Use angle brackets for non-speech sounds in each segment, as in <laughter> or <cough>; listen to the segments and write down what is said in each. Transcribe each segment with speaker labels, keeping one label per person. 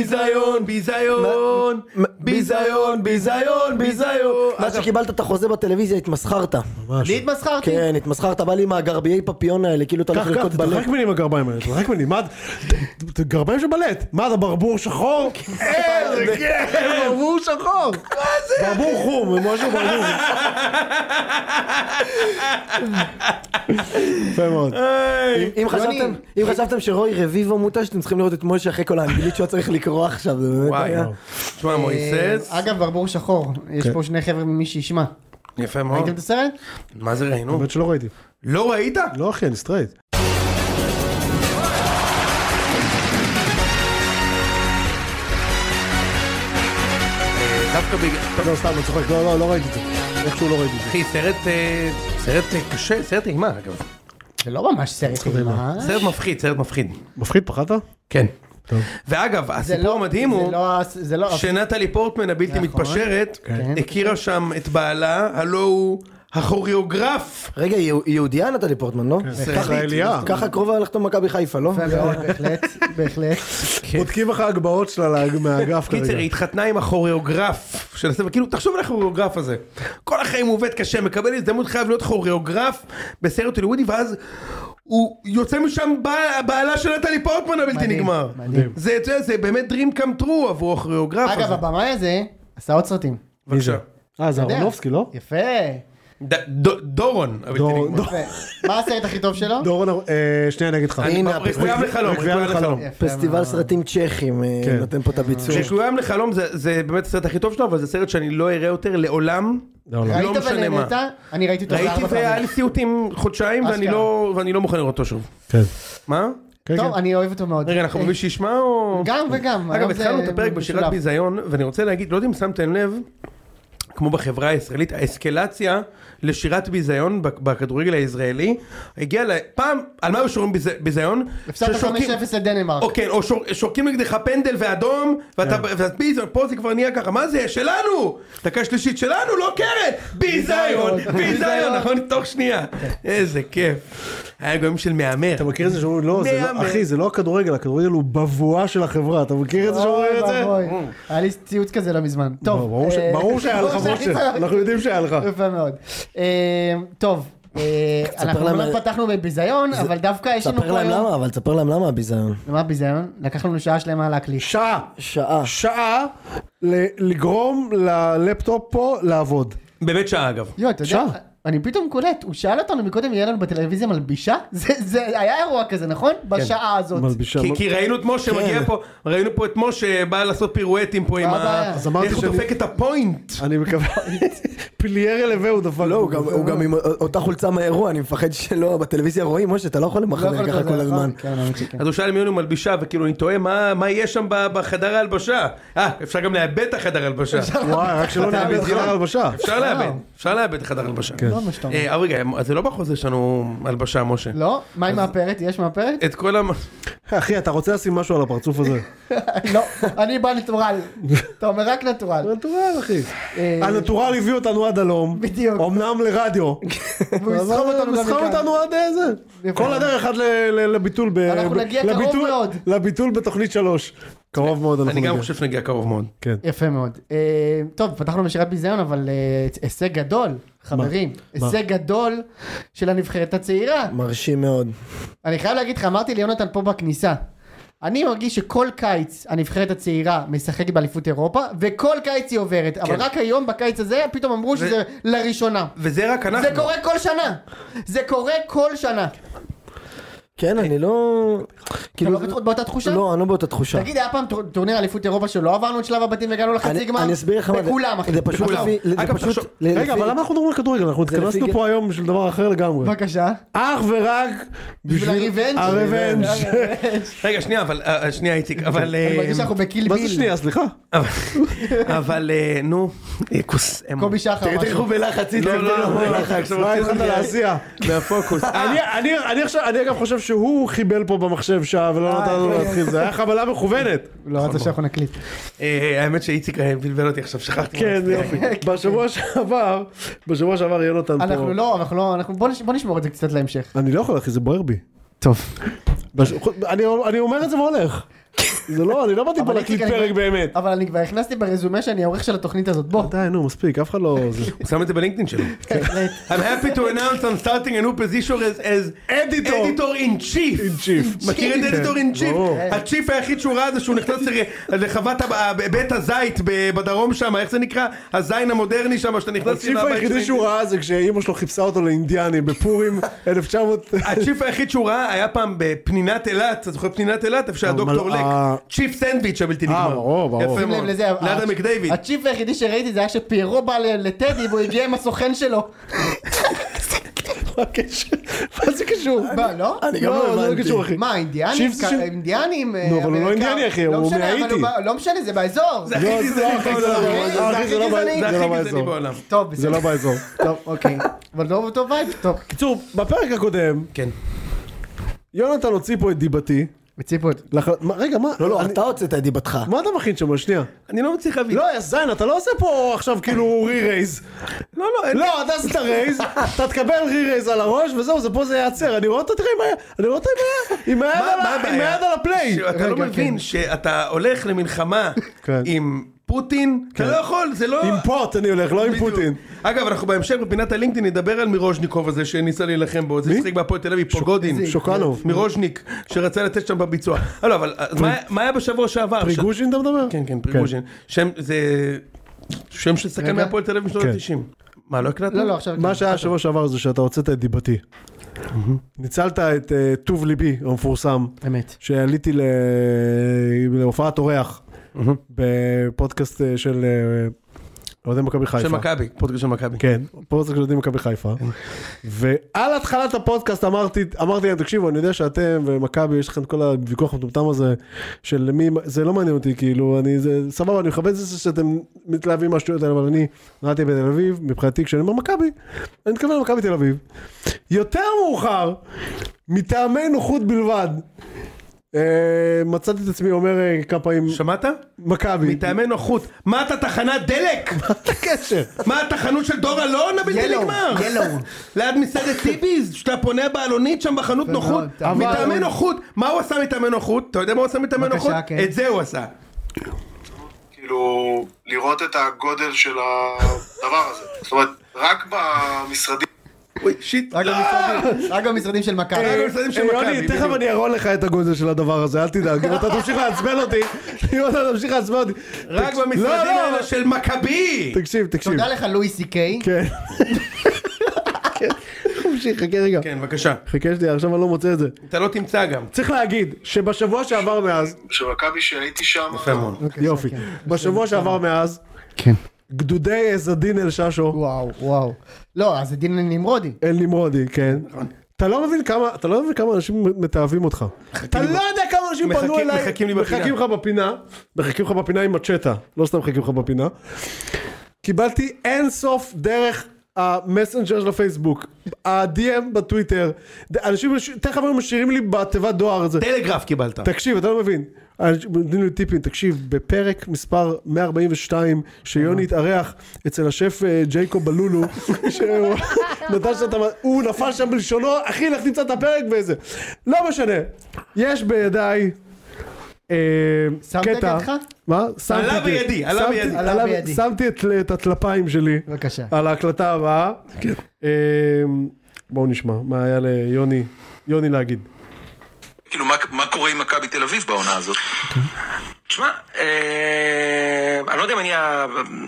Speaker 1: ביזיון, ביזיון, ביזיון, ביזיון, ביזיון.
Speaker 2: מאז שקיבלת את החוזה בטלוויזיה התמסחרת.
Speaker 1: אני התמסחרתי?
Speaker 2: כן, התמסחרת, בא לי עם הגרביי פפיון האלה, כאילו אתה הולך
Speaker 3: קח, קח,
Speaker 2: לרקוד בלב.
Speaker 3: תתרחק ממני עם הגרביים האלה, תתרחק ממני, מה, ת- ת- גרביים של בלט, מה אתה ברבור שחור? איזה כיף, ברבור שחור, ברבור חום, משהו ברבור. יפה מאוד.
Speaker 2: אם- אם חשבתם- אם חשבתם שרוי רביבו מותש, אתם צריכים לראות את משה אחרי כל האנגלית שהוא היה צריך לקרוא עכשיו, זה באמת
Speaker 1: וואי.
Speaker 2: היה.
Speaker 1: תשמע, מויסס,
Speaker 4: אה, אגב, ברבור שחור,
Speaker 3: כן.
Speaker 4: יש פה שני חבר'ה ממי שישמע.
Speaker 1: נכון. יפה מאוד.
Speaker 4: ראיתם את הסרט?
Speaker 1: מה זה ראינו?
Speaker 3: באמת שלא ראיתי.
Speaker 1: לא ראית?
Speaker 3: לא אחי, אני סטרייט.
Speaker 1: דווקא בגלל...
Speaker 3: לא, סתם, אני צוחק, לא, לא, לא ראיתי את זה. איכשהו לא ראיתי את זה.
Speaker 1: אחי, סרט אה, סרט אה, קשה, סרט אימה אגב.
Speaker 4: זה לא ממש סרט אימה.
Speaker 1: סרט מפחיד, סרט מפחיד.
Speaker 3: מפחיד, פחדת?
Speaker 1: כן.
Speaker 3: טוב.
Speaker 1: ואגב, הסיפור המדהים
Speaker 4: זה
Speaker 1: הוא...
Speaker 4: לא- זה לא...
Speaker 1: שנטלי פורטמן הבלתי
Speaker 4: נכון.
Speaker 1: מתפשרת,
Speaker 4: כן.
Speaker 1: הכירה שם את בעלה, הלו הוא הכוריאוגרף.
Speaker 2: רגע, היא היא יהודייה נטלי פורטמן, לא?
Speaker 3: זה ישראליה.
Speaker 2: ככה קרובה לחתום מכבי חיפה, לא?
Speaker 4: יפה מאוד, בהחלט,
Speaker 1: <laughs>
Speaker 4: בהחלט.
Speaker 3: בודקים לך הגבהות שלה לה- מהאגף
Speaker 1: קיצר,
Speaker 3: כרגע.
Speaker 1: היא התחתנה עם הכוריאוגרף של הסרט, כאילו, תחשוב על הכוריאוגרף הזה. כל החיים הוא עובד קשה, מקבל הזדמנות, חייב להיות כוריאוגרף בסרט הוליוודי, ואז הוא יוצא משם בעל- בעלה של נטלי פורטמן הבלתי
Speaker 4: מדהים,
Speaker 1: נגמר.
Speaker 4: מדהים.
Speaker 1: זה, אתה יודע, זה באמת dream come true עבור הכוריאוגרף
Speaker 4: אגב,
Speaker 1: הזה.
Speaker 4: הבמאי הזה עשה עוד סרטים.
Speaker 3: מי זה?
Speaker 1: בבקשה.
Speaker 3: אה, זה
Speaker 4: אתה יודע.
Speaker 3: אהרונובסקי, לא?
Speaker 4: יפה.
Speaker 1: ד- ד- דורון הבלתי
Speaker 3: דור-
Speaker 1: נגמר.
Speaker 3: דור-
Speaker 4: יפה. מה הסרט הכי טוב שלו?
Speaker 1: לא
Speaker 3: דורון, אהר- אה, שנייה, אני אגיד לך.
Speaker 2: הנה,
Speaker 1: רקויים לחלום,
Speaker 3: רקויים
Speaker 1: רקויים לחלום.
Speaker 3: לחלום.
Speaker 4: יפה
Speaker 2: פסטיבל
Speaker 4: מאוד.
Speaker 2: סרטים צ'כים אה,
Speaker 3: כן.
Speaker 2: נותן פה את הביצוע.
Speaker 1: רקויים לחלום זה- זה באמת הסרט הכי טוב שלו, אבל זה סרט שאני לא אראה יותר לעולם.
Speaker 3: לא, לא.
Speaker 1: לא
Speaker 4: ראית
Speaker 1: משנה מה.
Speaker 4: ונהנית? אני ראיתי אותו
Speaker 1: ראיתי
Speaker 4: בארבע
Speaker 1: והיה לי
Speaker 4: פעמים.
Speaker 1: סיוטים חודשיים ואני
Speaker 4: אשכרה.
Speaker 1: לא ואני לא מוכן לראות אותו שוב.
Speaker 3: כן.
Speaker 1: מה?
Speaker 3: כן,
Speaker 4: טוב,
Speaker 3: כן.
Speaker 4: אני אוהב אותו מאוד.
Speaker 1: רגע אנחנו
Speaker 4: אה,
Speaker 1: במי שישמע או...
Speaker 4: גם וגם.
Speaker 1: אגב
Speaker 4: היום
Speaker 1: התחלנו
Speaker 4: זה
Speaker 1: את הפרק בשירת
Speaker 4: משולב.
Speaker 1: ביזיון ואני רוצה להגיד לא יודע אם שמתם לב כמו בחברה הישראלית האסקלציה לשירת ביזיון בכ- בכדורגל הישראלי הגיעה לפעם על מה היו שורים ביז- ביזיון?
Speaker 4: הפסדת
Speaker 1: ששורקים-
Speaker 4: 5-0 לדנמרק.
Speaker 1: או כן, או שור- שורקים נגדך פנדל ואדום,
Speaker 4: כן.
Speaker 1: ואתה ואתה- ביזיון, פה זה כבר נהיה ככה, מה זה, שלנו! דקה שלישית שלנו, לא קרן! ביזיון,
Speaker 4: ביזיון. כן.
Speaker 1: ביזיון, נכון? תוך שנייה. איזה כיף. היה גויים של מהמר.
Speaker 3: אתה מכיר את זה שאומרים, לא, זה
Speaker 1: מהמם.
Speaker 3: לא, אחי, זה לא הכדורגל, הכדורגל הוא בבואה של החברה, אתה מכיר את זה שאומרים את
Speaker 4: אוי
Speaker 3: זה?
Speaker 4: ואבוי. היה לי ציוץ כזה לא מזמן. טוב.
Speaker 3: לא, ברור ש-
Speaker 4: אה,
Speaker 3: ברור שהיה לך
Speaker 4: ברור שהיה
Speaker 3: משה,
Speaker 4: לך.
Speaker 3: אנחנו יודעים שהיה לך.
Speaker 4: יפה מאוד. אה, טוב, אה, אנחנו
Speaker 2: להם-
Speaker 4: לא פתחנו בביזיון, אבל דווקא יש לנו
Speaker 2: ספר
Speaker 4: פה
Speaker 2: להם
Speaker 4: היום...
Speaker 2: למה, אבל ספר להם למה הביזיון.
Speaker 4: מה ביזיון? לקח לנו שעה שלמה להקליט.
Speaker 3: שעה,
Speaker 2: שעה.
Speaker 3: שעה ל- לגרום ללפטופ פה לעבוד.
Speaker 1: באמת שעה אגב.
Speaker 4: יואו, אתה יודע,
Speaker 3: שעה.
Speaker 4: אני פתאום קולט, הוא שאל אותנו מקודם, יהיה לנו בטלוויזיה מלבישה? <laughs> זה- זה היה אירוע כזה, נכון?
Speaker 2: כן.
Speaker 4: בשעה הזאת.
Speaker 3: מלבישה. לא-
Speaker 1: כי- כי ראינו את משה
Speaker 4: כן.
Speaker 1: מגיע פה, ראינו פה את משה בא לעשות פירואטים פה עם ה...
Speaker 4: הבעיה?
Speaker 3: אז אמרתי
Speaker 1: איך הוא
Speaker 3: שאני-
Speaker 1: דופק את הפוינט.
Speaker 3: אני מקווה, פליירה לווה הוא דפק.
Speaker 2: לא, הוא גם- הוא גם עם אותה חולצה מהאירוע, אני מפחד שלא, בטלוויזיה רואים, משה, אתה לא יכול
Speaker 4: לא יכול
Speaker 2: למחזר
Speaker 4: להיות
Speaker 2: ככה כל
Speaker 4: זה, נכון?
Speaker 2: הזמן.
Speaker 4: כן, אני מאמין שכן.
Speaker 1: אז הוא שאל מי הוא מלבישה, וכאילו אני תוהה מה- מה יש שם ב- בחדר ההלבשה. אה, אפשר גם לאבד את החדר ההלבשה.
Speaker 3: וואי, רק שלא נאבד חדר הלבשה.
Speaker 4: אה.
Speaker 1: אפשר לאבד, אפשר לאבד חדר הלבשה.
Speaker 4: לא מה שאתה אומר.
Speaker 1: אה, אבל רגע, אז זה לא בחוזה שלנו הלבשה, משה.
Speaker 4: לא? מה עם מאפרת? יש מאפרת? <laughs>
Speaker 1: את כל המ...
Speaker 3: אחי, אתה רוצה לשים משהו על הפרצוף הזה?
Speaker 4: לא, אני בא
Speaker 2: <laughs>
Speaker 4: נטורל. אתה אומר רק נטורל.
Speaker 3: הנטורל, אחי.
Speaker 4: אה,
Speaker 3: הנטורל הביא אותנו עד הלום.
Speaker 4: בדיוק.
Speaker 3: אמנם לרדיו.
Speaker 4: <laughs> והוא יסחוב אותנו גם
Speaker 3: יסחוב
Speaker 4: מכאן.
Speaker 3: אותנו עד אה, זה.
Speaker 4: יפה.
Speaker 3: כל הדרך עד ל- ל- לביטול. ב-
Speaker 4: אנחנו
Speaker 3: ב-
Speaker 4: נגיע קרוב
Speaker 3: לביטול-
Speaker 4: מאוד.
Speaker 3: לביטול בתוכנית שלוש. קרוב מאוד אנחנו
Speaker 1: אני
Speaker 3: נגיע.
Speaker 1: גם חושב שנגיע קרוב מאוד.
Speaker 3: כן.
Speaker 4: יפה מאוד. אה, טוב, פתחנו בשירת ביזיון, אבל אה, הישג גדול, חברים. הישג גדול של הנבחרת הצעירה.
Speaker 2: מרשים מאוד.
Speaker 4: אני חייב להגיד לך, אמרתי ליונתן פה בכניסה. אני מרגיש שכל קיץ הנבחרת הצעירה משחקת באליפות אירופה, וכל קיץ היא עוברת.
Speaker 2: כן.
Speaker 4: אבל רק היום, בקיץ הזה, פתאום אמרו שזה לראשונה.
Speaker 1: וזה רק אנחנו.
Speaker 4: זה
Speaker 2: אה,
Speaker 4: קורה
Speaker 2: לא.
Speaker 4: כל שנה! זה קורה כל שנה.
Speaker 2: כן, אני לא...
Speaker 4: אתה
Speaker 2: כאילו...
Speaker 4: לא באות- באותה תחושה?
Speaker 2: לא, אני לא באותה תחושה.
Speaker 4: תגיד, היה פעם טור- טורניר אליפות אירופה שלא עברנו את שלב הבתים והגענו לחצי
Speaker 2: אני
Speaker 4: גמר?
Speaker 2: אני אסביר לך מה זה.
Speaker 4: בכולם, אחי.
Speaker 2: זה פשוט
Speaker 1: בכולם.
Speaker 2: לפי... זה
Speaker 1: אגב,
Speaker 2: פשוט...
Speaker 1: תחשוב-
Speaker 2: ל-
Speaker 3: רגע,
Speaker 2: לפי-
Speaker 3: אבל למה אנחנו מדברים על כדורגל? אנחנו
Speaker 2: זה לפי
Speaker 3: התכנסנו
Speaker 2: ג-
Speaker 3: פה היום בשביל דבר אחר לגמרי.
Speaker 4: בבקשה.
Speaker 3: אך ורק
Speaker 4: בשביל הריבנג'. אה,
Speaker 3: הריבנג'.
Speaker 1: רגע, שנייה, אבל... אה, שנייה, איציק, אבל...
Speaker 4: אני מרגיש
Speaker 1: אה,
Speaker 4: שאנחנו בקיל
Speaker 3: מה זה
Speaker 4: ביל.
Speaker 3: שנייה, סליחה?
Speaker 1: אבל אה, נו, אה, כוס... אמו.
Speaker 4: קובי שחר.
Speaker 2: תראה איך
Speaker 4: משהו.
Speaker 2: הוא בלחץ, איתי,
Speaker 1: לא, לא,
Speaker 2: הוא
Speaker 1: לא,
Speaker 2: בלחץ.
Speaker 1: עכשיו
Speaker 3: מה
Speaker 1: הוציאו
Speaker 3: התחלת
Speaker 1: לי-
Speaker 3: להסיע?
Speaker 1: מהפוקוס. אה,
Speaker 3: <laughs> אני- אני- אני עכשיו, אני אגב חושב שהוא חיבל פה במחשב שעה ולא
Speaker 4: אה,
Speaker 3: נתן לנו להתחיל, זה היה חבלה מכוונת.
Speaker 4: לא רצה שאנחנו נקליט.
Speaker 1: אה, האמת שאיציק אה, בלבל אותי עכשיו, שכחתי. מה
Speaker 3: כן,
Speaker 1: רציתי להגיד.
Speaker 3: יופי. בשבוע שעבר, בשבוע שעבר יונתן פה.
Speaker 4: אנחנו לא, אנחנו לא, אנחנו בוא נש- בוא נשמור את זה קצת להמשך.
Speaker 3: אני לא יכול אחי, זה בוער בי.
Speaker 4: טוב.
Speaker 3: בש- אני- אני אומר את זה והולך. זה לא, אני לא באתי פה
Speaker 4: אבל
Speaker 3: להקליט
Speaker 4: איציק, אני
Speaker 3: פרק
Speaker 4: כבר-
Speaker 3: באמת. אוקיי.
Speaker 4: אבל אני כבר הכנסתי ברזומה שאני העורך של התוכנית הזאת, בוא.
Speaker 3: די, נו, מספיק, אף אחד לא... זה-
Speaker 1: הוא שם את זה בלינקדאין שלו.
Speaker 3: כן. <laughs>
Speaker 4: בהחלט.
Speaker 1: I'm happy to announce I'm starting a new position as, as
Speaker 3: Editor.
Speaker 1: editor in chief.
Speaker 3: In chief.
Speaker 1: מכיר את
Speaker 3: כן,
Speaker 1: editor in chief?
Speaker 3: ברור.
Speaker 1: הצ'יף היחיד שהוא ראה זה שהוא נכנס ל- לחוות הב- ה- בית הזית ב- בדרום שם, איך זה נקרא? הזין המודרני שם, שאתה נכנס...
Speaker 3: הצ'יפ
Speaker 1: לבית
Speaker 3: היחידי
Speaker 1: של-
Speaker 3: שהוא ראה זה כשאימא שלו חיפשה אותו לאינדיאנים בפורים 1900...
Speaker 1: הצ'יף היחיד שהוא ראה היה פעם בפנינת אילת, אתה זוכר פנינת אילת? איפה שהדוקטור
Speaker 3: אבל-
Speaker 1: לק,
Speaker 3: אה.
Speaker 1: צ'יף סנדוויץ' הבלתי
Speaker 3: אה,
Speaker 1: נגמר.
Speaker 3: ברור, ברור.
Speaker 1: יפה
Speaker 4: שים לב
Speaker 1: מאוד.
Speaker 4: לזה,
Speaker 1: ליד
Speaker 4: הצ'-
Speaker 1: המקדייוויד.
Speaker 4: הצ'יפ היחידי שראיתי זה היה שפיירו בא ל- לטדי והוא הגיע עם הסוכן שלו.
Speaker 3: מה הקשר? מה זה קשור?
Speaker 4: מה, לא?
Speaker 2: אני גם לא
Speaker 3: לא, זה לא
Speaker 2: הבנתי.
Speaker 3: קשור אחי.
Speaker 4: מה, אינדיאנים?
Speaker 3: צ'יפס
Speaker 4: כ-
Speaker 3: של-
Speaker 4: אינדיאנים? אה,
Speaker 3: נו, אבל הוא לא אינדיאני, אחי, הוא מהאיטי.
Speaker 4: לא משנה, זה באזור.
Speaker 1: זה הכי
Speaker 3: לא,
Speaker 1: גזעני
Speaker 3: זה הכי
Speaker 1: בעולם.
Speaker 3: גזעני,
Speaker 1: אוקיי?
Speaker 4: זה
Speaker 1: הכי
Speaker 4: הכי גזעני.
Speaker 1: זה
Speaker 3: זה
Speaker 1: הכי
Speaker 3: לא
Speaker 1: גזעני
Speaker 3: באזור.
Speaker 1: <laughs> בעולם.
Speaker 4: טוב,
Speaker 3: זה לא
Speaker 4: בסדר.
Speaker 3: באזור. טוב.
Speaker 4: אוקיי. אבל לא אותו וייב, טוב.
Speaker 3: קיצור, בפרק הקודם,
Speaker 1: כן.
Speaker 3: יונתן הוציא פה את דיבתי.
Speaker 4: וציפות.
Speaker 3: לח- מה- רגע, מה?
Speaker 2: לא, לא,
Speaker 3: אני-
Speaker 2: אתה הוצאת את דיבתך.
Speaker 3: מה אתה מכין שם? שנייה.
Speaker 1: אני לא מצליח להבין.
Speaker 3: לא, יא זין, אתה לא עושה פה עכשיו כאילו רי-רייז.
Speaker 1: לא, לא, אין-
Speaker 3: לא, אתה עשית רייז, אתה תקבל רי-רייז על הראש, וזהו, זה פה זה ייעצר. אני רואה אותה, תראה, עם ה- אני רואה אותה עם ה- עם היד
Speaker 1: מה-
Speaker 3: על
Speaker 1: מה
Speaker 3: ה- עם
Speaker 1: הבעיה?
Speaker 3: היד על הפליי.
Speaker 1: שאתה לא
Speaker 4: רגע,
Speaker 1: מבין
Speaker 4: כן.
Speaker 1: שאתה הולך למלחמה
Speaker 3: כן.
Speaker 1: עם פוטין, אתה לא יכול, זה לא...
Speaker 3: עם פוט אני הולך, לא עם
Speaker 1: בדיוק.
Speaker 3: פוטין.
Speaker 1: אגב, אנחנו בהמשך בפינת הלינקדאין נדבר על מירוז'ניקוב הזה שניסה להילחם בו, זה ששיחק בהפועל תל אביב, פוגודין.
Speaker 3: שוקנוב.
Speaker 1: מירוז'ניק, שרצה לתת שם בביצוע. אה, לא, אבל אז מה- מה היה בשבוע שעבר?
Speaker 3: פריגוז'ין אתה מדבר?
Speaker 1: כן, כן, פריגוז'ין. שם, זה... שם של שחקן
Speaker 4: רגע.
Speaker 1: מהפועל תל אביב משנות
Speaker 3: כן.
Speaker 1: ה-90. מה, לא הקלטנו?
Speaker 4: לא, לא, עכשיו...
Speaker 3: מה שהיה השבוע שעבר זה שאתה הוצאת את דיבתי. ניצלת את אה, טוב ליבי המפורסם,
Speaker 4: אמת.
Speaker 3: שעליתי ל- להופעת אורח בפודקאסט אה, של אה, אוהדי מכבי חיפה.
Speaker 1: של מכבי, פודקאסט של מכבי.
Speaker 3: כן, פודקאסט של אוהדים מכבי חיפה. ועל התחלת הפודקאסט אמרתי, אמרתי להם, תקשיבו, אני יודע שאתם ומכבי, יש לכם את כל הוויכוח המטומטם הזה, של למי, זה לא מעניין אותי, כאילו, אני, זה, סבבה, אני מכבד את זה שאתם מתלהבים מהשטויות האלה, אבל אני נולדתי בתל אביב, מבחינתי כשאני אומר מכבי, אני מתכוון למכבי תל אביב. יותר מאוחר, מטעמי נוחות בלבד, אה, מצאתי את עצמי אומר אה, כמה פעמים,
Speaker 1: שמעת?
Speaker 3: מכבי.
Speaker 1: מטעמי נוחות. מה אתה תחנת דלק?
Speaker 3: את הקשר.
Speaker 1: מה אתה חנות של דור אלון הבלתי
Speaker 4: ילו,
Speaker 1: נגמר?
Speaker 4: ילו.
Speaker 1: <laughs> ליד מסעדת טיביז, שאתה פונה בעלונית שם בחנות נוחות.
Speaker 4: אבל-
Speaker 1: מטעמי נוחות. מה הוא עשה מטעמי נוחות? אתה יודע מה הוא עשה מטעמי
Speaker 4: בבקשה,
Speaker 1: נוחות?
Speaker 4: כן.
Speaker 1: את זה הוא עשה.
Speaker 5: כאילו, לראות את הגודל של הדבר הזה. זאת אומרת, רק במשרדים...
Speaker 1: אוי, שיט.
Speaker 4: רק
Speaker 1: לא!
Speaker 4: במשרדים- רק במשרדים של מכבי.
Speaker 1: רק במשרדים של
Speaker 3: אה,
Speaker 1: מכבי,
Speaker 3: יוני, תכף
Speaker 1: בדיוק.
Speaker 3: אני אראה לך את הגודל של הדבר הזה, אל תדאג. אם אתה תמשיך לעצבן אותי, אם אתה תמשיך לעצבן אותי.
Speaker 1: רק
Speaker 3: תקש- לא,
Speaker 1: במשרדים
Speaker 3: לא,
Speaker 1: האלה של מכבי!
Speaker 3: תקשיב, תקשיב.
Speaker 4: תודה לך לואי סי קיי.
Speaker 3: <laughs> כן. כן. תמשיך, חכה רגע.
Speaker 1: כן, בבקשה.
Speaker 3: חכה שנייה, עכשיו אני לא מוצא את זה.
Speaker 1: אתה לא תמצא גם.
Speaker 3: צריך להגיד שבשבוע שעבר מאז,
Speaker 5: שמכבי שהייתי שם...
Speaker 1: יפה מאוד.
Speaker 3: יופי, בשבוע שעבר מאז,
Speaker 4: כן.
Speaker 3: גדודי עז הדין אל ששו,
Speaker 4: וואו, וואו. לא, אז זה דין נמרודי.
Speaker 3: אל נמרודי, כן.
Speaker 1: נכון.
Speaker 3: אתה לא מבין כמה, אתה לא מבין כמה אנשים מתעבים אותך. אתה לא יודע כמה אנשים פנו
Speaker 1: מחכים-
Speaker 3: אליי,
Speaker 1: מחכים לי בפינה.
Speaker 3: מחכים לך בפינה, מחכים לך בפינה עם מצ'טה, לא סתם מחכים לך בפינה. קיבלתי אין סוף דרך המסנג'ר של הפייסבוק, ה-DM בטוויטר, ד- אנשים מש- תכף הם משאירים לי בתיבת דואר הזה.
Speaker 1: טלגרף קיבלת.
Speaker 3: תקשיב, אתה לא מבין. אנשים נותנים לי טיפים, תקשיב, בפרק מספר 142, שיוני התארח אצל השף אה, ג'ייקוב
Speaker 4: <laughs>
Speaker 3: בלולו, שהוא נתן שם את המ... הוא נפל שם בלשונו, אחי, לך תמצא את הפרק וזה. לא משנה, יש בידיי... אה,
Speaker 4: שמת
Speaker 3: קטע-
Speaker 4: ידך?
Speaker 3: מה? שמתי את-
Speaker 1: בידי, עלה
Speaker 3: שמתי-
Speaker 1: בידי.
Speaker 4: עלה בידי.
Speaker 3: שמתי את- את הטלפיים שלי
Speaker 4: בבקשה.
Speaker 3: על ההקלטה הבאה. אה, בואו נשמע מה היה ליוני, יוני להגיד.
Speaker 6: כאילו, מה, מה קורה עם מכבי תל אביב בעונה הזאת?
Speaker 7: תשמע, אה, אני לא יודע אם אני ה-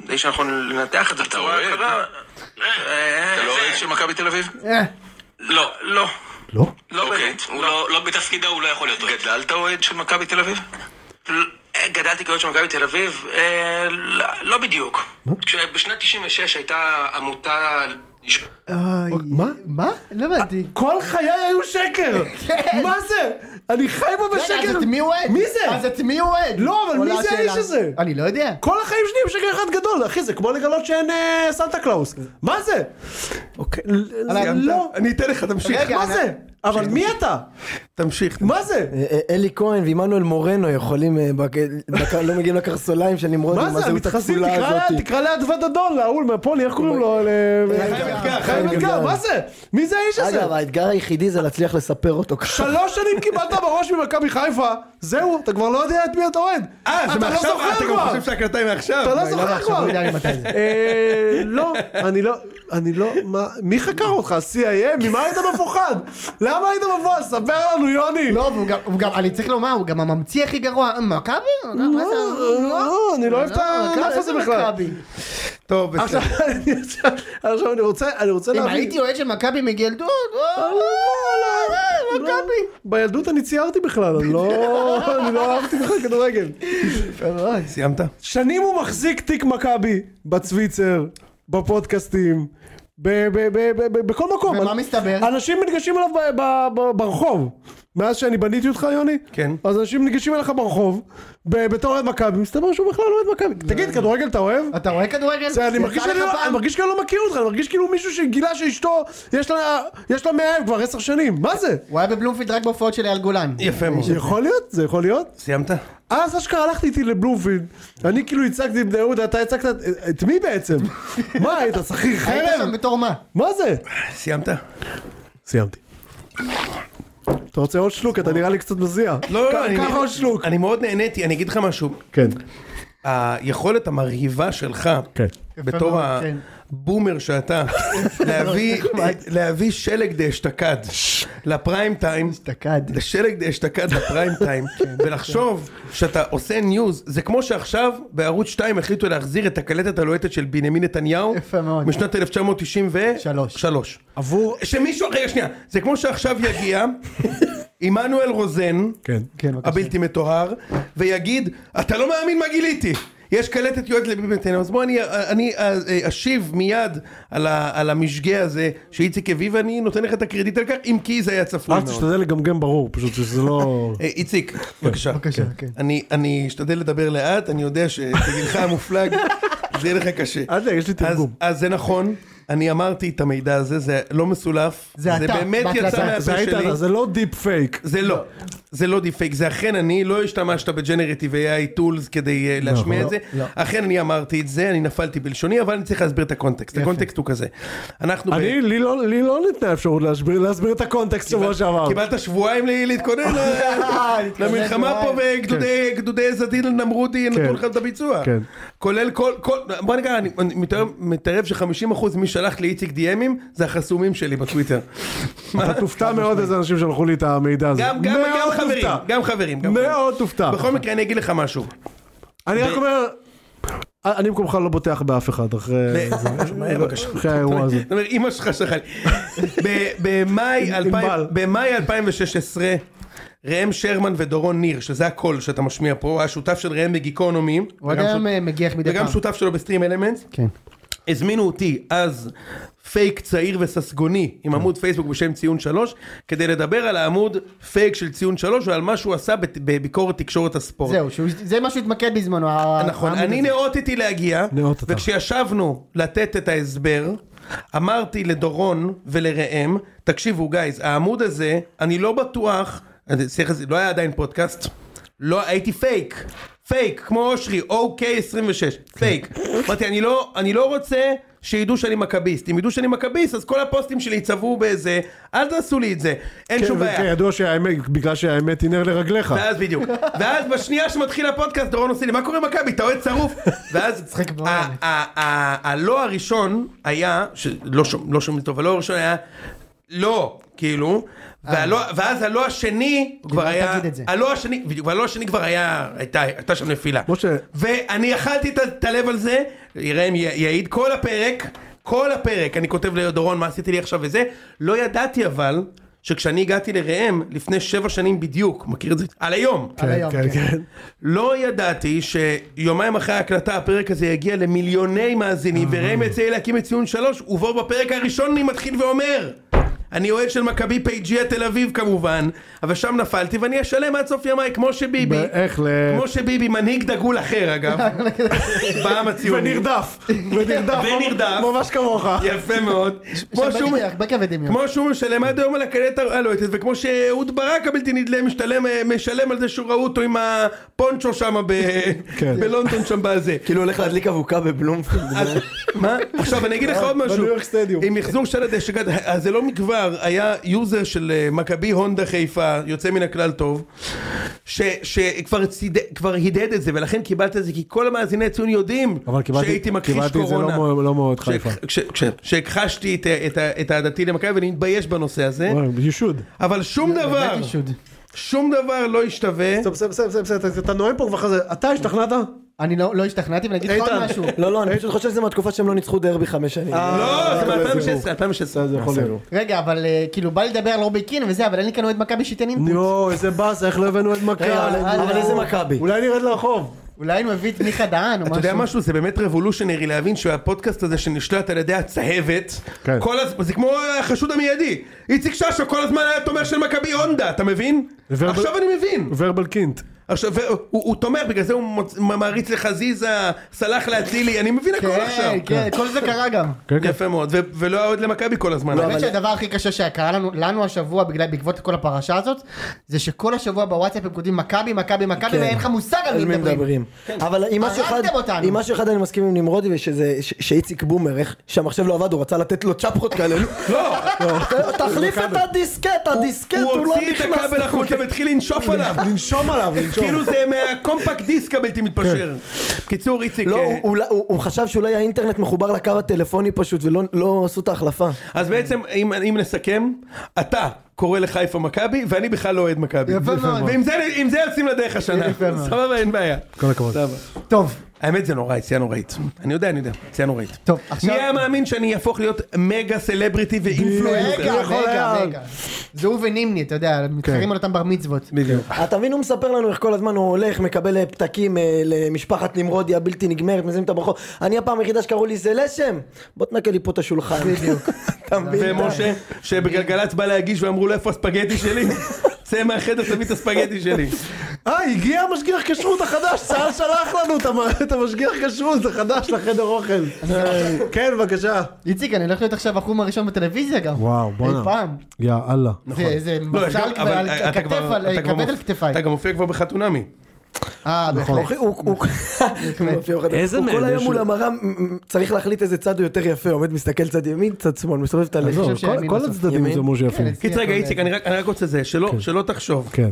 Speaker 7: האיש הנכון לנתח את זה
Speaker 6: אתה
Speaker 7: בצורה
Speaker 6: רואה?
Speaker 7: קרה.
Speaker 6: אתה לא אוהד של מכבי תל אביב?
Speaker 4: אה,
Speaker 7: לא, לא.
Speaker 3: לא?
Speaker 7: לא
Speaker 6: אוקיי.
Speaker 7: באמת. הוא לא- לא בתפקידו, הוא לא יכול להיות אוהד.
Speaker 6: גדלת אוהד של מכבי תל אביב?
Speaker 7: אה, גדלתי כאוהד של מכבי תל אביב, אה, לא- לא בדיוק. כשבשנת 96 הייתה עמותה...
Speaker 3: מה?
Speaker 4: מה? לא הבנתי.
Speaker 3: כל חיי היו שקר!
Speaker 4: כן.
Speaker 3: מה זה? אני חי פה
Speaker 4: רגע, לא, אז
Speaker 3: בשקר!
Speaker 4: את מי הוא אוהד?
Speaker 3: מי זה?
Speaker 4: אז את מי הוא אוהד?
Speaker 3: לא, אבל מי
Speaker 4: עולה
Speaker 3: זה האיש
Speaker 4: השאלה.
Speaker 3: הזה?
Speaker 4: אני לא יודע.
Speaker 3: כל החיים שלי הם שקר אחד גדול, אחי, זה כמו לגלות שאין אה, סנטה קלאוס. מה זה?
Speaker 1: אוקיי.
Speaker 4: סיימת?
Speaker 3: לא.
Speaker 1: אני אתן לך, תמשיך.
Speaker 4: רגע,
Speaker 3: מה
Speaker 4: אני-
Speaker 3: זה? אבל מי אתה?
Speaker 1: תמשיך.
Speaker 3: מה זה?
Speaker 2: אה, אה, אלי כהן ועמנואל מורנו יכולים, אה, בק- בק- לא מגיעים לקרסוליים של נמרודי,
Speaker 3: מה זה? המתחסים, תקרא לה- תקרא לאדוות אדון, להוא, מהפולי, איך קוראים לו?
Speaker 2: חיים
Speaker 1: אתגר,
Speaker 3: חיים
Speaker 2: חיים
Speaker 3: אתגר,
Speaker 2: אתגר.
Speaker 3: מה זה? מי זה האיש הזה?
Speaker 2: אגב, האתגר היחידי זה להצליח לספר אותו ככה.
Speaker 3: שלוש שנים קיבלת בראש ממכבי חיפה, זהו, אתה כבר לא יודע את מי אתה אוהד.
Speaker 1: אה, זה
Speaker 3: אתה לא
Speaker 1: מעכשיו?
Speaker 3: זוכר
Speaker 1: אה, אתה
Speaker 3: כבר.
Speaker 1: גם חושב שההקלטה היא מעכשיו?
Speaker 3: אתה לא
Speaker 4: לא, לא,
Speaker 3: זוכר
Speaker 4: עכשיו
Speaker 3: כבר.
Speaker 4: הוא יודע לי מתי זה.
Speaker 3: אה, לא, אני לא, אני לא, מה, מי חקר אותך? ה-CIA? ממה היית מפוחד? למה היית מפוחד? ספר לנו, יוני.
Speaker 4: לא, והוא גם- הוא גם, אני צריך לומר, הוא גם הממציא הכי גרוע. אה, מכבי? מה זה? אה,
Speaker 3: לא, אני לא אוהב את הענף
Speaker 4: מכבי,
Speaker 3: הזה
Speaker 4: איזה
Speaker 3: בכלל.
Speaker 4: מכבי?
Speaker 1: טוב, בסדר.
Speaker 3: עכשיו אני- עכשיו אני רוצה, אני רוצה
Speaker 4: אם
Speaker 3: להבין.
Speaker 4: הייתי אוהד של מכבי מגילדות, אה,
Speaker 3: לא,
Speaker 4: וואו,
Speaker 3: לא,
Speaker 4: אה,
Speaker 3: לא.
Speaker 4: מכבי.
Speaker 3: בילדות אני ציירתי בכלל, אני לא אני לא אהבתי בכלל כדורגל.
Speaker 1: סיימת?
Speaker 3: שנים הוא מחזיק תיק מכבי, בצוויצר, בפודקאסטים, ב- ב- ב- ב- ב- בכל מקום.
Speaker 4: ומה
Speaker 3: אני-
Speaker 4: מסתבר?
Speaker 3: אנשים ניגשים אליו ב- ב- ב- ברחוב. מאז שאני בניתי אותך, יוני?
Speaker 1: כן.
Speaker 3: אז אנשים ניגשים אליך ברחוב, ב- בתור אוהד מכבי, מסתבר שהוא בכלל לא אוהד מכבי. תגיד, כדורגל אתה אוהב?
Speaker 4: אתה רואה כדורגל?
Speaker 3: זה, אני
Speaker 4: יצא
Speaker 3: מרגיש
Speaker 4: לך
Speaker 3: שאני לא-
Speaker 4: פעם?
Speaker 3: אני מרגיש כאילו לא מכיר אותך, אני מרגיש כאילו מישהו שגילה שאשתו, יש לה- יש לה מאהב כבר עשר שנים, מה זה?
Speaker 4: הוא היה בבלומפילד רק בהופעות של אייל גולן.
Speaker 3: כן.
Speaker 1: יפה
Speaker 4: כן.
Speaker 1: מאוד.
Speaker 3: יכול להיות, זה יכול להיות.
Speaker 1: סיימת?
Speaker 3: אז אשכרה הלכתי איתי לבלומפילד, אני כאילו הצגתי את בני יהודה, אתה הצגת את- את מי בעצם?
Speaker 1: <laughs>
Speaker 3: מה, היית שכיר
Speaker 4: היית
Speaker 3: חרב?
Speaker 4: שם בתור מה?
Speaker 3: מה זה?
Speaker 1: סיימת?
Speaker 3: סיימתי. אתה רוצה עוד שלוק? אתה נראה לי קצת מזיע.
Speaker 1: לא,
Speaker 3: קח-
Speaker 1: לא, אני...
Speaker 3: קח עוד שלוק.
Speaker 1: אני מאוד נהניתי, אני אגיד לך משהו.
Speaker 3: כן,
Speaker 1: היכולת המרהיבה שלך,
Speaker 3: כן.
Speaker 1: בתור
Speaker 4: מאוד, כן. לא,
Speaker 1: הבומר שאתה,
Speaker 4: <laughs>
Speaker 1: להביא- להביא שלג דאשתקד לפריים טיים.
Speaker 4: אשתקד.
Speaker 1: לשלג דאשתקד לפריים
Speaker 4: <laughs>
Speaker 1: טיים,
Speaker 4: כן,
Speaker 1: ולחשוב שאתה עושה ניוז, זה כמו שעכשיו בערוץ 2 החליטו להחזיר את הקלטת הלוהטת של בנימין נתניהו,
Speaker 4: יפה מאוד.
Speaker 1: משנת 1993.
Speaker 4: שלוש.
Speaker 1: שלוש.
Speaker 3: עבור...
Speaker 1: שמישהו, רגע שנייה, זה כמו שעכשיו
Speaker 4: <laughs>
Speaker 1: יגיע עמנואל רוזן,
Speaker 3: כן.
Speaker 4: כן, בבקשה.
Speaker 1: הבלתי מטוהר, ויגיד, אתה לא מאמין מה גיליתי. יש קלטת יועד לביבי נתניהו, אז בוא אני, אני אה, אה, אשיב מיד על, ה, על המשגה הזה שאיציק הביא ואני נותן לך את הקרדיט על כך, אם כי זה היה צפוי
Speaker 3: רק
Speaker 1: מאוד.
Speaker 3: תשתדל לגמגם ברור, פשוט שזה
Speaker 1: <laughs>
Speaker 3: לא...
Speaker 1: אה, איציק, בבקשה.
Speaker 4: בבקשה, כן.
Speaker 1: אני- אני אשתדל לדבר לאט, אני יודע שבגילך <laughs> המופלג זה יהיה לך קשה.
Speaker 3: אל תדאג, יש לי
Speaker 1: אז-
Speaker 3: תרגום.
Speaker 1: אז זה נכון, אני אמרתי את המידע הזה, זה לא מסולף.
Speaker 4: זה אתה,
Speaker 1: באמת
Speaker 4: בהקלטה.
Speaker 1: יצא
Speaker 3: זה
Speaker 1: מהפה
Speaker 3: היית,
Speaker 1: שלי.
Speaker 3: זה לא דיפ פייק.
Speaker 1: זה לא, זה לא דיפייק, זה אכן אני, לא השתמשת בג'נרטיב AI tools כדי אה, להשמיע את זה, אכן אני אמרתי את זה, אני נפלתי בלשוני, אבל אני צריך להסביר את הקונטקסט, הקונטקסט הוא כזה. אנחנו ב-
Speaker 3: אני, לי לא- לי לא ניתנה אפשרות להסביר להסביר את הקונטקסט שבוע שעבר.
Speaker 1: קיבלת שבועיים ל- להתכונן ל- למלחמה פה וגדודי גדודי עז הדין נמרודי נתנו
Speaker 3: כן.
Speaker 1: לך את הביצוע.
Speaker 3: כן.
Speaker 1: כולל כל, כל, בוא נגיד, אני אני מתערב- מתערב ש-50% מי שלח לי איציק דיאמים זה החסומים שלי בטוויטר.
Speaker 3: <laughs> אתה תופתע מאוד איזה אנשים שלחו לי את המידע הזה.
Speaker 1: גם, גם, גם
Speaker 3: מאוד
Speaker 1: חברים,
Speaker 3: תופתע.
Speaker 1: גם חברים, גם חברים.
Speaker 3: מאוד תופתע.
Speaker 1: בכל מקרה אני אגיד לך משהו.
Speaker 3: אני רק אומר, אני במקומך לא בוטח באף אחד אחרי זה.
Speaker 1: מהר, בבקשה.
Speaker 3: אחרי האירוע הזה.
Speaker 1: זאת אומרת, אימא שלך שלחה לי. ב- במאי
Speaker 3: ענבל.
Speaker 1: אלפיים- במאי 2016, ראם שרמן ודורון ניר, שזה הקול שאתה משמיע פה, הוא היה שותף של ראם בגיקונומי.
Speaker 4: הוא עוד היום אה, מגיח מדי פעם.
Speaker 1: וגם שותף שלו בסטרים אלמנטס.
Speaker 4: כן.
Speaker 1: הזמינו אותי אז פייק צעיר וססגוני עם
Speaker 4: כן.
Speaker 1: עמוד פייסבוק בשם ציון שלוש כדי לדבר על העמוד פייק של ציון שלוש ועל מה שהוא עשה בת- בביקורת תקשורת הספורט.
Speaker 4: זהו, שהוא- זה מה שהוא התמקד בזמנו. ה-
Speaker 1: נכון,
Speaker 4: העמוד
Speaker 1: אני
Speaker 4: הזה.
Speaker 1: נאותתי להגיע,
Speaker 3: נאותת.
Speaker 1: וכשישבנו לתת את ההסבר, אמרתי לדורון ולראם, תקשיבו גייז, העמוד הזה, אני לא בטוח, אני צריך- לא היה עדיין פודקאסט, לא, הייתי פייק, פייק, כמו אושרי, אוקיי 26, פייק. אמרתי, "אני לא- אני לא רוצה... שידעו שאני מכביסט, אם ידעו שאני מכביסט אז כל הפוסטים שלי יצבעו באיזה, אל תעשו לי את זה,
Speaker 3: כן,
Speaker 1: אין שום בעיה.
Speaker 3: ידוע שהאמת, בגלל שהאמת היא נר לרגליך.
Speaker 1: ואז בדיוק, ואז בשנייה שמתחיל הפודקאסט דורון עושה לי מה קורה עם מכבי אתה אוהד שרוף,
Speaker 4: <laughs>
Speaker 1: ואז
Speaker 4: מצחיק מאוד.
Speaker 1: ה- ה- ה- הלא הראשון היה, שלא שומעים לא שומעים טוב, הלא הראשון היה לא, כאילו, והלא- ואז הלא השני כבר
Speaker 4: אל
Speaker 1: היה,
Speaker 4: אה. תגיד את זה.
Speaker 1: הלא השני, בדיוק, והלא השני כבר היה, הייתה הייתה שם נפילה,
Speaker 3: משה.
Speaker 1: ואני אכלתי את ה- את הלב על זה, ראם י- יעיד כל הפרק, כל הפרק, אני כותב לדורון מה עשיתי לי עכשיו וזה, לא ידעתי אבל, שכשאני הגעתי לראם לפני שבע שנים בדיוק, מכיר את זה? על היום.
Speaker 4: על היום, כן.
Speaker 1: לא ידעתי שיומיים אחרי ההקלטה הפרק הזה יגיע למיליוני מאזינים וראם יצא להקים את ציון שלוש ובו בפרק הראשון אני מתחיל ואומר אני אוהד של מכבי פייג'יה תל אביב כמובן אבל שם נפלתי ואני אשלם עד סוף ימיי כמו שביבי
Speaker 3: איך ל...
Speaker 1: כמו שביבי מנהיג דגול אחר אגב בעם הציוני
Speaker 3: ונרדף. <laughs> ונרדף.
Speaker 1: ונרדף.
Speaker 3: ממש כמוך.
Speaker 1: יפה מאוד כמו
Speaker 4: עכשיו
Speaker 1: שהוא
Speaker 4: בדיוק, הרבה כבדים. יום.
Speaker 1: כמו שהוא משלם עד היום על הקלט הלוהטת, וכמו שאהוד ברק הבלתי נדלה משתלם, אה, משלם על זה שהוא ראו אותו עם הפונצ'ו שם ב...
Speaker 3: כן.
Speaker 1: בלונדון שם
Speaker 3: <laughs>
Speaker 1: בזה.
Speaker 2: כאילו הולך להדליק אבוקה בבלומפילד.
Speaker 1: אז- מה? עכשיו אני אגיד לך עוד משהו,
Speaker 3: לא- בניו יורק סטדיום.
Speaker 1: עם מחזור של הדשא, אז זה לא מכבר, בעבר היה יוזר של אה, מכבי הונדה חיפה, יוצא מן הכלל טוב, ש- שכבר ציד- כבר הדהד את זה, ולכן קיבלת את זה, כי כל המאזיני הציון יודעים
Speaker 3: אבל קיבלתי-
Speaker 1: שהייתי מכחיש
Speaker 3: קיבלתי את זה לא
Speaker 1: קורונה.
Speaker 3: מאוד- לא מאוד
Speaker 1: ש-
Speaker 3: חיפה.
Speaker 1: כש- כש- שהכחשתי את- את ה- את אהדתי למכבי, ואני מתבייש בנושא הזה,
Speaker 3: וואי, you should.
Speaker 1: אבל שום דבר,
Speaker 4: באמת אישוד.
Speaker 1: שום דבר לא השתווה.
Speaker 3: בסדר, בסדר, בסדר, בסדר, אתה- אתה נואם פה כבר חזרה. אתה השתכנעת?
Speaker 4: אני לא לא השתכנעתי ואני אגיד לך עוד
Speaker 3: איתן.
Speaker 4: משהו.
Speaker 2: לא, לא, אני פשוט חושב שזה מהתקופה שהם לא ניצחו דרבי חמש שנים.
Speaker 1: לא, זה מ-2016,
Speaker 3: זה
Speaker 1: 2016.
Speaker 3: יכול להיות.
Speaker 4: רגע, אבל אה, כאילו בא לי לדבר על רובי קין וזה, אבל אין לי כאן עוד מכבי שייתן אינפוט.
Speaker 3: נו, איזה באסה, איך לא הבאנו את מכבי?
Speaker 2: רגע, אבל אבל איזה מכבי?
Speaker 3: אה, אולי נרד לרחוב.
Speaker 4: אולי היינו מביא את מיכה דהן או משהו.
Speaker 1: אתה יודע משהו? זה באמת רבולושנרי להבין שהפודקאסט הזה שנשלט על ידי הצהבת,
Speaker 3: כן.
Speaker 1: כל הז- זה כמו החשוד המיידי. איציק ששו כל הזמן היה תומך של מכבי הונדה, אתה מבין?
Speaker 3: ורב-
Speaker 1: עכשיו אני מבין.
Speaker 3: ורבל קינט.
Speaker 1: עכשיו, והוא- הוא תומך, בגלל זה הוא מוצ- מעריץ לחזיזה, סלח לאצילי, אני מבין הכל עכשיו.
Speaker 4: כן, כן, כל זה קרה גם.
Speaker 3: כן, לא, כן.
Speaker 1: יפה מאוד, ו- ולא היה עוד למכבי כל הזמן.
Speaker 4: האמת שהדבר הכי קשה שקרה לנו, לנו השבוע בגלל, בעקבות כל הפרשה הזאת, זה שכל השבוע בוואטסאפ הם כותבים מכבי, מכבי, מכבי,
Speaker 2: כן.
Speaker 4: ואין לך מושג על מי מדברים.
Speaker 1: כן.
Speaker 2: אבל עם משהו אחד,
Speaker 4: הרגתם אותנו.
Speaker 2: עם משהו אחד אני מסכים עם נמרודי, ושזה, ש- שאיציק בומר, איך שהמחשב לא עבד, הוא רצה לתת לו צ'פחות כאלה.
Speaker 1: <laughs> לא,
Speaker 2: תחליף את הדיסקט, הדיסקט,
Speaker 1: הוא
Speaker 2: הוא לא
Speaker 1: הוציא את
Speaker 2: נכנס. אוקיי.
Speaker 1: הכבל החוצה והתחיל לנשוף
Speaker 2: <laughs>
Speaker 1: עליו.
Speaker 3: לנשום עליו, לנשום.
Speaker 1: כאילו זה מהקומפקט דיסק הבלתי מתפשר. קיצור, איציק...
Speaker 2: לא,
Speaker 1: אה,
Speaker 2: הוא- הוא- הוא הוא חשב שאולי האינטרנט מחובר לקו הטלפוני פשוט, ולא לא עשו
Speaker 1: <laughs>
Speaker 2: את ההחלפה.
Speaker 1: אז בעצם, אם, אם נסכם, אתה קורא לחיפה מכבי, ואני בכלל לא אוהד מכבי.
Speaker 4: יפה מאוד.
Speaker 1: ועם זה, עם זה יוצאים לדרך השנה.
Speaker 4: יפה מאוד.
Speaker 1: סבבה, אין בעיה.
Speaker 3: כל הכבוד.
Speaker 4: טוב,
Speaker 1: האמת זה נורא, יציאה נוראית. אני יודע, אני יודע, יציאה נוראית.
Speaker 4: טוב,
Speaker 1: מי
Speaker 4: עכשיו...
Speaker 1: היה מאמין שאני אהפוך להיות מגה סלבריטי
Speaker 4: רגע,
Speaker 1: ואינפלואנסר?
Speaker 4: רגע, רגע. זה הוא ונימני, אתה יודע,
Speaker 1: כן.
Speaker 4: מתחרים על אותם בר מצוות.
Speaker 1: בדיוק.
Speaker 2: אתה מבין, הוא מספר לנו איך כל הזמן הוא הולך, מקבל אה, פתקים אה, למשפחת נמרודי הבלתי נגמרת, מזינים את הברכות. אני הפעם היחידה שקראו לי זה לשם, בוא תנקה לי פה את השולחן. בדיוק. <laughs> אתה מבין?
Speaker 1: ומשה, שבגלגלצ בא להגיש ואמרו לו איפה הספגטי שלי? צא מהחדר, תביא את הספגטי שלי.
Speaker 3: אה, הגיע המשגיח כשרות החדש, צה"ל שלח לנו את המ- את המשגיח כשרות החדש לחדר אוכל. אה, כן, בבקשה.
Speaker 4: איציק, אני הולך להיות עכשיו החום הראשון בטלוויזיה גם.
Speaker 3: וואו, בואנה.
Speaker 4: אי פעם.
Speaker 3: יא אללה.
Speaker 4: זה איזה
Speaker 1: לא, יש גם-
Speaker 4: מזל כבר
Speaker 1: אבל
Speaker 4: על
Speaker 1: אתה
Speaker 4: הכתף,
Speaker 1: כבר-
Speaker 4: על- אה,
Speaker 1: אתה כבר
Speaker 4: כבד על
Speaker 1: מופ- אתה
Speaker 4: כתפיי.
Speaker 1: נכון. גם מופיע כבר בחתונמי.
Speaker 4: אה,
Speaker 3: נכון.
Speaker 4: בהחלט.
Speaker 2: הוא- הוא- הוא-
Speaker 8: איזה
Speaker 2: אוקיי, הוא כל
Speaker 8: נהדר
Speaker 2: היום
Speaker 8: שהוא-
Speaker 2: מול המראה מ- מ- צריך להחליט איזה צד הוא יותר יפה, עומד מסתכל צד ימין, צד שמאל, מסובב את הלב.
Speaker 3: עזוב,
Speaker 4: חושב
Speaker 3: כל-
Speaker 4: שהימין
Speaker 3: כל
Speaker 4: בסוף.
Speaker 3: הצדדים זה מוז'י יפים.
Speaker 4: אצלי
Speaker 1: קיצר, רגע,
Speaker 4: הכל-
Speaker 1: איציק, אני רק אני רק רוצה זה, שלא שלא תחשוב.
Speaker 3: כן.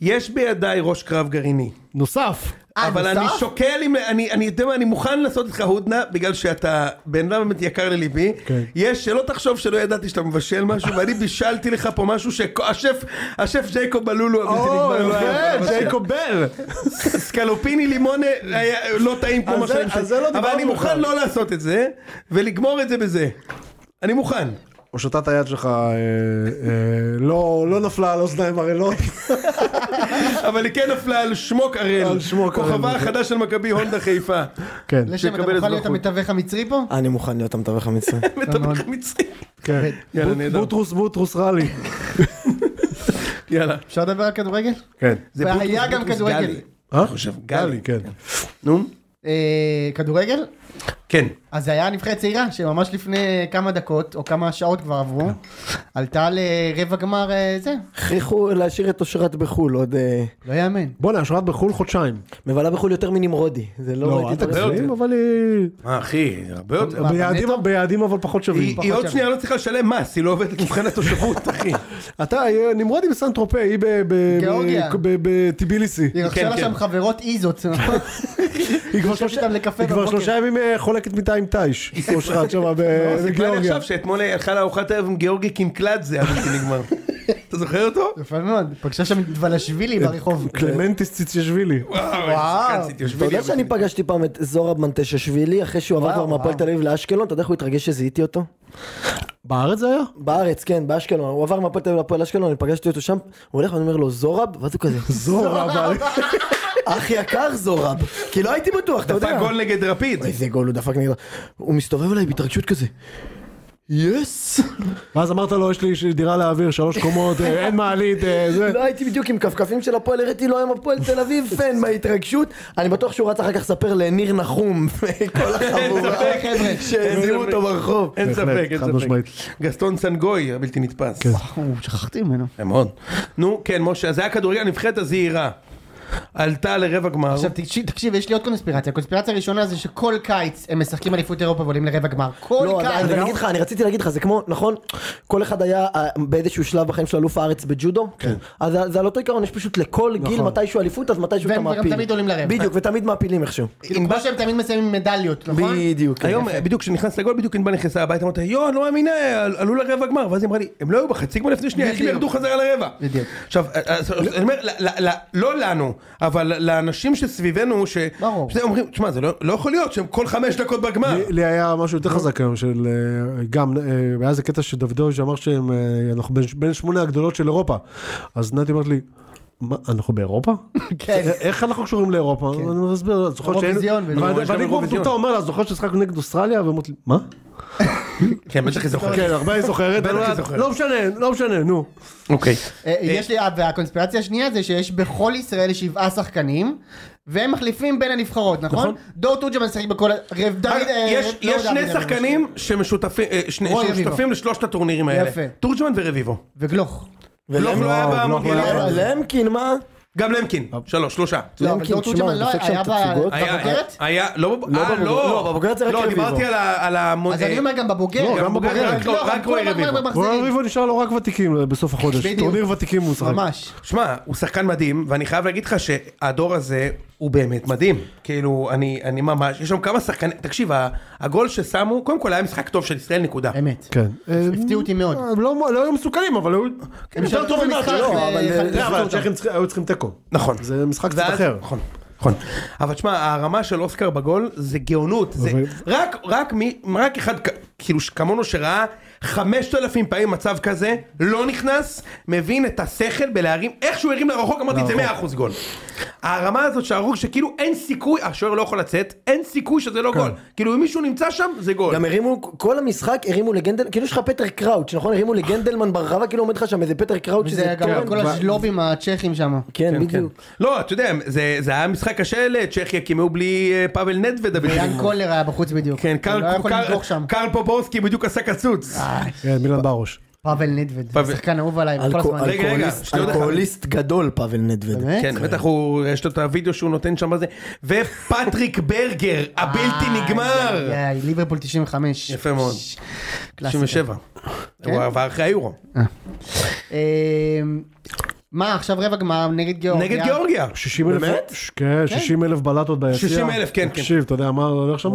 Speaker 1: יש בידיי ראש קרב גרעיני.
Speaker 3: נוסף.
Speaker 4: אה,
Speaker 1: אבל
Speaker 4: נוסף?
Speaker 1: אני שוקל אם, אני, אני, אתה יודע מה, אני מוכן לעשות איתך הודנה, בגלל שאתה בן אדם באמת יקר לליבי.
Speaker 3: כן.
Speaker 1: יש, שלא תחשוב שלא ידעתי שאתה מבשל משהו, ואני בישלתי לך פה משהו שהשף, השף ג'ייקוב בלולו, אבל זה נגמר, לא היה
Speaker 3: כן,
Speaker 1: מבשל.
Speaker 3: ג'ייקוב בל.
Speaker 1: סקלופיני לימונה היה לא טעים כמו
Speaker 3: על
Speaker 1: מה
Speaker 3: זה-
Speaker 1: שאני
Speaker 3: על זה לא
Speaker 1: אבל
Speaker 3: דיברנו
Speaker 1: אני מוכן
Speaker 3: בכלל.
Speaker 1: לא לעשות את זה, ולגמור את זה בזה. אני מוכן.
Speaker 3: הושטת היד שלך אה, אה, לא לא נפלה על אוזניים ערלות.
Speaker 1: אבל היא כן נפלה על שמוק הראל.
Speaker 3: על שמוק הראל. נכון.
Speaker 1: כוכבה החדש של מכבי הונדה
Speaker 3: <laughs>
Speaker 1: חיפה.
Speaker 3: כן,
Speaker 4: לשם, אתה
Speaker 1: שיקבל
Speaker 4: מוכן להיות
Speaker 1: אזרחות.
Speaker 4: המתווך המצרי פה?
Speaker 2: אני מוכן להיות המתווך המצרי.
Speaker 1: מתווך מצרי.
Speaker 3: כן.
Speaker 1: יאללה,
Speaker 3: בות-
Speaker 1: נהדר.
Speaker 3: בוטרוס בוטרוס רלי.
Speaker 1: יאללה.
Speaker 4: אפשר לדבר על כדורגל?
Speaker 3: כן.
Speaker 1: זה
Speaker 4: והיה
Speaker 1: בוטרוס,
Speaker 4: גם
Speaker 1: בוטרוס
Speaker 4: כדורגל.
Speaker 1: גלי.
Speaker 3: אה?
Speaker 1: חושב,
Speaker 3: גלי, כן.
Speaker 1: נו.
Speaker 4: אה, כדורגל?
Speaker 1: כן.
Speaker 4: אז זה היה נבחרת צעירה שממש לפני כמה דקות, או כמה שעות כבר
Speaker 1: כן.
Speaker 4: עברו, עלתה לרבע גמר אה, זה,
Speaker 2: הכריחו להשאיר את אושרת בחו"ל, עוד... אה,
Speaker 4: לא יאמן.
Speaker 3: בואנה, אשרת בחו"ל חודשיים.
Speaker 2: מבלה בחו"ל יותר מנמרודי. זה לא...
Speaker 3: לא, אה,
Speaker 2: ראיתי
Speaker 3: אל
Speaker 2: דברים-
Speaker 3: תגזים, אבל היא...
Speaker 1: מה אחי, הרבה יותר.
Speaker 4: אבל
Speaker 3: ביעדים-
Speaker 4: נטו-
Speaker 3: ביעדים אבל פחות שווים.
Speaker 1: היא עוד שנייה לא צריכה לשלם מס, היא לא עובדת מבחן
Speaker 3: <laughs>
Speaker 1: התושבות, אחי.
Speaker 3: אתה, אה, נמרודי בסן טרופי, היא ב- ב-
Speaker 4: גאורגיה.
Speaker 3: ב- ב- בטיביליסי.
Speaker 4: היא רכשה
Speaker 1: כן,
Speaker 4: לה
Speaker 1: כן.
Speaker 4: שם חברות
Speaker 1: <laughs>
Speaker 4: איזות,
Speaker 3: היא כבר
Speaker 4: יושבת
Speaker 3: שלושה-
Speaker 4: איתם לקפה
Speaker 3: היא כבר
Speaker 4: בבוקר.
Speaker 3: שלושה ימים אה, חולקת מיטה עם טייש. אושרת שמה
Speaker 4: לא,
Speaker 3: ב-
Speaker 1: מה אני
Speaker 3: בגיאורגיה.
Speaker 1: עכשיו שאתמול הלכה לארוחת ערב עם גיאורגי קינקלדזה, עד שזה
Speaker 3: <laughs>
Speaker 1: נגמר. אתה זוכר אותו?
Speaker 4: יפה מאוד, פגשה שם את ולשווילי ברחוב.
Speaker 1: כן.
Speaker 3: קלמנטיס ציציאשווילי.
Speaker 1: וואו, איזה
Speaker 2: אתה יודע
Speaker 1: קצת,
Speaker 2: שאני פגשתי פעם את זורב מנטששווילי, אחרי שהוא עבר
Speaker 4: וואו,
Speaker 2: כבר מהפועל
Speaker 4: וואו.
Speaker 2: תל אביב לאשקלון, אתה יודע איך הוא התרגש שזיהיתי אותו?
Speaker 3: בארץ זה היה?
Speaker 2: בארץ, כן, באשקלון, הוא עבר מהפועל תל אביב לפועל אשקלון, אני פגשתי אותו שם, הוא הולך ואני אומר לו זורב, ואז הוא כזה,
Speaker 3: זורב. אבל-
Speaker 2: אח יקר זורב, כי לא הייתי בטוח, אתה יודע,
Speaker 1: דפק גול נגד
Speaker 2: <laughs>
Speaker 1: רפיד.
Speaker 2: איזה גול הוא דפק נגד, הוא מסתובב אליי בהתרגשות כזה, יס,
Speaker 3: ואז אמרת לו, יש לי יש לי דירה לאוויר, שלוש קומות, אה, אין מעלית, אה, זה.
Speaker 2: לא הייתי בדיוק עם כפכפים של הפועל, הראיתי לו היום הפועל תל אביב פן מההתרגשות, אני בטוח שהוא רץ אחר כך לספר לניר נחום, כל החבורה,
Speaker 1: ספק,
Speaker 2: שהזימו אותו ברחוב,
Speaker 1: אין ספק,
Speaker 3: בהחלט,
Speaker 1: אין
Speaker 3: חד משמעית.
Speaker 1: ספק. גסטון סנגוי, הבלתי נתפס.
Speaker 4: וואו, שכחתי ממנו.
Speaker 1: כן, מאוד. נו, כן, משה, אז זה היה כדורגל הנבחרת הזעירה. עלתה לרבע גמר.
Speaker 4: עכשיו תקשיב, תקשיב, יש לי עוד קונספירציה. הקונספירציה הראשונה זה שכל קיץ הם משחקים אליפות אירופה ועולים לרבע גמר. כל
Speaker 2: לא,
Speaker 4: קיץ.
Speaker 2: אבל אני אגיד לך, אני רציתי להגיד לך, זה כמו, נכון, כל אחד היה אה, באיזשהו שלב בחיים של אלוף הארץ בג'ודו, אז זה- זה על אותו עיקרון, יש פשוט לכל גיל מתישהו אליפות, אז מתישהו אתה
Speaker 4: והם גם
Speaker 2: מעפיל.
Speaker 4: תמיד עולים לרבע.
Speaker 2: בדיוק, ותמיד מעפילים איכשהו.
Speaker 4: כאילו, כמו שהם תמיד מסיימים עם מדליות, נכון?
Speaker 2: בדיוק. כן.
Speaker 1: היום, בדיוק כשנכנס לגול, בדיוק ענבל נכנסה הביתה, אמרתי, יואו, אני לא מאמינה, על- עלו לרבע גמר, ואז היא אמרה לי, הם לא היו בחצי גמר לפני שנייה, איך הם
Speaker 4: בדיוק.
Speaker 1: ירדו חזרה לרבע?
Speaker 4: בדיוק.
Speaker 1: עכשיו, אה, אז- אז אני אומר, ל- ל- ל- לא לנו, אבל לאנשים שסביבנו, ש...
Speaker 4: ברור.
Speaker 1: שזה אומרים, תשמע, זה לא- לא יכול להיות שהם כל חמש דקות בגמר.
Speaker 3: לי- לי היה משהו יותר חזק היום של אה, גם אה, היה איזה קטע שדוידוביץ' אמר שהם אה, אנחנו בין- בין שמונה הגדולות של אירופה אז נתי אמרת לי. מה, אנחנו באירופה?
Speaker 4: <laughs> כן.
Speaker 3: א- איך אנחנו קשורים לאירופה? אני מסביר, אני זוכר שאין...
Speaker 4: אירוויזיון,
Speaker 3: ואני-
Speaker 4: נו,
Speaker 1: יש גם
Speaker 3: ואני כמו
Speaker 1: אירוויזיון.
Speaker 3: מטומטם אומר לה, זוכר שהשחקנו נגד אוסטרליה? ואמרתי לי, מה?
Speaker 1: כן, בטח היא זוכרת.
Speaker 3: כן, הרבה היא זוכרת.
Speaker 1: בטח היא
Speaker 3: אבל-
Speaker 1: זוכרת.
Speaker 3: לא משנה, לא משנה, נו.
Speaker 1: אוקיי.
Speaker 4: אה, יש לי, אה, והקונספירציה השנייה זה שיש בכל ישראל שבעה שחקנים, והם מחליפים בין הנבחרות, נכון? דור תורג'מן משחק בכל... ה- רב דוד...
Speaker 1: אגב,
Speaker 4: אה,
Speaker 1: יש-
Speaker 4: לא
Speaker 1: יש
Speaker 4: דוד,
Speaker 1: שני
Speaker 4: אה,
Speaker 1: שחקנים שמשותפים אה, שני-
Speaker 4: רוי
Speaker 1: שמשותפים
Speaker 4: רביבו.
Speaker 1: לשלושת הטורנירים האלה.
Speaker 4: יפה.
Speaker 1: תורג'מן ורביבו.
Speaker 4: וגלוך.
Speaker 1: גלוך לא היה במונדיאל.
Speaker 2: אבל למקין, מה?
Speaker 1: גם למקין. שלוש, שלושה.
Speaker 4: לא, אבל
Speaker 2: למקין,
Speaker 4: דור
Speaker 2: תשמע,
Speaker 4: תורג'מן לא
Speaker 2: דופק שם
Speaker 4: היה
Speaker 2: תצוגות.
Speaker 1: היה-
Speaker 4: בבוגרת?
Speaker 1: היה, לא, בב- אה,
Speaker 2: בבוגרת.
Speaker 1: לא,
Speaker 2: לא, בבוגרת זה רק
Speaker 1: לא,
Speaker 2: רביבו.
Speaker 1: דיברתי על ה... אה, על המוד-
Speaker 4: לא, אז אני אומר גם בבוגר.
Speaker 1: לא, גם אוקיי. בבוגר, רק-
Speaker 4: גלוך,
Speaker 1: רק
Speaker 4: הם כל
Speaker 1: רוי
Speaker 4: הזמן
Speaker 1: רביבו.
Speaker 3: רועי
Speaker 4: מחזירים.
Speaker 3: ריבו נשאר לו רק ותיקים אה, בסוף החודש.
Speaker 4: <laughs> בדיוק.
Speaker 3: טורניר ותיקים הוא משחק.
Speaker 4: ממש.
Speaker 1: שמע, הוא שחקן מדהים, ואני חייב להגיד לך שהדור הזה הוא באמת מדהים. כאילו, אני, אני ממש, יש שם כמה שחקנים, תקשיב, ה- הגול ששמו, קודם כל היה משחק טוב של ישראל, נקודה.
Speaker 4: אמת.
Speaker 3: כן.
Speaker 4: הפתיעו אותי מאוד.
Speaker 3: הם לא לא היו מסוכנים, אבל היו...
Speaker 4: הם יותר טובים מהצ'כים.
Speaker 3: לא,
Speaker 4: אבל-
Speaker 3: זה- אבל הצ'כים צריכים- היו צריכים תיקו.
Speaker 1: אה, נכון.
Speaker 3: זה משחק קצת
Speaker 1: ואז-
Speaker 3: אחר.
Speaker 1: נכון. נכון, אבל תשמע, הרמה של אוסקר בגול זה גאונות, זה
Speaker 3: אבל-
Speaker 1: רק, רק, מי, רק אחד כ- כאילו ש- כמונו שראה 5,000 פעמים מצב כזה, לא נכנס, מבין את השכל בלהרים, איך שהוא הרים לרחוק אמרתי זה 100% גול. הרמה הזאת שהרוג שכאילו אין סיכוי, השוער לא יכול לצאת, אין סיכוי שזה לא גול, כאילו אם מישהו נמצא שם זה גול.
Speaker 2: גם הרימו, כל המשחק הרימו לגנדל, כאילו יש לך פטר קראוץ', נכון? הרימו לגנדלמן ברחבה, כאילו עומד לך שם איזה פטר קראוץ'
Speaker 4: וזה
Speaker 2: שזה...
Speaker 4: גם
Speaker 1: כן,
Speaker 4: כל הז'לובים הצ'כים שם.
Speaker 2: כן, בדיוק.
Speaker 1: לא, אתה יודע, זה, זה היה משחק קשה לצ'כיה, כי הם היו בלי אה, פאבל נדווד.
Speaker 4: יאן קולר היה בחוץ בדיוק.
Speaker 1: כן,
Speaker 4: הוא
Speaker 1: קרל,
Speaker 4: לא יכול
Speaker 1: קרל-
Speaker 4: לדרוך שם. אה,
Speaker 1: קרל פופורסקי בדיוק עשה קצוץ.
Speaker 3: כן, מילן ברוש.
Speaker 4: פאבל נדווד,
Speaker 1: פאבל-
Speaker 4: שחקן אהוב עליי בכל
Speaker 2: אלכו-
Speaker 4: הזמן.
Speaker 1: רגע, רגע,
Speaker 2: אלכוהוליסט-
Speaker 1: שנייה עוד אחד.
Speaker 2: אלכוהוליסט גדול פאבל נדווד.
Speaker 4: באמת?
Speaker 1: כן, בטח הוא, יש לו את הוידאו שהוא נותן שם בזה. ופטריק <laughs> ברגר, הבלתי
Speaker 4: אה,
Speaker 1: נגמר.
Speaker 4: איי, איי, ליברפול 95.
Speaker 1: יפה מאוד.
Speaker 4: ש- קלאסיקה.
Speaker 1: 97.
Speaker 4: כן?
Speaker 1: הוא עבר אחרי היורו.
Speaker 4: אמ, מה עכשיו רבע גמר נגד גיאורגיה?
Speaker 1: נגד גיאורגיה.
Speaker 3: 60 אלף, כן, 60 אלף בלטות ביציע.
Speaker 1: 60,000, כן, כן.
Speaker 3: תקשיב, אתה יודע מה הולך שם?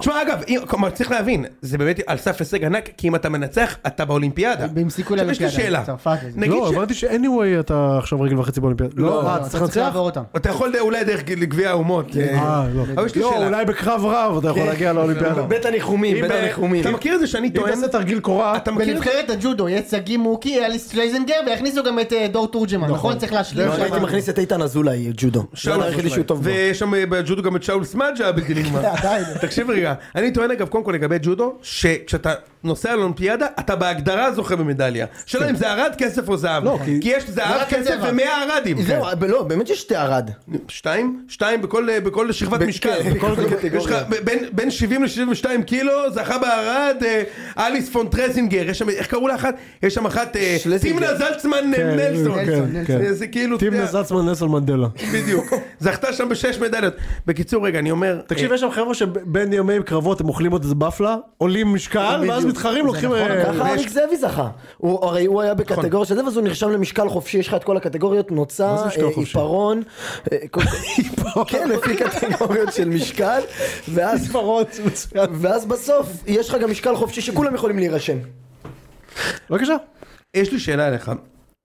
Speaker 1: תשמע אגב, אם- כלומר צריך להבין, זה באמת על סף הישג ענק, כי אם אתה מנצח, אתה באולימפיאדה.
Speaker 4: עם סיכוי
Speaker 1: עכשיו, יש לי
Speaker 4: לאולימפיאדה,
Speaker 1: שאלה.
Speaker 4: צרפת וזה.
Speaker 1: נגיד
Speaker 3: לא,
Speaker 1: ש-
Speaker 3: הבנתי ש-anyway אתה עכשיו רגל וחצי באולימפיאדה.
Speaker 4: לא,
Speaker 3: לא, אה,
Speaker 4: לא,
Speaker 3: אתה
Speaker 4: אתה
Speaker 3: צריך
Speaker 4: צריך
Speaker 3: לנצח?
Speaker 4: לעבור אותם.
Speaker 1: אתה יכול אולי דרך גביע האומות.
Speaker 3: אה, לא.
Speaker 1: אבל יש לי
Speaker 3: לא,
Speaker 1: שאלה. כן.
Speaker 3: אולי בקרב רב אתה יכול להגיע לאולימפיאדה.
Speaker 2: בית הניחומים,
Speaker 1: אם
Speaker 2: בית
Speaker 1: ב-
Speaker 2: הניחומים.
Speaker 1: אתה מכיר את זה שאני
Speaker 3: אם
Speaker 1: טוען?
Speaker 3: תעשה תרגיל קורה,
Speaker 1: אתה מכיר את זה?
Speaker 4: בנבחרת הג'ודו יש שגיא מוקי, אליס שלייזנגר והכניסו גם את אה, דור תורג'מן, נכון? צריך להשלים
Speaker 2: לא, אני הייתי
Speaker 4: שם.
Speaker 2: מכניס את איתן אזולאי, ג'ודו. זה הדבר היחידי לא, שהוא טוב בו.
Speaker 1: ויש שם אה, בג'ודו גם את שאול סמאג'ה הבלתי נגמר.
Speaker 4: עדיין.
Speaker 1: תקשיב רגע, אני טוען אגב קודם כל לגבי ג'ודו, שכשאתה נוסע לאולימפיאדה, אתה בהגדרה זוכה במדליה. שאלה אם זה ערד, כסף או זהב.
Speaker 3: לא, כי-
Speaker 1: כי יש זהב,
Speaker 4: רק
Speaker 1: כסף
Speaker 4: הצבע.
Speaker 1: ומאה ערדים.
Speaker 2: זהו, ב- לא, באמת יש שתי ערד.
Speaker 1: שתיים? שתיים בכל אה, בכל שכבת
Speaker 2: ב-
Speaker 1: משקל.
Speaker 2: כן, בכל קטגוריה.
Speaker 1: יש לך ב- בין- בין 70 ל-72 קילו, זכה בערד אה, אליס פון טרזינגר, יש שם, איך קראו לה אחת? יש שם אחת, אה,
Speaker 2: שלזינגר.
Speaker 1: טימנה זלצמן אה,
Speaker 3: כן,
Speaker 1: נלסון.
Speaker 3: כן,
Speaker 1: נלסון,
Speaker 3: כן.
Speaker 1: זה- זה כאילו, אתה
Speaker 3: טימנה
Speaker 1: יודע,
Speaker 3: זצמן נסון מנדלה.
Speaker 1: בדיוק. זכתה שם בשש מדליות. בקיצור, רגע, אני אומר...
Speaker 3: תקשיב,
Speaker 1: אה,
Speaker 3: יש שם חבר'ה שבין ימי קרבות הם אוכלים עוד איזה בפלה, עולים משקל, ואז מתחרים, לוקחים... אה,
Speaker 2: ככה אריק זאבי זאבי זכה. הוא- הרי הוא היה בקטגוריה של זה, ואז הוא נרשם למשקל חופשי, יש לך את כל הקטגוריות, נוצה,
Speaker 3: זה משקל
Speaker 2: אה,
Speaker 3: חופשי?
Speaker 2: עיפרון. אה, כל- כן, לפי קטגוריות של משקל. ואז- ואז בסוף יש לך גם משקל חופשי שכולם יכולים להירשם.
Speaker 3: בבקשה.
Speaker 1: יש לי שאלה אליך.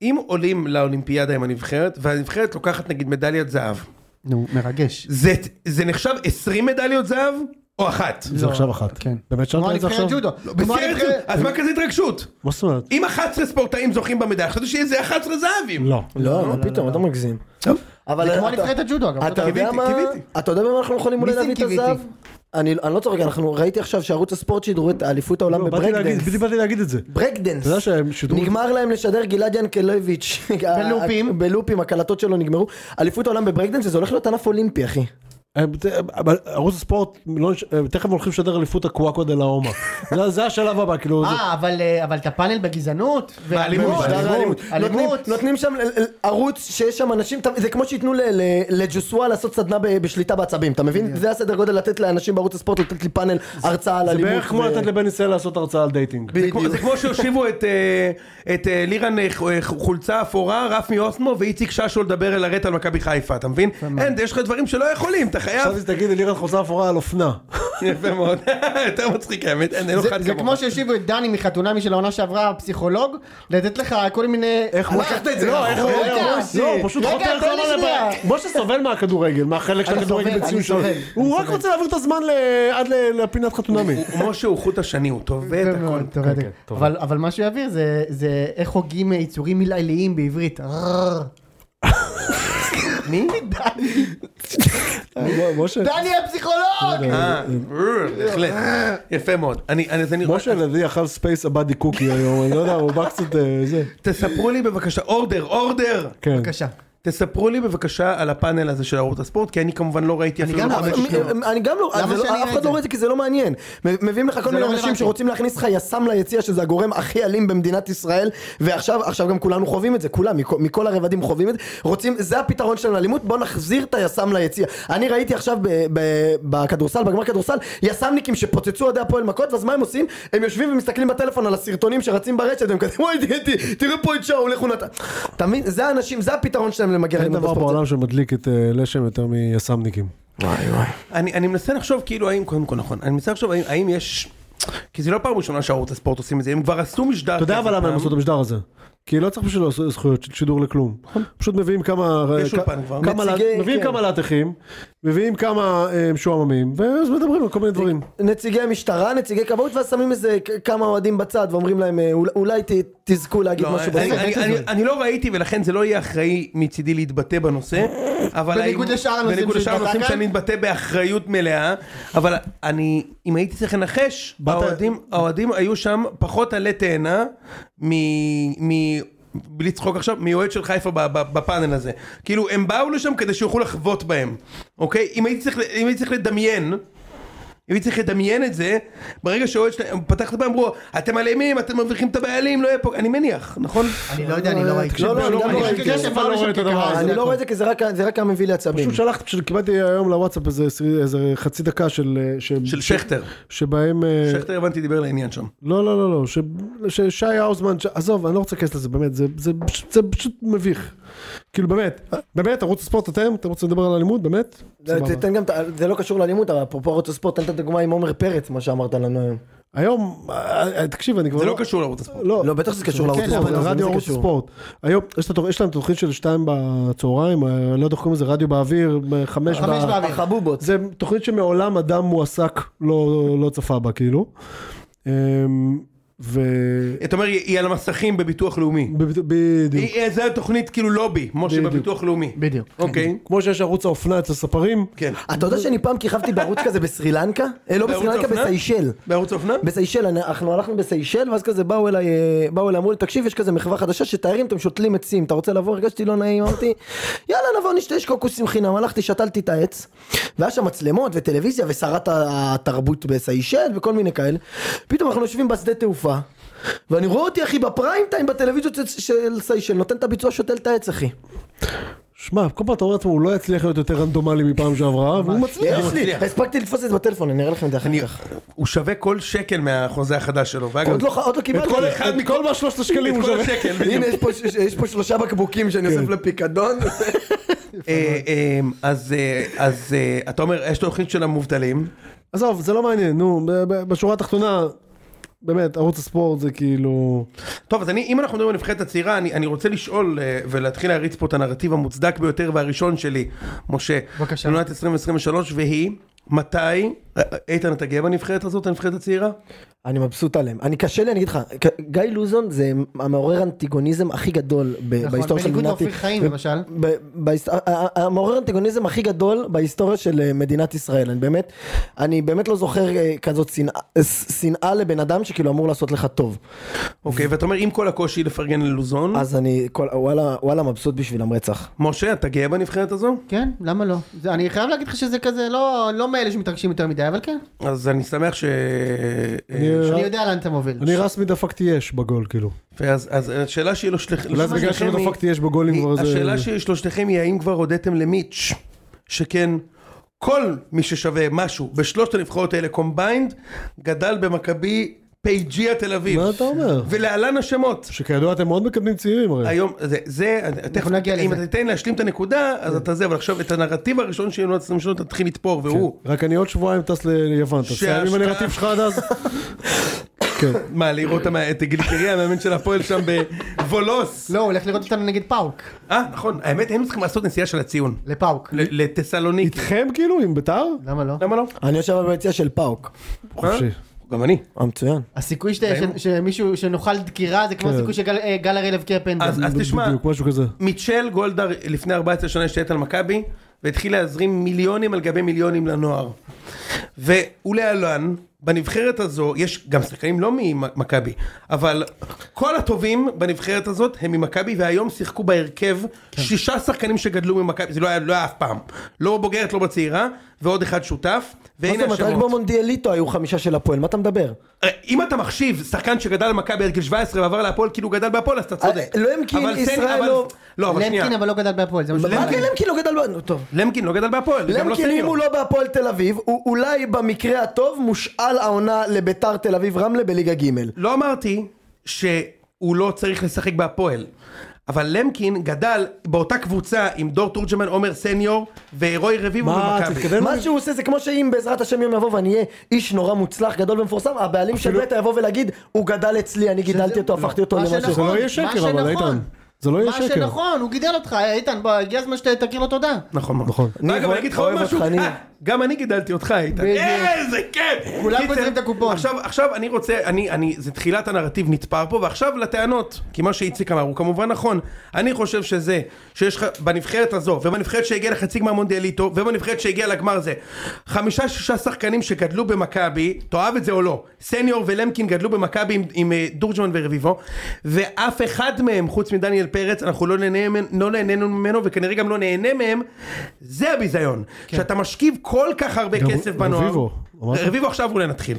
Speaker 1: אם עולים לאולימפיאדה עם הנבחרת, והנבחרת לוקחת נגיד מדליית זהב,
Speaker 4: נו, מרגש.
Speaker 1: זה, זה נחשב 20 מדליות זהב? או אחת?
Speaker 3: זה עכשיו אחת.
Speaker 4: כן.
Speaker 3: באמת שאלת
Speaker 4: כמו
Speaker 3: את זה
Speaker 4: הנבחרת
Speaker 3: עכשיו?
Speaker 4: ג'ודו. כמו
Speaker 1: לא, בסדר,
Speaker 4: הנבחרת-
Speaker 1: אז מה כזה התרגשות?
Speaker 3: מה זאת אומרת?
Speaker 1: אם 11 ספורטאים זוכים במדליה, חשבתי שיהיה איזה 11 זהבים.
Speaker 3: לא.
Speaker 2: לא, מה פתאום, אתה מגזים.
Speaker 1: טוב.
Speaker 2: אבל
Speaker 4: זה כמו
Speaker 2: אתה-
Speaker 4: נבחרת הג'ודו אגב.
Speaker 2: אתה יודע
Speaker 1: קיוויתי,
Speaker 2: מה,
Speaker 1: קיוויתי.
Speaker 2: אתה יודע במה אנחנו יכולים אולי
Speaker 4: ניסים
Speaker 2: להביא את
Speaker 4: קיוויתי.
Speaker 2: הזהב? אני אני לא צוחק, אנחנו ראיתי עכשיו שערוץ הספורט שידרו את אליפות העולם
Speaker 3: לא, באתי להגיד-
Speaker 2: בברקדנס.
Speaker 3: בדיוק באתי להגיד את זה.
Speaker 2: ברקדנס.
Speaker 3: אתה יודע שהם שידרו-
Speaker 2: נגמר להם לשדר גלעד ינקלביץ'.
Speaker 3: <laughs>
Speaker 4: בלופים.
Speaker 2: בלופים, הקלטות שלו נגמרו. אליפות העולם בברקדנס, וזה הולך להיות ענף אולימפי, אחי.
Speaker 3: הם- זה- אה, אבל ערוץ הספורט, לא נש- הם תכף הולכים לשדר אליפות הקוואקו דה לאומה. זה- זה השלב הבא, כאילו... זה-
Speaker 4: אה, אבל, אה, אבל את הפאנל בגזענות?
Speaker 3: לא,
Speaker 1: באלימות,
Speaker 4: ובמשדר
Speaker 1: באלימות.
Speaker 4: האלימות.
Speaker 2: נותנים-
Speaker 4: אלימות.
Speaker 2: נותנים שם ל- ל- ערוץ שיש שם אנשים, אתה- זה כמו שייתנו ל- ל- לג'וסואה לעשות סדנה ב- בשליטה בעצבים, אתה מבין? זה הסדר גודל לתת לאנשים בערוץ הספורט, לתת לי פאנל הרצאה על
Speaker 3: זה
Speaker 2: אלימות.
Speaker 3: בערך כמו
Speaker 2: ו-
Speaker 3: לתת לבן ישראל לעשות הרצאה על דייטינג.
Speaker 1: זה כמו- זה כמו שהושיבו את, אה, את אה, לירן אה, ח- אה, חולצה אפורה, רפי אוסמו ואיציק ששו לדבר על הרט על מכבי חיפה, אתה מבין? אין, יש לך דברים שלא יכולים, אתה חייב.
Speaker 3: חשבתי שתגיד לירן חולצה אפורה על אופנה.
Speaker 1: יפה מאוד, <laughs> יותר מצחיק האמת, אין, אין לו
Speaker 4: זה-
Speaker 1: אחד
Speaker 4: זה
Speaker 1: לא כמוך.
Speaker 4: כמו שהשיבו את דני מחתונמי של העונה שעברה, הפסיכולוג, לתת לך כל מיני...
Speaker 3: איך הוא
Speaker 4: לקחת את
Speaker 3: לא, איך הוא...
Speaker 4: רגע,
Speaker 3: לא, הוא פשוט
Speaker 4: רגע,
Speaker 3: חותר
Speaker 4: תן לי
Speaker 3: כל
Speaker 4: שנייה.
Speaker 3: הזמן. משה סובל מהכדורגל, מהחלק של
Speaker 4: אני
Speaker 3: הכדורגל
Speaker 4: סובל,
Speaker 3: בציון
Speaker 4: אני
Speaker 3: שלו.
Speaker 4: סובל,
Speaker 3: הוא רק רוצה להעביר את הזמן ל- עד ל- לפינת חתונמי.
Speaker 1: הוא- משה הוא חוט השני, הוא טובע את
Speaker 4: יפה
Speaker 1: הכל.
Speaker 4: מאוד, אה, טוב,
Speaker 3: כן, טוב.
Speaker 4: אבל אבל מה שיעביר זה- זה איך הוגים יצורים מילאיליים בעברית. רררר. מי? דני.
Speaker 2: אה,
Speaker 3: משה,
Speaker 4: דני הפסיכולוג!
Speaker 1: אה, בהחלט, יפה מאוד. אני, אני, אז אני,
Speaker 3: משה לדעתי אכל ספייס עבדי קוקי היום, אני לא יודע, הוא בא קצת אה, זה.
Speaker 1: תספרו לי בבקשה, אורדר, אורדר!
Speaker 3: כן.
Speaker 4: בבקשה.
Speaker 1: תספרו לי בבקשה על הפאנל הזה של ערוץ הספורט, כי אני כמובן לא ראיתי אפילו...
Speaker 4: גם
Speaker 1: לא
Speaker 4: לא
Speaker 1: חמש
Speaker 4: ראיתי.
Speaker 1: שניות.
Speaker 2: מ- מ- אני גם לא,
Speaker 4: למה
Speaker 2: זה לא-
Speaker 4: שאני
Speaker 2: אף
Speaker 4: אראה
Speaker 2: אחד
Speaker 4: את
Speaker 2: לא
Speaker 4: זה?
Speaker 2: רואה את זה כי זה לא מעניין. מ- מביאים לך כל מיני
Speaker 4: לא
Speaker 2: אנשים
Speaker 4: רלוונטי.
Speaker 2: שרוצים להכניס לך יס"מ ליציע שזה הגורם הכי אלים במדינת ישראל ועכשיו עכשיו גם כולנו חווים את זה, כולם, מכו- מכל הרבדים חווים את זה, רוצים, זה הפתרון שלנו לאלימות, בוא נחזיר את היס"מ ליציע. אני ראיתי עכשיו ב- ב- בכדורסל, בגמר כדורסל, יס"מניקים שפוצצו אוהדי הפועל מכות, ואז מה הם עושים? הם יושבים ומסתכלים בטלפון על הסרטונים שרצים ברשת והם כזה, וואי תראה- תראה- תראה פה את שאול, איך הוא נתן. אתה מבין? זה האנשים, זה הפתרון שלהם למגר
Speaker 3: אין
Speaker 2: אלימות
Speaker 3: דבר
Speaker 2: בספורט.
Speaker 3: בעולם שמדליק את אה, לשם יותר מיס"מניקים.
Speaker 1: אני, אני מנסה לחשוב כאילו האם, קודם כל נכון, אני מנסה לחשוב האם, האם יש... כי זה לא פעם ראשונה שערוץ הספורט עושים את זה, הם כבר עשו משדר.
Speaker 3: אתה
Speaker 4: אוקיי,
Speaker 3: יודע
Speaker 1: כזה
Speaker 3: אבל למה הם
Speaker 1: פעם.
Speaker 3: עשו את המשדר הזה? כי לא צריך בשביל לעשות זכויות של שידור לכלום. פשוט מביאים כמה... אה,
Speaker 1: יש
Speaker 3: כ-
Speaker 1: אולפן כבר.
Speaker 3: כמה
Speaker 2: נציגי-
Speaker 3: לט- מביאים
Speaker 2: נכון. כן.
Speaker 3: כמה לאטחים, מביאים כמה אה, משועממים, ואז מדברים על כל מיני דברים.
Speaker 2: נציגי משטרה, נציגי כבאות, ואז שמים איזה כ- כמה אוהדים בצד ואומרים להם אה, אול- אולי ת- תזכו להגיד
Speaker 1: לא,
Speaker 2: משהו
Speaker 1: אני,
Speaker 2: בסוף.
Speaker 1: אני, אני, אני לא ראיתי ולכן זה לא יהיה אחראי מצידי להתבטא בנושא. אבל
Speaker 4: בניגוד
Speaker 1: האם-
Speaker 4: לשאר הנושאים
Speaker 1: בניגוד לשאר
Speaker 4: שהתבטא
Speaker 1: הנושאים
Speaker 4: כאן?
Speaker 1: שאני מתבטא באחריות מלאה, אבל אני, אם הייתי צריך לנחש,
Speaker 3: באת-
Speaker 1: האוהדים, האוהדים היו שם פחות עלי תאנה מ... מ... בלי צחוק עכשיו, מאוהד של חיפה ב- ב- בפאנל הזה. כאילו, הם באו לשם כדי שיוכלו לחבוט בהם, אוקיי? אם הייתי צריך, אם הייתי צריך לדמיין, אם הייתי צריך לדמיין את זה, ברגע שהאוהד שלהם, פתח את הבעיה, אמרו, אתם אלימים, אתם מרוויחים את הבעלים, לא יהיה פה, אני מניח, נכון?
Speaker 4: אני לא יודע, אני לא ראיתי.
Speaker 2: לא, לא, אני גם לא
Speaker 4: אני
Speaker 2: ראיתי.
Speaker 4: יודע שהם באו לשם כקהל.
Speaker 2: אני לא רואה את זה כי זה רק- זה רק היה מביא לי עצבים.
Speaker 3: פשוט שלחת, פשוט קיבלתי היום לוואטסאפ איזה עשרי- איזה חצי דקה של... אה, ש-
Speaker 1: של
Speaker 3: ש-
Speaker 1: שכטר.
Speaker 3: שבהם... אה,
Speaker 1: שכטר הבנתי דיבר לעניין שם.
Speaker 3: לא, לא, לא, לא, ש- ששי האוזמן, ש- עזוב, אני לא רוצה להיכנס לזה, באמת, זה- זה פשוט- זה פשוט מביך. כאילו באמת, באמת, ערוץ הספורט אתם, אתם רוצים לדבר על אלימות, באמת?
Speaker 2: זה-
Speaker 3: סבבה.
Speaker 2: תן גם את ה- זה לא קשור לאלימות, אבל אפרופו ערוץ הספורט, תן את הדוגמה עם עומר פרץ, מה שאמרת לנו היום.
Speaker 3: היום, אה, אה, תקשיב, אני כבר
Speaker 1: זה לא קשור לערוץ הספורט.
Speaker 3: לא,
Speaker 2: לא, בטח שזה קשור לערוץ
Speaker 3: כן,
Speaker 2: הספורט.
Speaker 3: אבל
Speaker 2: אבל זה
Speaker 3: רדיו ערוץ
Speaker 2: קשור.
Speaker 3: ספורט. היום, יש את התוכ- יש להם תוכנית של שתיים בצהריים, אה, לא יודע איך קוראים לזה, רדיו באוויר, ב- חמש
Speaker 4: חמש
Speaker 3: ב...
Speaker 4: באוויר.
Speaker 2: החבובות.
Speaker 3: זה תוכנית שמעולם אדם מועסק לא לא צפה בה, כאילו. אמ, ו...
Speaker 1: אתה אומר, היא היא על המסכים בביטוח לאומי.
Speaker 3: בב- בדיוק.
Speaker 1: היא- זו התוכנית כאילו לובי, משה
Speaker 3: בדיוק.
Speaker 1: בביטוח לאומי.
Speaker 4: בדיוק.
Speaker 1: אוקיי,
Speaker 3: כמו שיש ערוץ האופנה אצל ספרים,
Speaker 1: כן.
Speaker 2: אתה יודע שאני פעם כיכבתי בערוץ כזה בסרי לנקה? אה, לא
Speaker 1: בערוץ
Speaker 2: בסרי לנקה,
Speaker 1: האופנה?
Speaker 2: בסיישל.
Speaker 1: בערוץ האופנה?
Speaker 2: בסיישל, אני- אנחנו הלכנו בסיישל, ואז כזה באו אליי, אה, באו אליי, אמרו לי, תקשיב, יש כזה מחווה חדשה שתיירים, אתם שותלים עצים, אתה רוצה לבוא? הרגשתי לא נעים, אמרתי, יאללה, נבוא נשתה, יש קוקוסים חינם, הלכתי, שתלתי את העץ, והיה שם מצלמות וטלוויזיה ושרת התרבות בסיישל וכל מיני כאלה. פתאום אנחנו יושבים בשדה תעופה, ואני רואה אותי, אחי, בפריים טיים בטלוויזיות של- של סיישל, נותן את הביצוע, שותל את העץ, אחי.
Speaker 3: שמע, כל פעם אתה אומר לעצמו, הוא לא יצליח להיות יותר רנדומלי מפעם שעברה, והוא מצליח.
Speaker 2: יש לי, הספקתי לתפוס את זה בטלפון, אני אראה לכם את זה אחר
Speaker 1: אני-
Speaker 2: כך.
Speaker 1: הוא שווה כל שקל מהחוזה החדש שלו. ואגב,
Speaker 2: עוד לא ח- עוד לא קיבלתי.
Speaker 1: כל אחד
Speaker 3: את כל
Speaker 1: <laughs>
Speaker 3: מה שלושת
Speaker 1: את
Speaker 3: השקלים הוא
Speaker 1: כל
Speaker 3: שווה.
Speaker 1: השקל,
Speaker 2: הנה,
Speaker 1: בדיוק. כן.
Speaker 2: יש פה ש- ש- יש פה שלושה בקבוקים שאני אוסף לפיקדון.
Speaker 1: לא <laughs> אה, אה, אז אה, אז אה, אתה אומר, יש תוכנית של המובטלים.
Speaker 3: עזוב, זה לא מעניין, נו, ב- ב- בשורה התחתונה, באמת, ערוץ הספורט זה כאילו...
Speaker 1: טוב, אז אני, אם אנחנו מדברים על נבחרת הצעירה, אני, אני רוצה לשאול אה, ולהתחיל להריץ פה את הנרטיב המוצדק ביותר והראשון שלי, משה.
Speaker 4: בבקשה.
Speaker 1: עונת 2023, והיא, מתי אה, איתן, אתה גאה בנבחרת הזאת, הנבחרת הצעירה?
Speaker 2: אני מבסוט עליהם. אני קשה לי, אני אגיד לך, ג- גיא לוזון זה המעורר אנטיגוניזם הכי גדול ב-
Speaker 4: נכון,
Speaker 2: בהיסטוריה של
Speaker 4: בניגוד
Speaker 2: מדינת...
Speaker 4: לאופיר חיים,
Speaker 2: ב-
Speaker 4: למשל.
Speaker 2: ב- בהיסט- ה- ה- המעורר אנטיגוניזם הכי גדול בהיסטוריה של אה, מדינת ישראל. אני באמת, אני באמת לא זוכר אה, כזאת שנאה- אה, ס- שנאה לבן אדם שכאילו אמור לעשות לך טוב.
Speaker 1: אוקיי, ואתה אומר, עם כל הקושי לפרגן ללוזון,
Speaker 2: אז אני, כל- וואלה, וואלה מבסוט בשבילם רצח.
Speaker 1: משה, אתה גאה בנבחרת הזו?
Speaker 4: כן, למה לא? זה- אני חייב להגיד לך שזה כזה, לא לא מאלה שמתרגשים יותר מדי, אבל כן.
Speaker 1: אז אני שמח ש... אה,
Speaker 4: אני יודע לאן אתה מוביל.
Speaker 3: אה, אני רסמי דפקתי אש בגול, כאילו.
Speaker 1: אז אז השאלה שלי לשלכם...
Speaker 3: אולי זה בגלל שלא דפקתי אש בגולים כבר איזה...
Speaker 1: השאלה שלי לשלושתכם היא האם כבר הודיתם למיץ' שכן כל מי ששווה משהו בשלושת הנבחרות האלה קומביינד גדל במכבי פייג'יה תל אביב.
Speaker 3: מה אתה אומר?
Speaker 1: ולהלן השמות.
Speaker 3: שכידוע אתם מאוד מקדמים צעירים הרי.
Speaker 1: היום זה, זה תכף,
Speaker 4: נגיע
Speaker 1: אם
Speaker 4: לזה.
Speaker 1: אתה תיתן להשלים את הנקודה אז אתה זה אבל עכשיו את הנרטיב הראשון של יונת 28 תתחיל לתפור
Speaker 3: כן.
Speaker 1: והוא
Speaker 3: רק אני עוד שבועיים טס ל- ליוון, אתה
Speaker 1: שההשקעה-
Speaker 3: מסיים עם הנרטיב שלך עד אז? כן.
Speaker 1: מה לראות את המ- את גליקריה המאמן של הפועל שם בוולוס.
Speaker 4: לא, הוא הולך לראות אותנו נגד פאוק.
Speaker 1: אה נכון האמת היינו צריכים לעשות נסיעה של הציון
Speaker 4: לפאוק.
Speaker 1: ל- לתסלוניקי.
Speaker 3: איתכם כאילו? עם ביתר?
Speaker 4: למה לא?
Speaker 1: למה לא?
Speaker 2: אני יושב ביציע של פאוק.
Speaker 3: חופשי.
Speaker 1: גם אני.
Speaker 2: אה, מצוין.
Speaker 4: הסיכוי שאתה- ש- שמישהו, שנאכל דקירה, זה כמו
Speaker 3: כן.
Speaker 4: הסיכוי שגל אה, גל הראל הבקיע פנדל.
Speaker 1: אז, אז תשמע,
Speaker 3: בדיוק, משהו כזה.
Speaker 1: מיצ'ל גולדהר לפני 14 שנה השתלט על מכבי, והתחיל להזרים מיליונים על גבי מיליונים לנוער. ולהלן, בנבחרת הזו, יש גם שחקנים לא ממכבי, אבל כל הטובים בנבחרת הזאת הם ממכבי, והיום שיחקו בהרכב
Speaker 2: כן.
Speaker 1: שישה שחקנים שגדלו ממכבי, זה לא היה, לא היה אף פעם. לא בוגרת, לא בצעירה, ועוד אחד שותף,
Speaker 2: מה זאת
Speaker 1: והנה
Speaker 2: אומרת, רק
Speaker 1: השמות.
Speaker 2: במונדיאליטו היו חמישה של הפועל, מה אתה מדבר?
Speaker 1: אה, אם אתה מחשיב שחקן שגדל במכבי עד גיל 17 ועבר להפועל כאילו הוא גדל בהפועל אז אתה צודק.
Speaker 2: אה, למקין,
Speaker 1: אבל תן-
Speaker 2: ישראל
Speaker 1: אבל-
Speaker 2: לא-
Speaker 1: לא, אבל שנייה. כן?
Speaker 4: למקין אבל לא גדל בהפועל, זה מה
Speaker 2: מה
Speaker 4: שאני
Speaker 2: זה למקין לא גדל ב... נו, טוב.
Speaker 1: למקין לא גדל בהפועל, גם לא
Speaker 2: למקין אם הוא
Speaker 1: סניור.
Speaker 2: לא בהפועל תל אביב, הוא אולי במקרה הטוב מושאל העונה לביתר תל אביב רמלה בליגה ג'.
Speaker 1: לא אמרתי שהוא לא צריך לשחק בהפועל. אבל למקין גדל באותה קבוצה עם דור תורג'מן, עומר סניור ורוי רביבו
Speaker 3: מה,
Speaker 1: במכבי.
Speaker 3: תתקדם.
Speaker 2: מה שהוא עושה זה כמו שאם בעזרת השם יום יבוא ואני אהיה איש נורא מוצלח, גדול ומפורסם, הבעלים של ביתר יבוא ולהגיד, הוא גדל אצלי, אני גידלתי אותו, הפכתי אותו
Speaker 4: מה
Speaker 2: למשהו.
Speaker 3: זה
Speaker 4: שנכון,
Speaker 3: לא יהיה
Speaker 4: מה
Speaker 3: שקר אבל,
Speaker 4: שנכון.
Speaker 3: איתן. זה לא יהיה
Speaker 4: מה
Speaker 3: שקר.
Speaker 4: שנכון, הוא גידל אותך, אה, איתן, בוא, הגיע הזמן שתכיר לו תודה.
Speaker 1: נכון,
Speaker 3: נכון.
Speaker 1: אגב,
Speaker 2: אוהב-
Speaker 1: אני אגיד לך
Speaker 2: אוהב
Speaker 1: עוד משהו,
Speaker 2: אותך, אני-
Speaker 1: אה, גם אני גידלתי אותך איתן. אה,
Speaker 4: בדיוק.
Speaker 1: איזה כיף!
Speaker 4: כולם
Speaker 1: קיצר,
Speaker 4: גוזרים את הקופון.
Speaker 1: עכשיו, עכשיו אני רוצה, אני, אני, זה תחילת הנרטיב נתפר פה, ועכשיו לטענות, כי מה שאיציק אמר הוא כמובן נכון. אני חושב שזה, שיש לך, בנבחרת הזו, ובנבחרת שהגיעה לחצי גמר מונדיאליטו, ובנבחרת שהגיעה לגמר זה, חמישה-שישה שחקנים שגדלו במכבי, תאהב את זה או לא, סניור ולמקין גדלו במכבי עם, עם אה, דורג'מן ורביבו, ואף אחד מהם, חוץ מדניאל פרץ, אנחנו לא, נהנה, ממנ- לא נהנינו ממנו, וכנראה גם לא נהנה מהם, זה הביזיון. כן. שאתה משכיב כל כך הרבה
Speaker 3: גם
Speaker 1: כסף בנוער.
Speaker 3: רביבו, אמרת?
Speaker 1: רביבו עכשיו אולי נתחיל.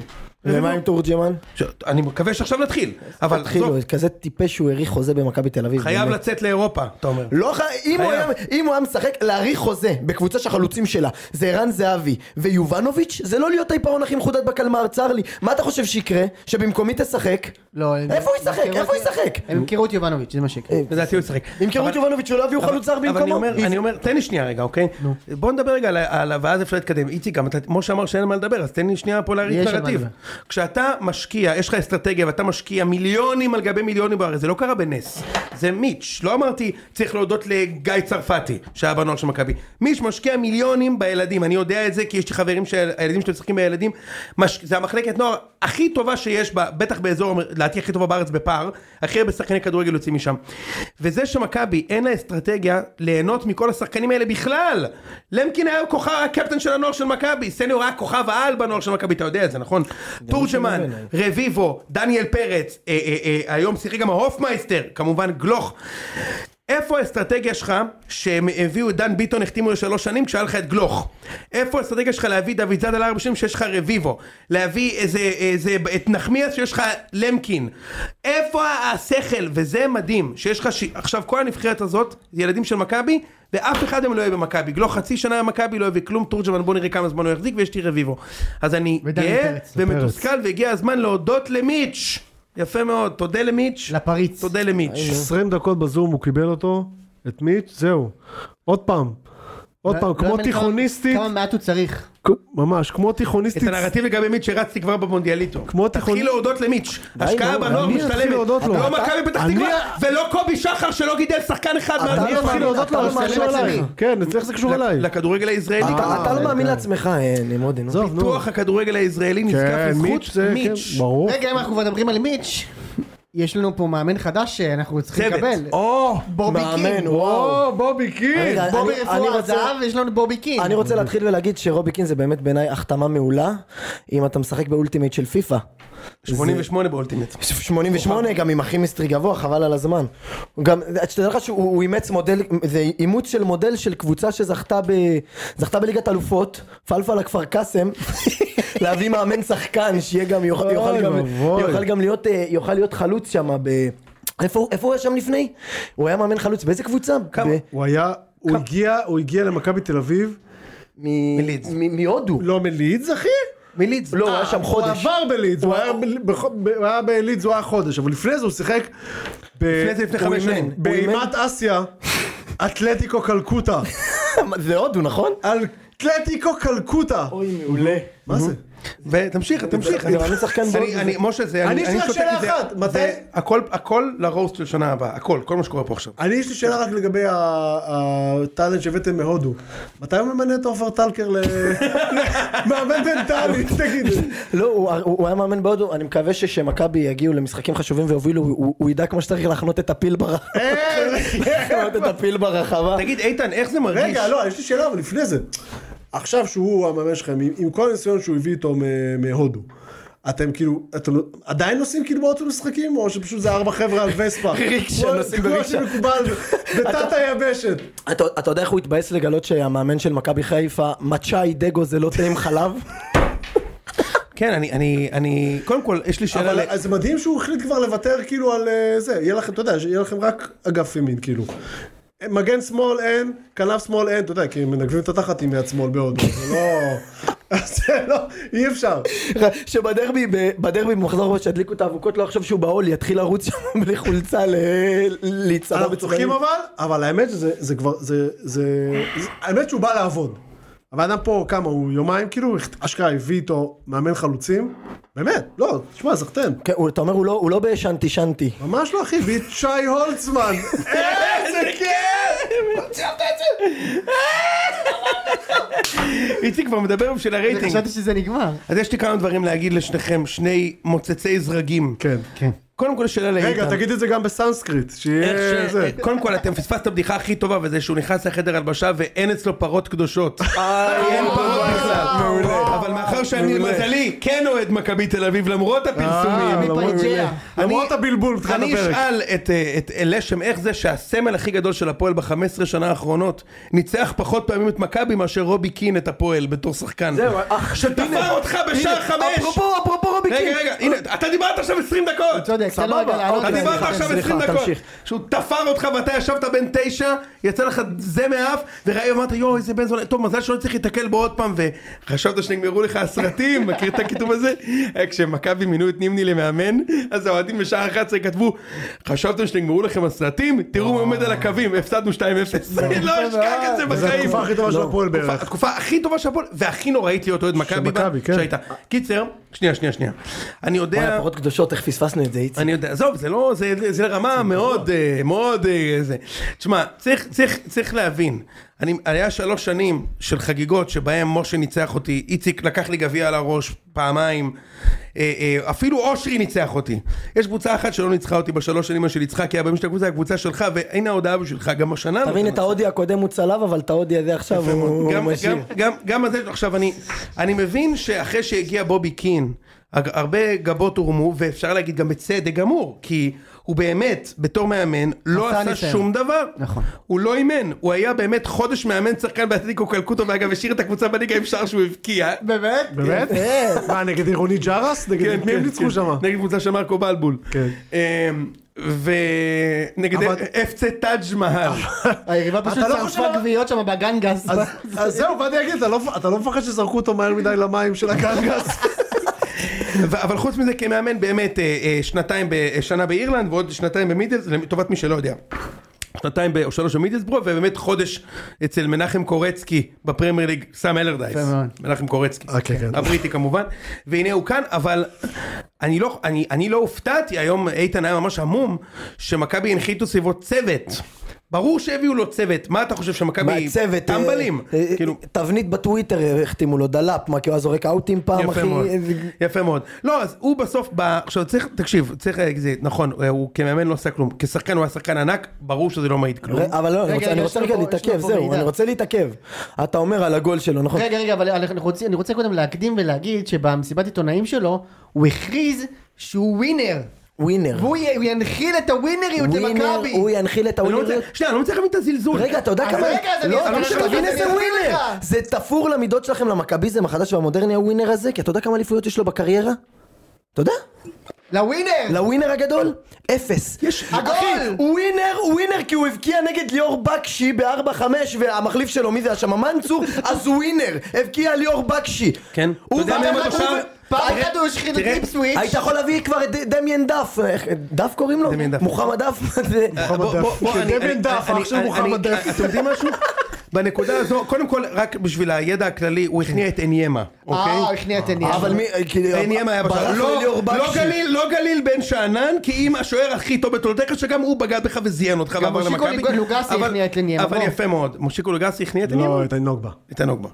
Speaker 2: ומה עם תורג'מן?
Speaker 1: ש- אני מקווה שעכשיו נתחיל, אבל
Speaker 2: התחילו,
Speaker 1: בסוף
Speaker 2: כזה טיפש שהוא האריך חוזה במכבי תל אביב.
Speaker 1: חייב
Speaker 2: באמת.
Speaker 1: לצאת לאירופה, אתה אומר.
Speaker 2: לא ח... אם, הוא היה,
Speaker 1: חייב.
Speaker 2: אם הוא היה משחק להאריך חוזה בקבוצה שהחלוצים שלה זה ערן זהבי ויובנוביץ' זה לא להיות העיפרון הכי מחודד בקלמר צר לי מה אתה חושב שיקרה? שבמקומי תשחק?
Speaker 4: לא, הם-
Speaker 2: איפה הוא ישחק?
Speaker 4: ימכרו
Speaker 2: איפה הוא
Speaker 4: את-
Speaker 2: ישחק?
Speaker 4: הם ימכרו את יובנוביץ', זה מה
Speaker 3: אה,
Speaker 4: שיקרה.
Speaker 1: לדעתי הוא ישחק.
Speaker 2: ימכרו
Speaker 1: אבל-
Speaker 2: את יובנוביץ' שלא יביאו חלוץ זר
Speaker 1: אבל אני
Speaker 2: במקומו?
Speaker 1: אומר, אני אומר, תן לי שנייה רגע, אוקיי? בוא נדבר רגע על ה- עליו, ואז אפשר להתקדם. איציק, גם אתה, משה אמר שאין על מה לדבר, אז תן לי שנייה פה
Speaker 4: יש
Speaker 1: להריץ
Speaker 4: על מה
Speaker 1: נרטיב.
Speaker 4: לדבר.
Speaker 1: כשאתה משקיע, יש לך אסטרטגיה ואתה משקיע מיליונים על גבי מיליונים בארץ, זה לא קרה בנס. זה מיץ', לא אמרתי, צריך להודות לגיא צרפתי, שהיה בנוער של מכבי. מיץ' משקיע מיליונים בילדים, אני יודע את זה כי יש לי חברים שהילדים שלהם משחקים בילדים. מש... זה המחלקת נוער הכי טובה שיש, בה, בטח באזור, לדעתי הכי טובה בארץ בפער, הכי הרבה שחקני כדורגל יוצאים משם. וזה שמכבי אין לה אסטרטגיה ליהנות מכל השחקנים האלה בכלל. למקין היה כוכב, הקפטן של הנוער של מכבי, סניור היה כוכב העל בנוער של מכבי, אתה יודע את זה, נכון? תורג'מן, רביבו, דניאל פרץ, אה, אה, אה, היום שיחק גם ההופמייסטר, כמובן גלוך. איפה האסטרטגיה שלך שהם הביאו את דן ביטון החתימו לשלוש שנים כשהיה לך את גלוך? איפה האסטרטגיה שלך להביא דוד זאדה לארבע שנים שיש לך רביבו? להביא איזה, איזה, את נחמיאס שיש לך למקין? איפה השכל? וזה מדהים שיש לך, ש... עכשיו כל הנבחרת הזאת זה ילדים של מכבי ואף אחד מהם לא יהיה במכבי. גלוך חצי שנה היה במכבי לא הביא כלום, תורג'מן בוא נראה כמה זמן הוא יחזיק ויש לי רביבו. אז אני
Speaker 4: ודניאל
Speaker 1: גאה
Speaker 4: פרץ.
Speaker 1: ומתוסכל והגיע הזמן להודות למיץ'. יפה מאוד, תודה למיץ'.
Speaker 4: לפריץ.
Speaker 1: תודה למיץ'.
Speaker 3: 20 דקות בזום הוא קיבל אותו, את מיץ', זהו. עוד פעם. עוד פעם, כמו
Speaker 4: לא מבין כמה-
Speaker 3: תיכוניסטית,
Speaker 4: כמה מעט הוא צריך.
Speaker 3: כ- ממש, כמו
Speaker 1: את
Speaker 3: תיכוניסטית,
Speaker 1: הנרטיב לגבי מיץ' שרצתי כבר במונדיאליטו.
Speaker 3: כמו
Speaker 1: תתחיל
Speaker 3: תיכון-
Speaker 1: להודות למיץ'. השקעה
Speaker 3: נו,
Speaker 1: בנוער
Speaker 3: אני אתחיל
Speaker 1: משתלמת.
Speaker 3: להודות לו.
Speaker 1: לא
Speaker 3: אתה-
Speaker 1: מכבי פתח
Speaker 3: אני-
Speaker 1: תקווה, ולא קובי שחר שלא גידל שחקן אחד מאז
Speaker 3: אני אתחיל להודות לו,
Speaker 2: אתה
Speaker 3: אבל
Speaker 2: לא
Speaker 3: זה קשור
Speaker 2: מאמין
Speaker 3: אליי.
Speaker 2: לעצמי.
Speaker 3: כן, אצלך זה קשור אליי.
Speaker 1: לכדורגל הישראלי.
Speaker 2: אתה אתה לא מאמין לעצמך, אה, נמרודי, נו.
Speaker 3: עזוב, לא- נו.
Speaker 1: פיתוח הכדורגל הישראלי נזקף
Speaker 3: כן,
Speaker 1: לזכות
Speaker 3: מיץ' זה, כן,
Speaker 1: מיץ'.
Speaker 3: ברור.
Speaker 4: רגע, אם אנחנו כבר מדברים על מיץ', יש לנו פה מאמן חדש שאנחנו צריכים
Speaker 1: צוות.
Speaker 4: לקבל.
Speaker 3: או,
Speaker 4: בובי קין.
Speaker 2: מאמן, וואו.
Speaker 3: בובי קין.
Speaker 2: רגע, אני-
Speaker 4: בובי
Speaker 2: אני
Speaker 4: רפואה
Speaker 2: רוצה-
Speaker 4: זהב, יש לנו בובי קין.
Speaker 2: אני רוצה להתחיל ולהגיד שרובי קין זה באמת בעיניי החתמה מעולה, אם אתה משחק באולטימייט של פיפא.
Speaker 1: 88 באולטימט.
Speaker 2: 88 גם עם הכי מיסטרי גבוה, חבל על הזמן. הוא גם, שתדע לך שהוא הוא אימץ מודל, זה אימוץ של מודל של קבוצה שזכתה ב, זכתה בליגת אלופות, פלפלה כפר קאסם, <laughs> להביא מאמן שחקן שיהיה גם, יוכל, יוכל,
Speaker 3: אוי
Speaker 2: גם,
Speaker 3: ואבוי.
Speaker 2: יוכל גם להיות, אה, יוכל להיות חלוץ שם ב... איפה, הוא- איפה הוא היה שם לפני? הוא היה מאמן חלוץ, באיזה קבוצה?
Speaker 1: כמה?
Speaker 2: ב-
Speaker 3: הוא היה, הוא הגיע, הוא הגיע למכבי תל אביב,
Speaker 2: מ-
Speaker 1: מלידס.
Speaker 2: מ- מהודו. <laughs>
Speaker 3: לא מלידס אחי?
Speaker 1: מלידס.
Speaker 2: לא, הוא היה שם
Speaker 3: אה, הוא
Speaker 2: חודש.
Speaker 3: עבר בלידס, הוא היה ב- בח- ב- הוא היה בלידס, הוא היה חודש, אבל לפני זה הוא שיחק ב-
Speaker 1: זה לפני
Speaker 3: הוא
Speaker 1: חמש
Speaker 3: אימן.
Speaker 1: שנים.
Speaker 3: באימת אסיה, אתלטיקו קלקוטה,
Speaker 2: זה הודו, נכון?
Speaker 3: אתלטיקו קלקוטה,
Speaker 2: אוי, מעולה.
Speaker 3: מה זה?
Speaker 1: ותמשיך, תמשיך.
Speaker 2: אני מאמין שחקן
Speaker 1: אני-
Speaker 2: בולט.
Speaker 1: אני, משה, זה,
Speaker 3: אני אשאל
Speaker 1: שותק
Speaker 3: שאלה
Speaker 1: את זה.
Speaker 3: אחת, מתי-
Speaker 1: זה הכל, הכל לרוסט של שנה הבאה, הכל, כל מה שקורה פה עכשיו.
Speaker 3: אני יש לי שאלה רק לגבי ה- הטאלנט שהבאתם מהודו, מתי הוא ממנה את עופר טלקר <laughs> למאמן מנטלי, תגיד,
Speaker 2: לא, הוא, הוא, הוא היה מאמן בהודו, אני מקווה שכשמכבי יגיעו למשחקים חשובים ויובילו, הוא, הוא ידע כמו שצריך לחנות את הפיל ברחבה.
Speaker 3: <laughs> אה!
Speaker 2: לחנות את הפיל ברחבה.
Speaker 1: תגיד, איתן, איך זה מרגיש?
Speaker 3: רגע, לא, יש לי שאלה, אבל לפני זה. עכשיו שהוא המאמן שלכם, עם, עם כל הניסיון שהוא הביא איתו מ- מהודו, אתם כאילו, אתם עדיין נוסעים כאילו באוטו משחקים, או שפשוט זה ארבע חבר'ה על וספה?
Speaker 2: ריקשה,
Speaker 3: כמו-
Speaker 2: נוסעים כן, בריקשה.
Speaker 3: כמו שמקובל בתת היבשת.
Speaker 2: אתה, אתה יודע איך הוא התבאס לגלות שהמאמן של מכבי חיפה, מצ'אי דגו זה לא תה עם חלב? <laughs>
Speaker 1: כן, אני, אני, אני, קודם כל, יש לי שאלה,
Speaker 3: אבל
Speaker 1: ל-
Speaker 3: אז זה מדהים שהוא החליט כבר לוותר כאילו על אה, זה, יהיה לכם, אתה יודע, שיהיה לכם רק אגף ימין כאילו. מגן שמאל אין, כנף שמאל אין, אתה יודע, כי הם מנגבים את התחת עם יד שמאל בהודו, זה לא... <laughs> זה לא, אי אפשר.
Speaker 2: שבדרבי, ב- בדרבי במחזור הבא שידליקו את האבוקות, לא יחשוב שהוא בעול, יתחיל לרוץ שם <laughs> בלי חולצה ל- להצטבע
Speaker 3: אנחנו צוחקים אבל, אבל האמת שזה זה כבר, זה, זה, זה, האמת שהוא בא לעבוד. הבן אדם פה כמה, הוא יומיים כאילו, אשכרה הביא איתו מאמן חלוצים, באמת, לא, תשמע, סחטיין.
Speaker 2: כן, הוא- אתה אומר, הוא לא, הוא לא בשנתי שנתי.
Speaker 3: ממש לא אחי, הביא את שי הולצמן. איזה כיף!
Speaker 1: איציק כבר מדבר בשביל הרייטינג.
Speaker 4: חשבתי שזה נגמר.
Speaker 1: אז יש לי כמה דברים להגיד לשניכם, שני מוצצי זרגים.
Speaker 3: כן.
Speaker 1: קודם כל, שאלה לאיתן.
Speaker 3: רגע, תגיד את זה גם בסנסקריט, שיהיה
Speaker 1: איך
Speaker 3: זה.
Speaker 1: ש... אה, קודם כל, אתם פספסתם את הבדיחה הכי טובה, וזה שהוא נכנס לחדר הלבשה ואין אצלו פרות קדושות. אין פרות בכלל. מעולה. אבל מאחר שאני, למזלי, כן אוהד מכבי תל אביב, למרות
Speaker 3: אה, לא,
Speaker 1: הפרסומים.
Speaker 2: לא,
Speaker 4: למרות- מפריג'יה.
Speaker 3: למרות
Speaker 1: אני-
Speaker 3: הבלבול בתחילת
Speaker 1: אני
Speaker 3: הפרק.
Speaker 1: אשאל את, אה, את אלשם איך זה שהסמל הכי גדול של הפועל ב-15 שנה האחרונות ניצח פחות פעמים את מכבי מאשר רובי קין את הפועל בתור שחקן.
Speaker 2: זהו, אה, אך,
Speaker 1: שתפר
Speaker 2: הנה,
Speaker 1: אותך בשער
Speaker 2: הנה,
Speaker 1: חמש.
Speaker 2: אפרופו, אפרופו רובי קין.
Speaker 1: רגע, רגע, הנה, אתה דיברת עכשיו 20 דקות.
Speaker 4: צודק, תן לו
Speaker 2: סבבה,
Speaker 4: רגע לענות.
Speaker 1: אתה
Speaker 2: אוקיי,
Speaker 4: על זה.
Speaker 1: דיברת
Speaker 2: סליחה,
Speaker 1: עכשיו
Speaker 2: סליחה,
Speaker 1: 20 דקות,
Speaker 2: תמשיך.
Speaker 1: שהוא תפר אותך ואתה ישבת בן תשע, יצא לך זה מהאף, וראי אמרת יואו איזה בן זונה, טוב מזל שלא צריך להתקל בו עוד פעם, וחשבת שנגמרו לך הסרטים, <laughs> מכיר את הכיתוב הזה? אה, כשמכבי מינו את נימני למאמן, אז האוהדים בשעה 11 כתבו, חשבתם שנגמרו לכם הסרטים? תראו מי עומד על הקווים, הפסדנו 2-0, אני לא אשכח את זה
Speaker 3: זו
Speaker 1: בחיים.
Speaker 3: התקופה הכי טובה של
Speaker 2: לא.
Speaker 3: הפועל
Speaker 1: התקופה-
Speaker 3: בערך.
Speaker 1: התקופה הכי טובה של הפועל, והכי נוראית להיות אוהד מכבי בה,
Speaker 3: מכבי, כן.
Speaker 1: שהייתה. קיצר, שנייה, שנייה, שנייה. אני
Speaker 2: וואי,
Speaker 1: יודע...
Speaker 2: הפרות קדושות, איך פספסנו את זה, איציק?
Speaker 1: אני יודע, עזוב, זה לא, זה, זה רמה מאוד, אה, מאוד, אה, זה. תשמע, צריך, צריך, צריך להבין, אני, היה שלוש שנים של חגיגות שבהם משה ניצח אותי, איציק לקח לי גביע על הראש פעמיים, אה, אה, אפילו אושרי ניצח אותי. יש קבוצה אחת שלא ניצחה אותי בשלוש שנים של יצחקי, הבעלים של הקבוצה, הקבוצה שלך, והנה ההודעה בשבילך, גם השנה. לא
Speaker 2: תבין את ההודי הקודם הוא צלב אבל את ההודי הזה עכשיו הוא
Speaker 1: גם,
Speaker 2: משאיר.
Speaker 1: גם, גם, גם הזה, עכשיו אני, אני מבין שאחרי שהגיע בובי קין, הג- הרבה גבות הורמו, ואפשר להגיד גם בצדק גמור, כי הוא באמת, בתור מאמן, לא
Speaker 4: עשה
Speaker 1: עשה
Speaker 4: ניסיון.
Speaker 1: שום דבר.
Speaker 4: נכון.
Speaker 1: הוא לא אימן, הוא היה באמת חודש מאמן שחקן באתלטיקו קלקוטו, ואגב, השאיר את הקבוצה בליגה עם שער שהוא הבקיע.
Speaker 4: באמת?
Speaker 3: באמת?
Speaker 2: אה,
Speaker 1: אה,
Speaker 3: מה, נגד עירוני ג'רס?
Speaker 1: כן,
Speaker 3: נגד מי הם ניצחו שם?
Speaker 1: נגד קבוצה של מרקו בלבול.
Speaker 3: כן.
Speaker 1: אמ, ונגד
Speaker 3: אבל-
Speaker 1: FC טאג' מהל.
Speaker 4: היריבה פשוט
Speaker 3: אתה לא חושב-
Speaker 4: שרפה גביעות שם בגנגס.
Speaker 3: אז- אז זהו, באתי להגיד, אתה לא- אתה לא מפחד שזרקו אותו מהר מדי למים של הגנגס?
Speaker 1: ו- אבל חוץ מזה כמאמן באמת אה, אה, שנתיים, ב- אה, שנה באירלנד ועוד שנתיים במידלס, לטובת מי שלא יודע. שנתיים ב- או שלוש במידלסברו, ובאמת חודש אצל מנחם קורצקי בפרמייר ליג, סם אלרדייס.
Speaker 4: יפה מאוד.
Speaker 1: מנחם קורצקי.
Speaker 3: אוקיי, כן.
Speaker 1: הבריטי כמובן. והנה הוא כאן, אבל אני לא, אני, אני לא הופתעתי, היום איתן היה ממש המום, שמכבי הנחיתו סביבו צוות. ברור שהביאו לו צוות, מה אתה חושב שמכבי...
Speaker 2: מהצוות, אה,
Speaker 1: טמבלים.
Speaker 2: אה, אה,
Speaker 1: כאילו,
Speaker 2: תבנית בטוויטר אה, החתימו לו דלאפ, מה כי הוא היה זורק אאוטים פעם אחי,
Speaker 1: יפה מאוד,
Speaker 2: אה,
Speaker 1: יפה מאוד. לא, אז הוא בסוף, ב... עכשיו צריך, תקשיב, צריך להגיד, זה נכון, הוא כמאמן לא עשה כלום, כשחקן הוא היה שחקן ענק, ברור שזה לא מעיד כלום.
Speaker 2: ר- אבל לא, אני רוצה-
Speaker 4: רגע, רגע,
Speaker 2: אני
Speaker 4: יש
Speaker 2: רוצה
Speaker 4: לו
Speaker 2: רגע
Speaker 4: פה- יש לו
Speaker 2: להתעכב,
Speaker 4: פה
Speaker 2: זהו,
Speaker 4: מידע.
Speaker 2: אני רוצה להתעכב. אתה אומר על הגול שלו, נכון?
Speaker 4: רגע, רגע, אבל אנחנו רוצים, אני רוצה קודם להקדים ולהגיד שבמסיבת עיתונאים שלו, הוא הכריז שהוא ווינר.
Speaker 2: ווינר.
Speaker 4: והוא י- הוא ינחיל את הווינריות
Speaker 2: ווינר,
Speaker 4: למכבי.
Speaker 2: הוא ינחיל את
Speaker 1: אני לא
Speaker 2: הווינריות.
Speaker 1: מצליח, שנייה, אני לא מצליח להבין את הזלזול.
Speaker 2: רגע, אתה יודע
Speaker 4: אז
Speaker 2: כמה...
Speaker 4: רגע, אז אני
Speaker 2: לא,
Speaker 4: אסביר
Speaker 2: אבל
Speaker 1: לך,
Speaker 2: שתבין
Speaker 1: אני
Speaker 2: איזה
Speaker 1: אסביר
Speaker 2: ווינר.
Speaker 4: לך.
Speaker 2: זה תפור למידות שלכם למכביזם החדש והמודרני הווינר הזה, כי אתה יודע כמה אליפויות יש לו בקריירה? אתה יודע?
Speaker 1: לא,
Speaker 4: לווינר!
Speaker 2: לווינר הגדול? אפס.
Speaker 1: יש-
Speaker 2: הגול! אחי, ווינר, ווינר כי הוא הבקיע נגד ליאור בקשי ב-4-5 והמחליף שלו, מי זה היה שם? מנצור? אז ווינר! הבקיע ליאור בקשי.
Speaker 1: כן.
Speaker 2: הוא
Speaker 1: אתה יודע
Speaker 2: ואתה-
Speaker 1: מי עמד
Speaker 2: הוא
Speaker 1: עכשיו?
Speaker 2: ו-
Speaker 4: פעם
Speaker 1: תראה-
Speaker 4: אחת הוא השחיר את
Speaker 1: תראה-
Speaker 4: הדיפסוויץ'.
Speaker 2: היית יכול להביא כבר את ד- דמיין דף, איך- דף קוראים לו?
Speaker 1: דמיין דף. אה,
Speaker 2: מוחמד דף?
Speaker 1: בוא- בוא- בוא- בוא, אני-
Speaker 3: כדמיין
Speaker 1: אני-
Speaker 3: דף,
Speaker 1: אני-
Speaker 3: אח של
Speaker 1: אני-
Speaker 3: מוחמד
Speaker 1: אני-
Speaker 3: דף.
Speaker 1: אתם יודעים משהו? בנקודה הזו, קודם כל, רק בשביל הידע הכללי, הוא הכניע את עניימה, אוקיי?
Speaker 4: אה, הוא הכניע את עניין.
Speaker 2: אבל מי... כאילו,
Speaker 1: עניימה היה בשער.
Speaker 2: ברח
Speaker 1: לא-
Speaker 2: לליאור
Speaker 1: לא
Speaker 2: בקשי.
Speaker 1: גליל, לא גליל בן שאנן, כי אם השוער הכי טוב בתולדתך, שגם הוא בגד בך וזיין אותך ועבר
Speaker 4: מושיקו
Speaker 1: למכבי.
Speaker 4: לוגסי
Speaker 1: אבל-
Speaker 4: הכניע את עניימה,
Speaker 1: אבל
Speaker 4: בוא.
Speaker 1: יפה מאוד, מושיקו לוגסי הכניע את עניימה.
Speaker 3: לא, את הנוגבה.
Speaker 1: את הנוגבה.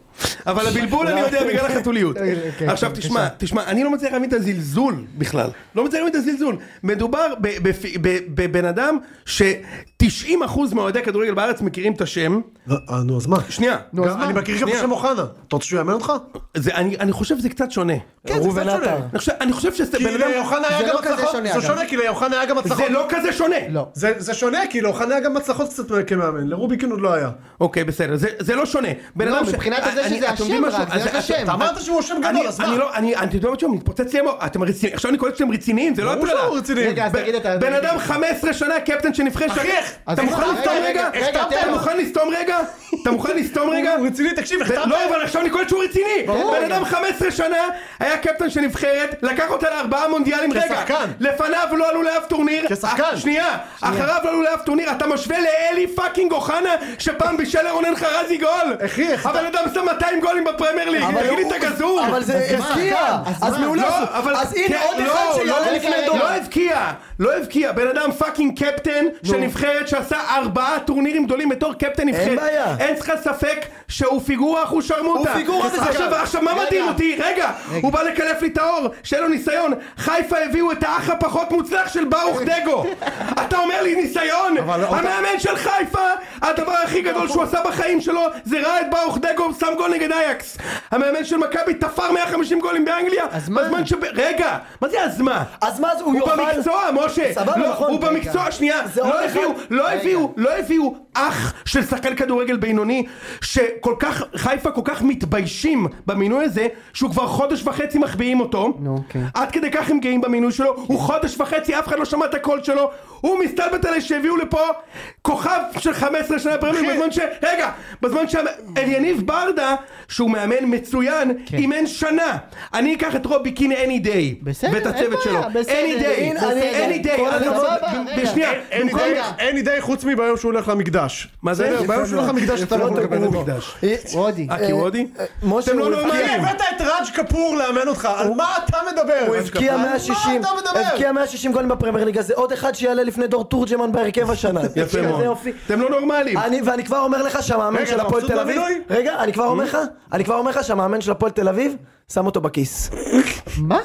Speaker 1: אבל הבלבול אני יודע בגלל החתוליות.
Speaker 4: <laughs> אוקיי,
Speaker 1: עכשיו
Speaker 4: בבקשה.
Speaker 1: תשמע, תשמע, אני לא מצליח להבין את הזלזול בכלל. לא מצליח להבין את הזלזול. מדובר ב- בפ- ב- בבן אדם ש-90% מאוהדי הכדורגל בארץ מכירים את השם.
Speaker 3: לא, אה, נו אז מה?
Speaker 1: שנייה.
Speaker 4: נו, אז
Speaker 3: גם- אני
Speaker 4: מה?
Speaker 3: מכיר גם את
Speaker 1: שנייה.
Speaker 3: השם אוחנה. אתה רוצה שהוא יאמן אותך?
Speaker 1: זה- אני אני חושב שזה קצת שונה.
Speaker 3: כן,
Speaker 2: ראובן עטר.
Speaker 1: אני חושב- אני חושב שזה
Speaker 3: כי
Speaker 1: בן אדם...
Speaker 3: לאוחנה
Speaker 4: זה
Speaker 3: היה גם
Speaker 4: לא כזה
Speaker 3: הצלחות.
Speaker 4: שונה,
Speaker 3: זה
Speaker 4: אגב.
Speaker 3: שונה כי לאוחנה היה גם הצלחות.
Speaker 1: זה לא כזה שונה.
Speaker 4: לא.
Speaker 3: זה זה שונה כי לאוחנה היה גם הצלחות קצת כמאמן. לרוביקין עוד לא היה.
Speaker 1: אוקיי, בסדר. זה- זה לא שונה. בן
Speaker 4: לא,
Speaker 1: אדם ש...
Speaker 4: מבחינת זה
Speaker 1: אני-
Speaker 4: שזה
Speaker 1: אתם יודעים
Speaker 4: השם
Speaker 1: משהו?
Speaker 4: רק, זה
Speaker 1: אז- אה,
Speaker 4: רק
Speaker 1: אז-
Speaker 4: השם.
Speaker 3: אתה אמרת שהוא השם גדול,
Speaker 1: אני-
Speaker 3: אז
Speaker 1: אני
Speaker 3: מה?
Speaker 1: לא, אני, אתם יודעים מה שהוא מתפוצץ לי המוח, אתם רציניים, עכשיו אני קולט שאתם רציניים, זה לא
Speaker 3: ברור
Speaker 1: הטרלה.
Speaker 3: שהוא רציני.
Speaker 4: רגע, אז
Speaker 1: ב-
Speaker 4: תגיד אתה-
Speaker 1: בן אדם 15 שנה קפטן של נבחרת...
Speaker 3: אחי, איך?
Speaker 4: אז
Speaker 1: אתה מוכן
Speaker 4: רגע,
Speaker 1: לסתום
Speaker 4: רגע,
Speaker 1: רגע?
Speaker 4: רגע,
Speaker 1: החתמת?
Speaker 4: תן
Speaker 1: אתה
Speaker 4: לו.
Speaker 1: מוכן לסתום רגע? אתה מוכן לסתום רגע?
Speaker 3: הוא רציני, תקשיב, החתמת?
Speaker 1: לא, אבל עכשיו אני קולט שהוא רציני.
Speaker 4: ברור.
Speaker 1: בן אדם 15 שנה היה קפטן של נבחרת, לקח אותה לארבעה מונדיאלים. רגע,
Speaker 3: כשחקן.
Speaker 1: לפניו לא עלו לאף טורניר.
Speaker 3: כשחקן.
Speaker 1: אח- שנייה, אחריו לא עלו לאף טורניר. אתה משווה לאלי פאקינג אוחנה, שפעם בישל לרונן חרזי גול.
Speaker 3: אחי, איך
Speaker 1: הבן אדם שם 200 גולים בפרמייר ליג.
Speaker 2: אבל
Speaker 1: תגיד לי
Speaker 2: הוא-
Speaker 1: את הגזור.
Speaker 2: אבל זה
Speaker 4: מה?
Speaker 2: הבקיע,
Speaker 4: אז
Speaker 2: אז
Speaker 4: מה?
Speaker 2: מעולה,
Speaker 1: לא,
Speaker 2: אז-
Speaker 1: אבל-
Speaker 2: אז הנה
Speaker 1: כן,
Speaker 2: עוד
Speaker 1: לא,
Speaker 2: אחד שיעלה
Speaker 1: לא,
Speaker 2: לפני
Speaker 4: רגע,
Speaker 2: דור.
Speaker 1: לא הבקיע, לא הבקיע, בן אדם פאקינג קפטן של נבחרת שעשה ארבעה טורנירים גדולים בתור קפטן נבחרת.
Speaker 2: בעיה.
Speaker 1: אין לך ספק שהוא פיגורה, הוא שרמוטה.
Speaker 2: הוא פיגורה וזה
Speaker 1: עכשיו-
Speaker 2: שחקן.
Speaker 1: עכשיו מה
Speaker 4: רגע.
Speaker 1: מדהים אותי? רגע, הוא בא לקלף לי את האור, שאין לו ניסיון. חיפה הביאו את האח הפחות מוצלח של ברוך דגו. אתה אומר לי ניסיון? המאמן של חיפה, הדבר הכי גדול שהוא עשה בחיים שלו זה ראה את ברוך דגו שם גול נגד אייקס. המאמן של מכבי תפר 150 גולים באנגליה.
Speaker 4: אז מה?
Speaker 1: בזמן שב... רגע, מה זה אז מה?
Speaker 2: אז מה, אז הוא
Speaker 1: הוא
Speaker 2: יאכל...
Speaker 1: במקצוע, משה.
Speaker 2: סבבה,
Speaker 1: לא,
Speaker 2: נכון,
Speaker 1: הוא
Speaker 2: רגע.
Speaker 1: במקצוע, שנייה.
Speaker 2: זה עוד
Speaker 1: לא
Speaker 2: אחד.
Speaker 1: הביאו, לא
Speaker 4: רגע.
Speaker 1: הביאו, לא הביאו אח של שחקן כדורגל בינוני, שכל כך, חיפה כל כך מתביישים במינוי הזה, שהוא כבר חודש וחצי מחביאים אותו.
Speaker 4: נו, אוקיי.
Speaker 1: עד כדי כך הם גאים במינוי שלו, הוא חודש וחצי, אף אחד לא שמע את הקול שלו, הוא מסתלבט עליי שהביאו לפה כוכב של 15 שנה פרמייר, בזמן ש... רגע, בזמן שאליניב ברדה, שהוא מאמן מצוין, אימן שנה. אני אקח את רובי קין any day.
Speaker 4: כן. בסדר,
Speaker 1: ואת
Speaker 4: אין
Speaker 1: הצוות שלו.
Speaker 4: בעיה, בסדר,
Speaker 1: any day,
Speaker 4: אין- בסדר.
Speaker 1: any day.
Speaker 4: כל
Speaker 1: אני
Speaker 4: הכבוד,
Speaker 1: רוצה-
Speaker 4: סבבה,
Speaker 1: ב-
Speaker 4: רגע.
Speaker 1: בשנייה,
Speaker 3: אין לי
Speaker 1: במקום-
Speaker 3: די- אין לי די חוץ מביום שהוא הולך למקדש.
Speaker 1: מה זה?
Speaker 3: בסדר, ביום שהוא הולך למקדש אתה לא
Speaker 1: מקבל את
Speaker 3: תקבל אותו.
Speaker 1: המקדש.
Speaker 4: רודי.
Speaker 1: אה, כי הוא הודי?
Speaker 2: אה, משה,
Speaker 1: אתם לא
Speaker 2: הוא
Speaker 1: נורמלים.
Speaker 3: אחי, הבאת את ראג' קפור לאמן אותך, על מה אתה מדבר?
Speaker 2: הוא הבקיע
Speaker 3: על
Speaker 2: 160,
Speaker 3: מה אתה מדבר?
Speaker 2: הבקיע 160 גולים בפרמייר ליגה, זה עוד אחד שיעלה לפני דור תורג'מן בהרכב השנה.
Speaker 1: יפה
Speaker 2: זה
Speaker 1: מאוד.
Speaker 2: יופי.
Speaker 1: אתם לא נורמלים.
Speaker 2: אני, ואני כבר אומר לך שהמאמן
Speaker 3: רגע,
Speaker 2: של
Speaker 3: אתה
Speaker 2: הפועל
Speaker 3: מבסוט
Speaker 2: תל אביב,
Speaker 3: מהמינוי?
Speaker 2: רגע, אני כבר אומר לך, אני כבר אומר לך שהמאמן של הפועל תל אביב, שם אותו בכיס.
Speaker 4: מה?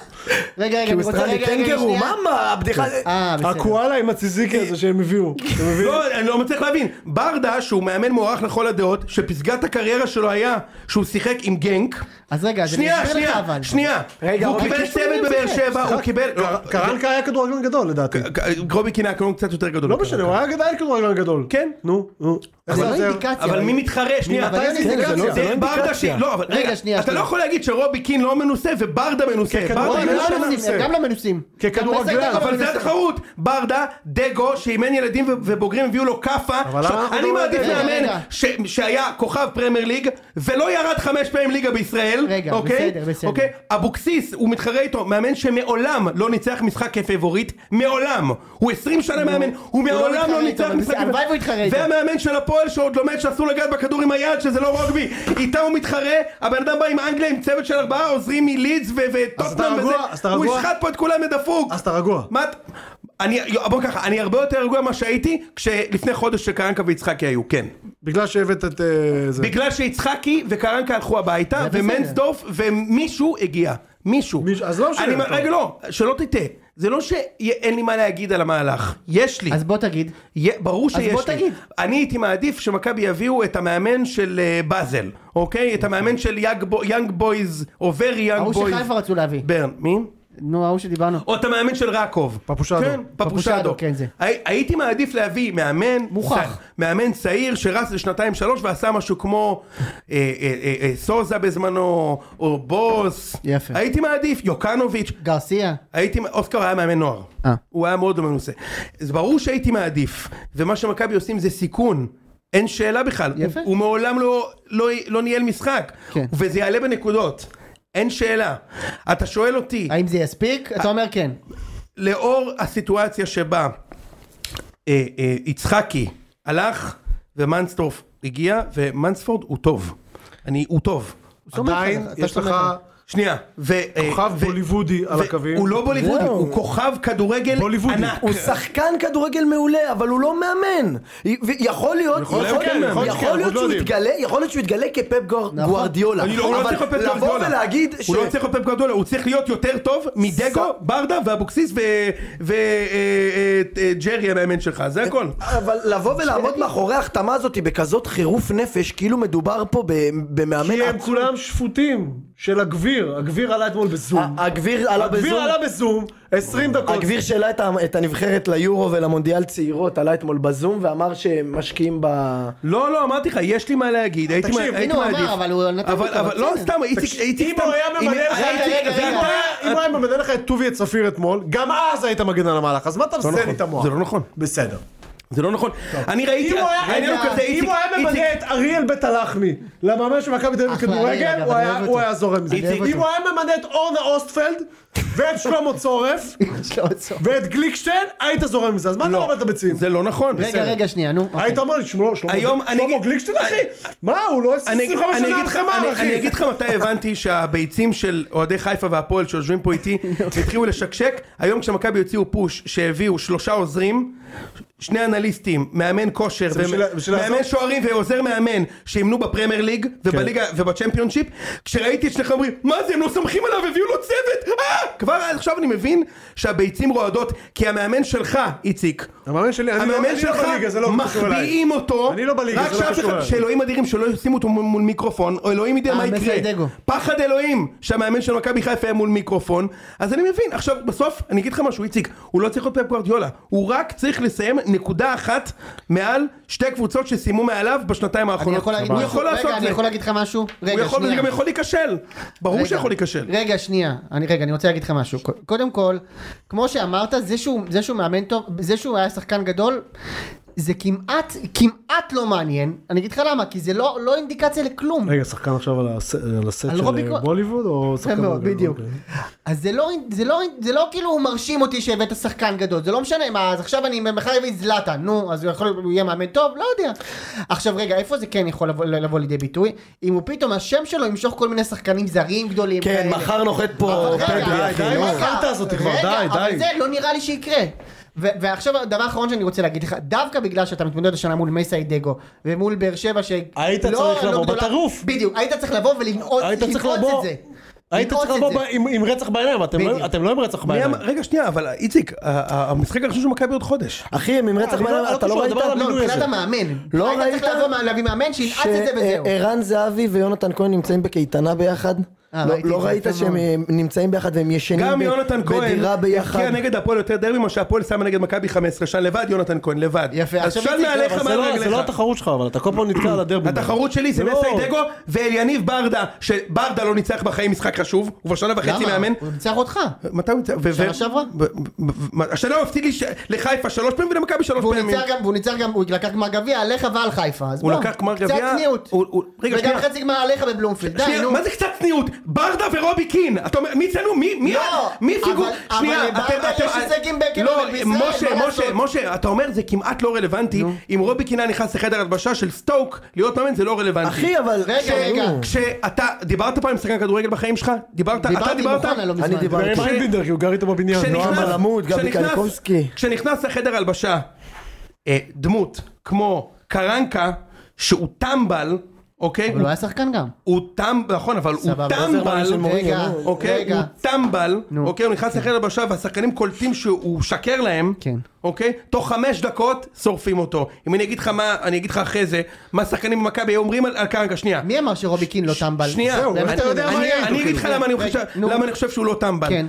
Speaker 4: רגע, רגע,
Speaker 2: כי הוא
Speaker 4: אני רוצה...
Speaker 2: ישראלי
Speaker 4: רגע, רגע,
Speaker 2: קנגרו,
Speaker 4: שנייה.
Speaker 2: מה הבדיחה...
Speaker 4: אה, בסדר.
Speaker 3: הקואלה עם הציזיקי הזה שהם הביאו. אתה מבין?
Speaker 1: לא, אני לא מצליח להבין. ברדה, שהוא מאמן מוערך לכל הדעות, שפסגת הקריירה שלו היה שהוא שיחק עם גנק.
Speaker 4: אז רגע, אז אני
Speaker 1: שנייה,
Speaker 4: אסביר לך
Speaker 1: שנייה,
Speaker 4: אבל.
Speaker 1: שנייה. והוא
Speaker 4: רובי
Speaker 1: קיבל
Speaker 4: קין שומעים
Speaker 1: צוות בבאר
Speaker 4: זה.
Speaker 1: שבע, הוא קיבל... לא,
Speaker 3: קר- <laughs> קרנקה היה כדורגלן גדול לדעתי.
Speaker 1: ק- ק- רובי קינן, קלון קצת יותר גדול.
Speaker 3: לא משנה, הוא היה גדל כדורגלן גדול.
Speaker 1: כן.
Speaker 3: נו, נו.
Speaker 4: זה לא
Speaker 1: אבל-
Speaker 4: אינדיקציה.
Speaker 1: אבל מי מתחרה? שנייה,
Speaker 4: אבל
Speaker 1: זה
Speaker 4: זה
Speaker 1: ברדה
Speaker 4: לא-
Speaker 2: זה לא
Speaker 1: ברדה ש...
Speaker 2: אינדיקציה.
Speaker 1: לא, אבל
Speaker 4: רגע,
Speaker 1: רגע,
Speaker 4: שנייה,
Speaker 1: אתה לא
Speaker 4: שנייה.
Speaker 1: יכול להגיד שרובי קין לא מנוסה וברדה מנוסה. ברדה
Speaker 4: הם
Speaker 1: לא
Speaker 4: לא
Speaker 1: שנה.
Speaker 4: מנוסים, הם גם לא מנוסים.
Speaker 3: ככדורגלן,
Speaker 4: גם לא
Speaker 1: אבל זה
Speaker 4: מנוסים.
Speaker 1: התחרות, ברדה, דגו, שאימן ילדים ו- ובוגרים, הביאו לו כאפה.
Speaker 3: אבל
Speaker 1: עכשיו,
Speaker 3: למה אנחנו
Speaker 1: אני
Speaker 3: מדברים על
Speaker 1: מעדיף
Speaker 4: דגו? רגע,
Speaker 1: מאמן
Speaker 4: רגע.
Speaker 1: ש- שהיה כוכב פרמייר ליג, ולא ירד חמש פעמים ליגה בישראל.
Speaker 4: רגע,
Speaker 1: אוקיי?
Speaker 4: בסדר, בסדר.
Speaker 1: אוקיי? אבוקסיס, הוא מתחרה איתו, מאמן שמעולם לא ניצח משחק כפייבוריט, מעולם. הוא 20 שנה מאמן, הוא
Speaker 4: לא
Speaker 1: מעולם לא ניצח
Speaker 4: מתחרה איתו, אבל
Speaker 1: משחק
Speaker 4: בסדר, הלוואי והוא יתחרה איתו.
Speaker 1: והמאמן של הפועל שעוד לומד שאסור לגעת בכדור עם היד, שזה לא רוגבי. איתם הוא מתחרה, הבן אדם בא עם אנגליה, עם צוות של ארבעה עוזרים מלידס ו-
Speaker 3: אתה
Speaker 1: וטוטנאם
Speaker 3: רגוע?
Speaker 1: וזה.
Speaker 3: אז אתה
Speaker 1: הוא
Speaker 3: רגוע?
Speaker 1: השחט פה את כולם לדפוק.
Speaker 3: אז אתה רגוע.
Speaker 1: מה את... אני, בוא ככה, אני הרבה יותר רגוע ממה שהייתי כשלפני חודש שקרנקה ויצחקי היו, כן.
Speaker 3: בגלל שהבאת את אה, זה.
Speaker 1: בגלל שיצחקי וקרנקה הלכו הביתה,
Speaker 4: זה בסדר.
Speaker 1: ומנסדורף ומישהו הגיע. מישהו.
Speaker 3: מישהו- אז לא משנה,
Speaker 1: אני-
Speaker 3: טוב.
Speaker 1: רגע, לא, שלא תטעה. זה לא שאין לי מה להגיד על המהלך. יש לי.
Speaker 4: אז בוא תגיד.
Speaker 1: יה, ברור
Speaker 4: אז
Speaker 1: שיש
Speaker 4: בוא
Speaker 1: לי.
Speaker 4: תגיד.
Speaker 1: אני הייתי מעדיף שמכבי יביאו את המאמן של אה, באזל, אוקיי? את המאמן של יאנג בו- יאנג בויז, עובר יאנג
Speaker 4: ההוא
Speaker 1: בויז.
Speaker 4: שחיפה רצו להביא.
Speaker 1: ברן, מי?
Speaker 4: נו, ההוא שדיברנו.
Speaker 1: או את המאמן של רקוב.
Speaker 3: פפושדו.
Speaker 1: כן, פפושדו.
Speaker 4: פפושדו, כן, זה.
Speaker 1: הי- הייתי מעדיף להביא מאמן...
Speaker 4: מוכח.
Speaker 1: צ- מאמן צעיר שרץ לשנתיים שלוש ועשה משהו כמו אה, אה, אה, אה, סוזה בזמנו, או בוס.
Speaker 4: יפה.
Speaker 1: הייתי מעדיף, יוקנוביץ'.
Speaker 4: גרסיה.
Speaker 1: הייתי, אוסקר היה מאמן נוער.
Speaker 4: אה.
Speaker 1: הוא היה מאוד מנוסה. אז ברור שהייתי מעדיף, ומה שמכבי עושים זה סיכון. אין שאלה בכלל.
Speaker 4: יפה.
Speaker 1: הוא, הוא מעולם לא, לא, לא ניהל משחק.
Speaker 4: כן.
Speaker 1: וזה יעלה בנקודות. אין שאלה. אתה שואל אותי...
Speaker 4: האם זה יספיק? אתה אומר כן.
Speaker 1: לאור הסיטואציה שבה אה, אה, יצחקי הלך ומנסטורף הגיע ומנספורד הוא טוב. אני, הוא טוב.
Speaker 3: עדיין
Speaker 4: אתה
Speaker 3: יש לך
Speaker 4: סומך עליו.
Speaker 1: שנייה. ו, אה,
Speaker 3: כוכב
Speaker 1: ו-
Speaker 3: בוליוודי על
Speaker 1: ו-
Speaker 3: הקווים.
Speaker 1: הוא לא בוליוודי,
Speaker 2: זהו.
Speaker 1: הוא כוכב כדורגל
Speaker 3: בוליוודי.
Speaker 1: ענק.
Speaker 2: הוא שחקן כדורגל מעולה, אבל הוא לא מאמן. י- ו- יכול להיות,
Speaker 3: יכול להיות
Speaker 2: יכול-
Speaker 3: שכן, יכול להיות שכן,
Speaker 2: יכול להיות
Speaker 3: אנחנו
Speaker 2: שהוא
Speaker 3: לא יודעים.
Speaker 2: יתגלה, יכול להיות שהוא יתגלה כפפ גור- גוארדיולה.
Speaker 1: אני לא- הוא לא
Speaker 2: אבל
Speaker 1: צריך להיות פפ גורדולה.
Speaker 2: לבוא ולהגיד ש...
Speaker 1: הוא לא צריך להיות פפ גורדולה, הוא צריך להיות יותר טוב מדגו, ברדה ואבוקסיס אה, וג'רי אה, המאמן שלך, זה הכל.
Speaker 2: אבל לבוא ולעמוד מאחורי ההחתמה הזאת בכזאת חירוף נפש, כאילו מדובר פה ב- במאמן...
Speaker 3: כי הם
Speaker 2: עצ-
Speaker 3: כולם שפוטים של הגביר, הגביר עלה אתמול בזום.
Speaker 2: הגביר עלה
Speaker 3: הגביר
Speaker 2: בזום.
Speaker 3: עלה בזום, 20 דקות.
Speaker 2: הגביר שהעלה את ה- את הנבחרת ליורו ולמונדיאל צעירות עלה אתמול בזום ואמר שהם משקיעים ב...
Speaker 1: לא, לא, אמרתי לך, יש לי מה להגיד, הייתי
Speaker 3: תקשיב,
Speaker 1: מע-
Speaker 3: הנה
Speaker 1: הייתי
Speaker 4: הוא אמר,
Speaker 1: מעדיף.
Speaker 4: אבל הוא נתן
Speaker 1: אבל-
Speaker 4: אותו,
Speaker 1: אבל לא,
Speaker 4: בסדר.
Speaker 1: סתם, איציק, איציק,
Speaker 3: אם הוא היה
Speaker 1: אם-
Speaker 3: ממנה לך-
Speaker 1: איציק,
Speaker 4: רגע,
Speaker 1: זה
Speaker 4: רגע.
Speaker 1: אתה-
Speaker 3: אם הוא היה ממנה לך את טובי את ספיר אתמול, גם אז היית מגן על המהלך, אז מה אתה מסן לי את המוח?
Speaker 1: זה לא נכון.
Speaker 3: בסדר.
Speaker 1: זה לא נכון. אני
Speaker 3: אם
Speaker 1: ראיתי,
Speaker 3: הוא היה-
Speaker 1: העניין הוא כזה,
Speaker 3: אם
Speaker 1: איציק,
Speaker 3: הוא היה
Speaker 1: איציק,
Speaker 3: ממנה את אריאל בית הלחמי למאמן של מכבי תל אביב
Speaker 4: אחלה,
Speaker 3: כדורגל,
Speaker 4: אריאל, אגב,
Speaker 3: הוא
Speaker 4: אני
Speaker 3: היה-
Speaker 4: אוהב
Speaker 3: הוא
Speaker 4: אותו.
Speaker 3: היה זורם מזה.
Speaker 1: איציק.
Speaker 3: אם הוא היה ממנה את אורנה אוסטפלד ואת שלמה צורף
Speaker 1: <laughs>
Speaker 4: יש לו עוד סוף.
Speaker 3: ואת גליקשטיין, היית זורם מזה, אז מה אתה לומד את הביצים?
Speaker 1: זה לא נכון.
Speaker 4: רגע,
Speaker 1: בסדר.
Speaker 4: רגע, שנייה, נו. אוקיי.
Speaker 3: היית אומר לי, שלמה, שלמה,
Speaker 1: היום אני
Speaker 3: שלמה
Speaker 1: אגיד-
Speaker 3: גליקשטיין אחי? מה, הוא לא
Speaker 1: אני-
Speaker 3: 25
Speaker 1: אני
Speaker 3: שנה
Speaker 1: אגיד לך-
Speaker 3: החמר
Speaker 1: אני-
Speaker 3: אחי?
Speaker 1: אני אגיד לך מתי הבנתי שהביצים של אוהדי חיפה והפועל שיושבים פה
Speaker 3: <laughs>
Speaker 1: איתי התחילו לשקשק. היום כשמכבי הוציאו פוש שהביאו שלושה עוזרים, שני אנליסטים, מאמן כושר,
Speaker 3: זה בשביל-
Speaker 1: ומ-
Speaker 3: בשביל
Speaker 1: מאמן
Speaker 3: לעזור?
Speaker 1: שוערים ועוזר מאמן שימנו בפרמייר ליג ובליגה
Speaker 3: כן.
Speaker 1: ובצ'מפיונשיפ, כשראיתי את שניכם אומרים מה זה הם לא סומכים עליו הביאו לו צוות, אה!" כבר אז עכשיו אני מבין שהביצים רועדות כי המאמן שלך איציק
Speaker 3: המאמן שלי, אני לא-
Speaker 1: המאמן
Speaker 3: אני לא
Speaker 1: שלך
Speaker 3: בליגה, זה לא קשור אליי.
Speaker 1: מחביאים אותו,
Speaker 3: אני לא בליגה,
Speaker 1: רק
Speaker 3: זה לא
Speaker 1: שאף
Speaker 3: קשור
Speaker 1: אחד-
Speaker 3: אליי.
Speaker 1: שאלוהים אדירים שלא ישימו אותו מול מול מיקרופון, או אלוהים יודע
Speaker 4: אה,
Speaker 1: מה
Speaker 4: מסי
Speaker 1: יקרה,
Speaker 4: דגו.
Speaker 1: פחד אלוהים שהמאמן של מכבי חיפה יהיה מול מיקרופון, אז אני מבין, עכשיו בסוף אני אגיד לך משהו איציק, הוא לא צריך להיות פפ גוורדיולה, הוא רק צריך לסיים נקודה אחת מעל שתי קבוצות שסיימו מעליו בשנתיים
Speaker 4: אני
Speaker 1: האחרונות,
Speaker 4: יכול להגיד
Speaker 1: הוא
Speaker 4: משהו?
Speaker 1: יכול לעשות
Speaker 4: רגע, אני
Speaker 1: זה,
Speaker 4: יכול להגיד לך משהו?
Speaker 1: הוא
Speaker 4: רגע,
Speaker 1: יכול- זה
Speaker 4: שנייה.
Speaker 1: גם יכול להיכשל, ברור
Speaker 4: רגע,
Speaker 1: שיכול להיכשל,
Speaker 4: רגע, שנייה. אני, רגע, אני רוצה להגיד לך משהו. ק- קודם כל, כמו שאמרת, זה שהוא, זה שהוא מאמן טוב, זה שהוא היה שחקן גדול, זה כמעט, כמעט לא מעניין. אני אגיד לך למה, כי זה לא, לא אינדיקציה לכלום.
Speaker 3: רגע, שחקן עכשיו על הס- על הסט
Speaker 4: על
Speaker 3: של
Speaker 4: רובי
Speaker 3: אה,
Speaker 4: קו-
Speaker 3: בוליווד או שחקן?
Speaker 4: יפה מאוד,
Speaker 3: בוגר?
Speaker 4: בדיוק.
Speaker 3: אוקיי.
Speaker 4: אז זה לא, זה לא, זה לא כאילו מרשים אותי שהבאת שחקן גדול, זה לא משנה מה, אז עכשיו אני מחר אביא את זלאטה, נו, אז הוא יכול, הוא יהיה מאמן טוב? לא יודע. עכשיו רגע, איפה זה כן יכול לבוא, לבוא לידי ביטוי? אם הוא פתאום, השם שלו ימשוך כל מיני שחקנים זרים גדולים.
Speaker 2: כן,
Speaker 4: כאלה.
Speaker 2: מחר נוחת פה
Speaker 4: אבל רגע,
Speaker 2: פדרי,
Speaker 4: רגע,
Speaker 2: אחי. נו.
Speaker 4: רגע,
Speaker 3: החרטא הזאת כבר,
Speaker 4: רגע,
Speaker 3: די, די.
Speaker 4: אבל זה לא נראה לי שיקרה. ו- ועכשיו הדבר האחרון שאני רוצה להגיד לך, דווקא בגלל שאתה מתמודד השנה מול מייסי דגו ומול באר שבע ש...
Speaker 3: היית
Speaker 4: לא-
Speaker 3: צריך
Speaker 4: לא
Speaker 3: לבוא
Speaker 4: גדולה-
Speaker 3: בטרוף.
Speaker 4: בדיוק, היית צריך לבוא ולנעוץ
Speaker 3: היית צריך
Speaker 4: לנעוץ
Speaker 3: לבוא-
Speaker 4: את זה.
Speaker 3: היית
Speaker 4: לנעוץ
Speaker 3: צריך
Speaker 4: את
Speaker 3: לבוא
Speaker 4: זה.
Speaker 3: ב- עם עם רצח בעיניים, אתם לא-
Speaker 4: בדיוק.
Speaker 3: אתם לא עם רצח
Speaker 1: מי
Speaker 3: בעיניים.
Speaker 1: אמר- רגע שנייה אבל איציק ה- ה- המשחק הראשון של מכבי עוד חודש,
Speaker 2: אחי, הם עם רצח
Speaker 3: אני לא-
Speaker 2: בעיניים,
Speaker 3: לא
Speaker 2: אתה לא
Speaker 3: קשור,
Speaker 2: ראית?
Speaker 3: הדבר על
Speaker 4: לא,
Speaker 3: המינוי
Speaker 4: מבחינת
Speaker 3: הזה.
Speaker 4: המאמן.
Speaker 2: לא
Speaker 4: היית
Speaker 2: ראית? אה,
Speaker 4: צריך לבוא להביא מאמן שינעץ את זה וזהו.
Speaker 2: שערן זהבי ויונתן כהן נמצאים בקייטנה ביחד. לא-
Speaker 4: אה, ראיתי את
Speaker 2: לא
Speaker 4: זה
Speaker 2: ראית
Speaker 4: יפה
Speaker 2: שהם
Speaker 4: מאוד.
Speaker 2: אה, נמצאים ביחד והם ישנים
Speaker 1: גם
Speaker 2: ב-
Speaker 1: יונתן כהן
Speaker 2: בדירה
Speaker 1: הבקיע
Speaker 2: ביחד?
Speaker 1: נגד הפועל יותר דרבי מה שהפועל שמה נגד מכבי 15 שם לבד יונתן כהן לבד
Speaker 4: יפה,
Speaker 1: אז
Speaker 4: עכשיו
Speaker 1: שם
Speaker 4: איציק,
Speaker 1: מעליך
Speaker 3: אבל זה
Speaker 1: מעל
Speaker 3: לא- זה לא
Speaker 1: רגליך
Speaker 3: התחרות שלך, אבל אתה כל פעם נתקע על הדרבי.
Speaker 1: התחרות שלי זה
Speaker 3: לא-
Speaker 1: מסיידגו ואליניב ברדה שברדה לא ניצח בחיים משחק חשוב אה, הוא אה, כבר שנה וחצי
Speaker 4: למה?
Speaker 1: מאמן
Speaker 4: הוא ניצח אותך.
Speaker 1: מתי הוא ניצח? ו-
Speaker 4: שנה
Speaker 1: ו-
Speaker 4: שעברה?
Speaker 1: ב- ב- ב- השנה הוא הפסיד לי ש- לחיפה שלוש פעמים ולמכבי שלוש
Speaker 4: והוא
Speaker 1: פעמים.
Speaker 4: ניצח גם, והוא ניצח גם, הוא לקח גמר גביע עליך ועל חיפה, אז
Speaker 1: אה, הוא
Speaker 4: בוא,
Speaker 1: לקח גמר גביע.
Speaker 4: קצת צניעות.
Speaker 1: הוא- הוא- רגע,
Speaker 4: וגם
Speaker 1: שנייה.
Speaker 4: חצי גמר עליך בבלומפילד, די,
Speaker 1: שנייה,
Speaker 4: נו.
Speaker 1: מה זה קצת צניעות? ברדה ורובי קין. אתה אומר, מי צנוע? מי מי-
Speaker 4: לא,
Speaker 1: מי
Speaker 4: אבל-
Speaker 1: פיגור?
Speaker 4: אבל לברדה יש הישגים בכדורגל
Speaker 1: לא,
Speaker 4: בישראל,
Speaker 1: משה,
Speaker 4: מה
Speaker 1: משה,
Speaker 4: לעשות?
Speaker 1: משה, אתה אומר זה כמעט לא רלוונטי. אם רובי קין היה נכנס לחדר הלבשה של סטוק, להיות מאמן זה לא רלוונטי.
Speaker 2: אחי אבל...
Speaker 4: רגע, רגע. לא
Speaker 1: כשאתה דיברת פעם עם שחקן כדורגל בחיים שלך? דיברת? אתה
Speaker 4: דיברתי עם
Speaker 1: דיברת?
Speaker 4: אוחנה לא מזמן.
Speaker 2: אני דיברתי.
Speaker 9: כן.
Speaker 3: עם איינבינדר, כי הוא גר איתו בבניין. לא
Speaker 1: כשנכנס-
Speaker 2: נועם אלעמוד, גבי
Speaker 1: כשנכנס-
Speaker 2: קניקובסקי.
Speaker 1: כשנכנס לחדר הלבשה אה, דמות כמו קרנקה, שהוא טמבל, אוקיי?
Speaker 4: אבל הוא היה שחקן גם.
Speaker 1: הוא טמבל, נכון, אבל הוא
Speaker 4: סבבה,
Speaker 1: טמבל,
Speaker 4: רגע,
Speaker 1: אוקיי?
Speaker 4: רגע.
Speaker 1: הוא טמבל,
Speaker 4: נו.
Speaker 1: אוקיי? הוא נכנס לחדר הלבשה והשחקנים קולטים שהוא שקר להם,
Speaker 4: כן.
Speaker 1: אוקיי? תוך חמש דקות שורפים אותו. אם אני אגיד לך מה, אני אגיד לך אחרי זה, מה שחקנים במכבי היו אומרים על על קרנקה, שנייה.
Speaker 4: מי אמר שרובי קין לא טמבל?
Speaker 1: שנייה,
Speaker 4: זה מה
Speaker 1: אני-
Speaker 4: אתה יודע מה
Speaker 1: אני-
Speaker 4: היה איתו,
Speaker 1: אני אגיד
Speaker 4: כאילו.
Speaker 1: לך למה אני חושב-
Speaker 4: נו.
Speaker 1: למה אני חושב שהוא לא טמבל.
Speaker 4: כן.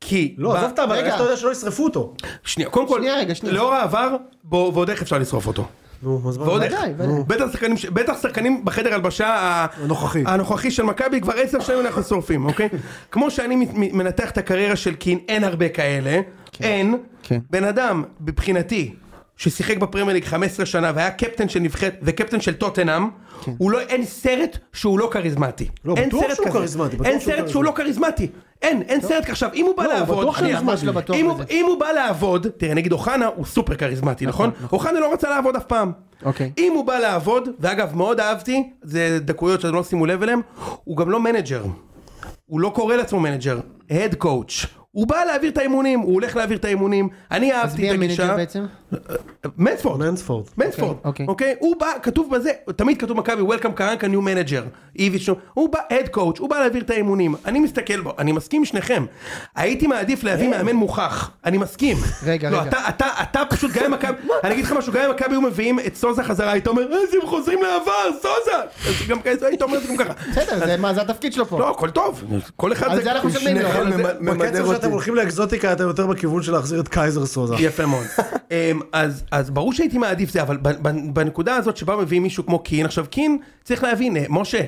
Speaker 1: כי... ב-
Speaker 9: לא, עזוב את הבעיה,
Speaker 4: רגע.
Speaker 9: איך אתה יודע שלא ישרפו אותו?
Speaker 1: שנייה, קודם כל,
Speaker 4: שנייה, רגע, שנייה.
Speaker 1: לאור העבר, בוא, ועוד איך אפשר לשרוף אותו.
Speaker 9: נו, אז מה?
Speaker 1: ועוד איך.
Speaker 4: ודאי, ודאי.
Speaker 1: נו. בטח שחקנים, ש- בטח שחקנים בחדר הלבשה ה-
Speaker 3: הנוכחי.
Speaker 1: הנוכחי של מכבי כבר עשר שנים אנחנו שורפים,
Speaker 3: <laughs>
Speaker 1: אוקיי? כמו שאני מת- מנתח את הקריירה של קין, אין הרבה כאלה. אין.
Speaker 4: כן.
Speaker 1: בן אדם, מבחינתי, ששיחק בפרמייר ליג 15 שנה והיה קפטן של נבחרת וקפטן של טוטנאם, הוא לא, אין סרט שהוא לא כריזמטי.
Speaker 3: כן. לא,
Speaker 1: אין
Speaker 3: בטוח
Speaker 1: סרט
Speaker 3: שהוא
Speaker 1: כזה.
Speaker 3: כריזמטי, בטוח
Speaker 1: אין
Speaker 3: שהוא
Speaker 1: סרט שהוא לא כריזמטי. אין, אין סרט. עכשיו, אם הוא בא
Speaker 3: לא, הוא
Speaker 1: לעבוד,
Speaker 3: בטוח
Speaker 1: שנייה,
Speaker 4: כריזמטי. ממש לא בטוח
Speaker 1: אם הוא-
Speaker 4: בזה.
Speaker 1: אם הוא בא לעבוד, תראה נגיד אוחנה הוא סופר כריזמטי נכון? אוחנה לא רצה לעבוד אף פעם.
Speaker 4: אוקיי.
Speaker 1: אם הוא בא לעבוד, ואגב מאוד אהבתי, זה דקויות שאתם לא שימו לב אליהם, הוא גם לא מנג'ר. הוא לא קורא לעצמו מנג'ר, הד קואוץ'. הוא בא להעביר את האימונים, הוא הולך להעביר את האימונים, אני
Speaker 4: אז מי
Speaker 1: אהבתי את
Speaker 4: המנג'ר
Speaker 1: הגישה.
Speaker 4: בעצם?
Speaker 1: מנספורד.
Speaker 9: מנספורד.
Speaker 1: מנספורד,
Speaker 4: אוקיי.
Speaker 1: אוקיי? הוא בא, כתוב בזה, תמיד כתוב מכבי, Welcome קרנקה, New Manager, איביץ', הוא בא, Head Coach, הוא בא להעביר את האימונים, אני מסתכל בו, אני מסכים עם שניכם, הייתי מעדיף להביא מאמן מוכח, אני מסכים.
Speaker 4: אה. רגע,
Speaker 1: לא,
Speaker 4: רגע.
Speaker 1: אתה, אתה, אתה פשוט, גם אם מכבי,
Speaker 4: <laughs>
Speaker 1: אני אגיד לך משהו, גם אם מכבי היו מביאים את סוזה חזרה, היית אומר, אז הם חוזרים לעבר, סוזה! אז גם כזה, היית אומר את זה גם
Speaker 4: <laughs>
Speaker 1: ככה.
Speaker 4: בסדר, זה מה, זה התפקיד שלו פה.
Speaker 1: לא, הכל טוב, כל אחד
Speaker 4: על זה אנחנו לא, משלמים לו.
Speaker 2: שניכם
Speaker 1: אבל זה-
Speaker 2: ממ- ממדר
Speaker 9: בקצב
Speaker 2: אותי.
Speaker 9: שאתם הולכים לאקזוטיקה אתה יותר בכיוון של להחזיר את קייזר סוזה.
Speaker 1: יפה מאוד. אמ, אז, אז ברור שהייתי מעדיף זה, אבל בנ- בנ- בנקודה הזאת שבה מביאים מישהו כמו קין, עכשיו קין, צריך להבין, אה, משה,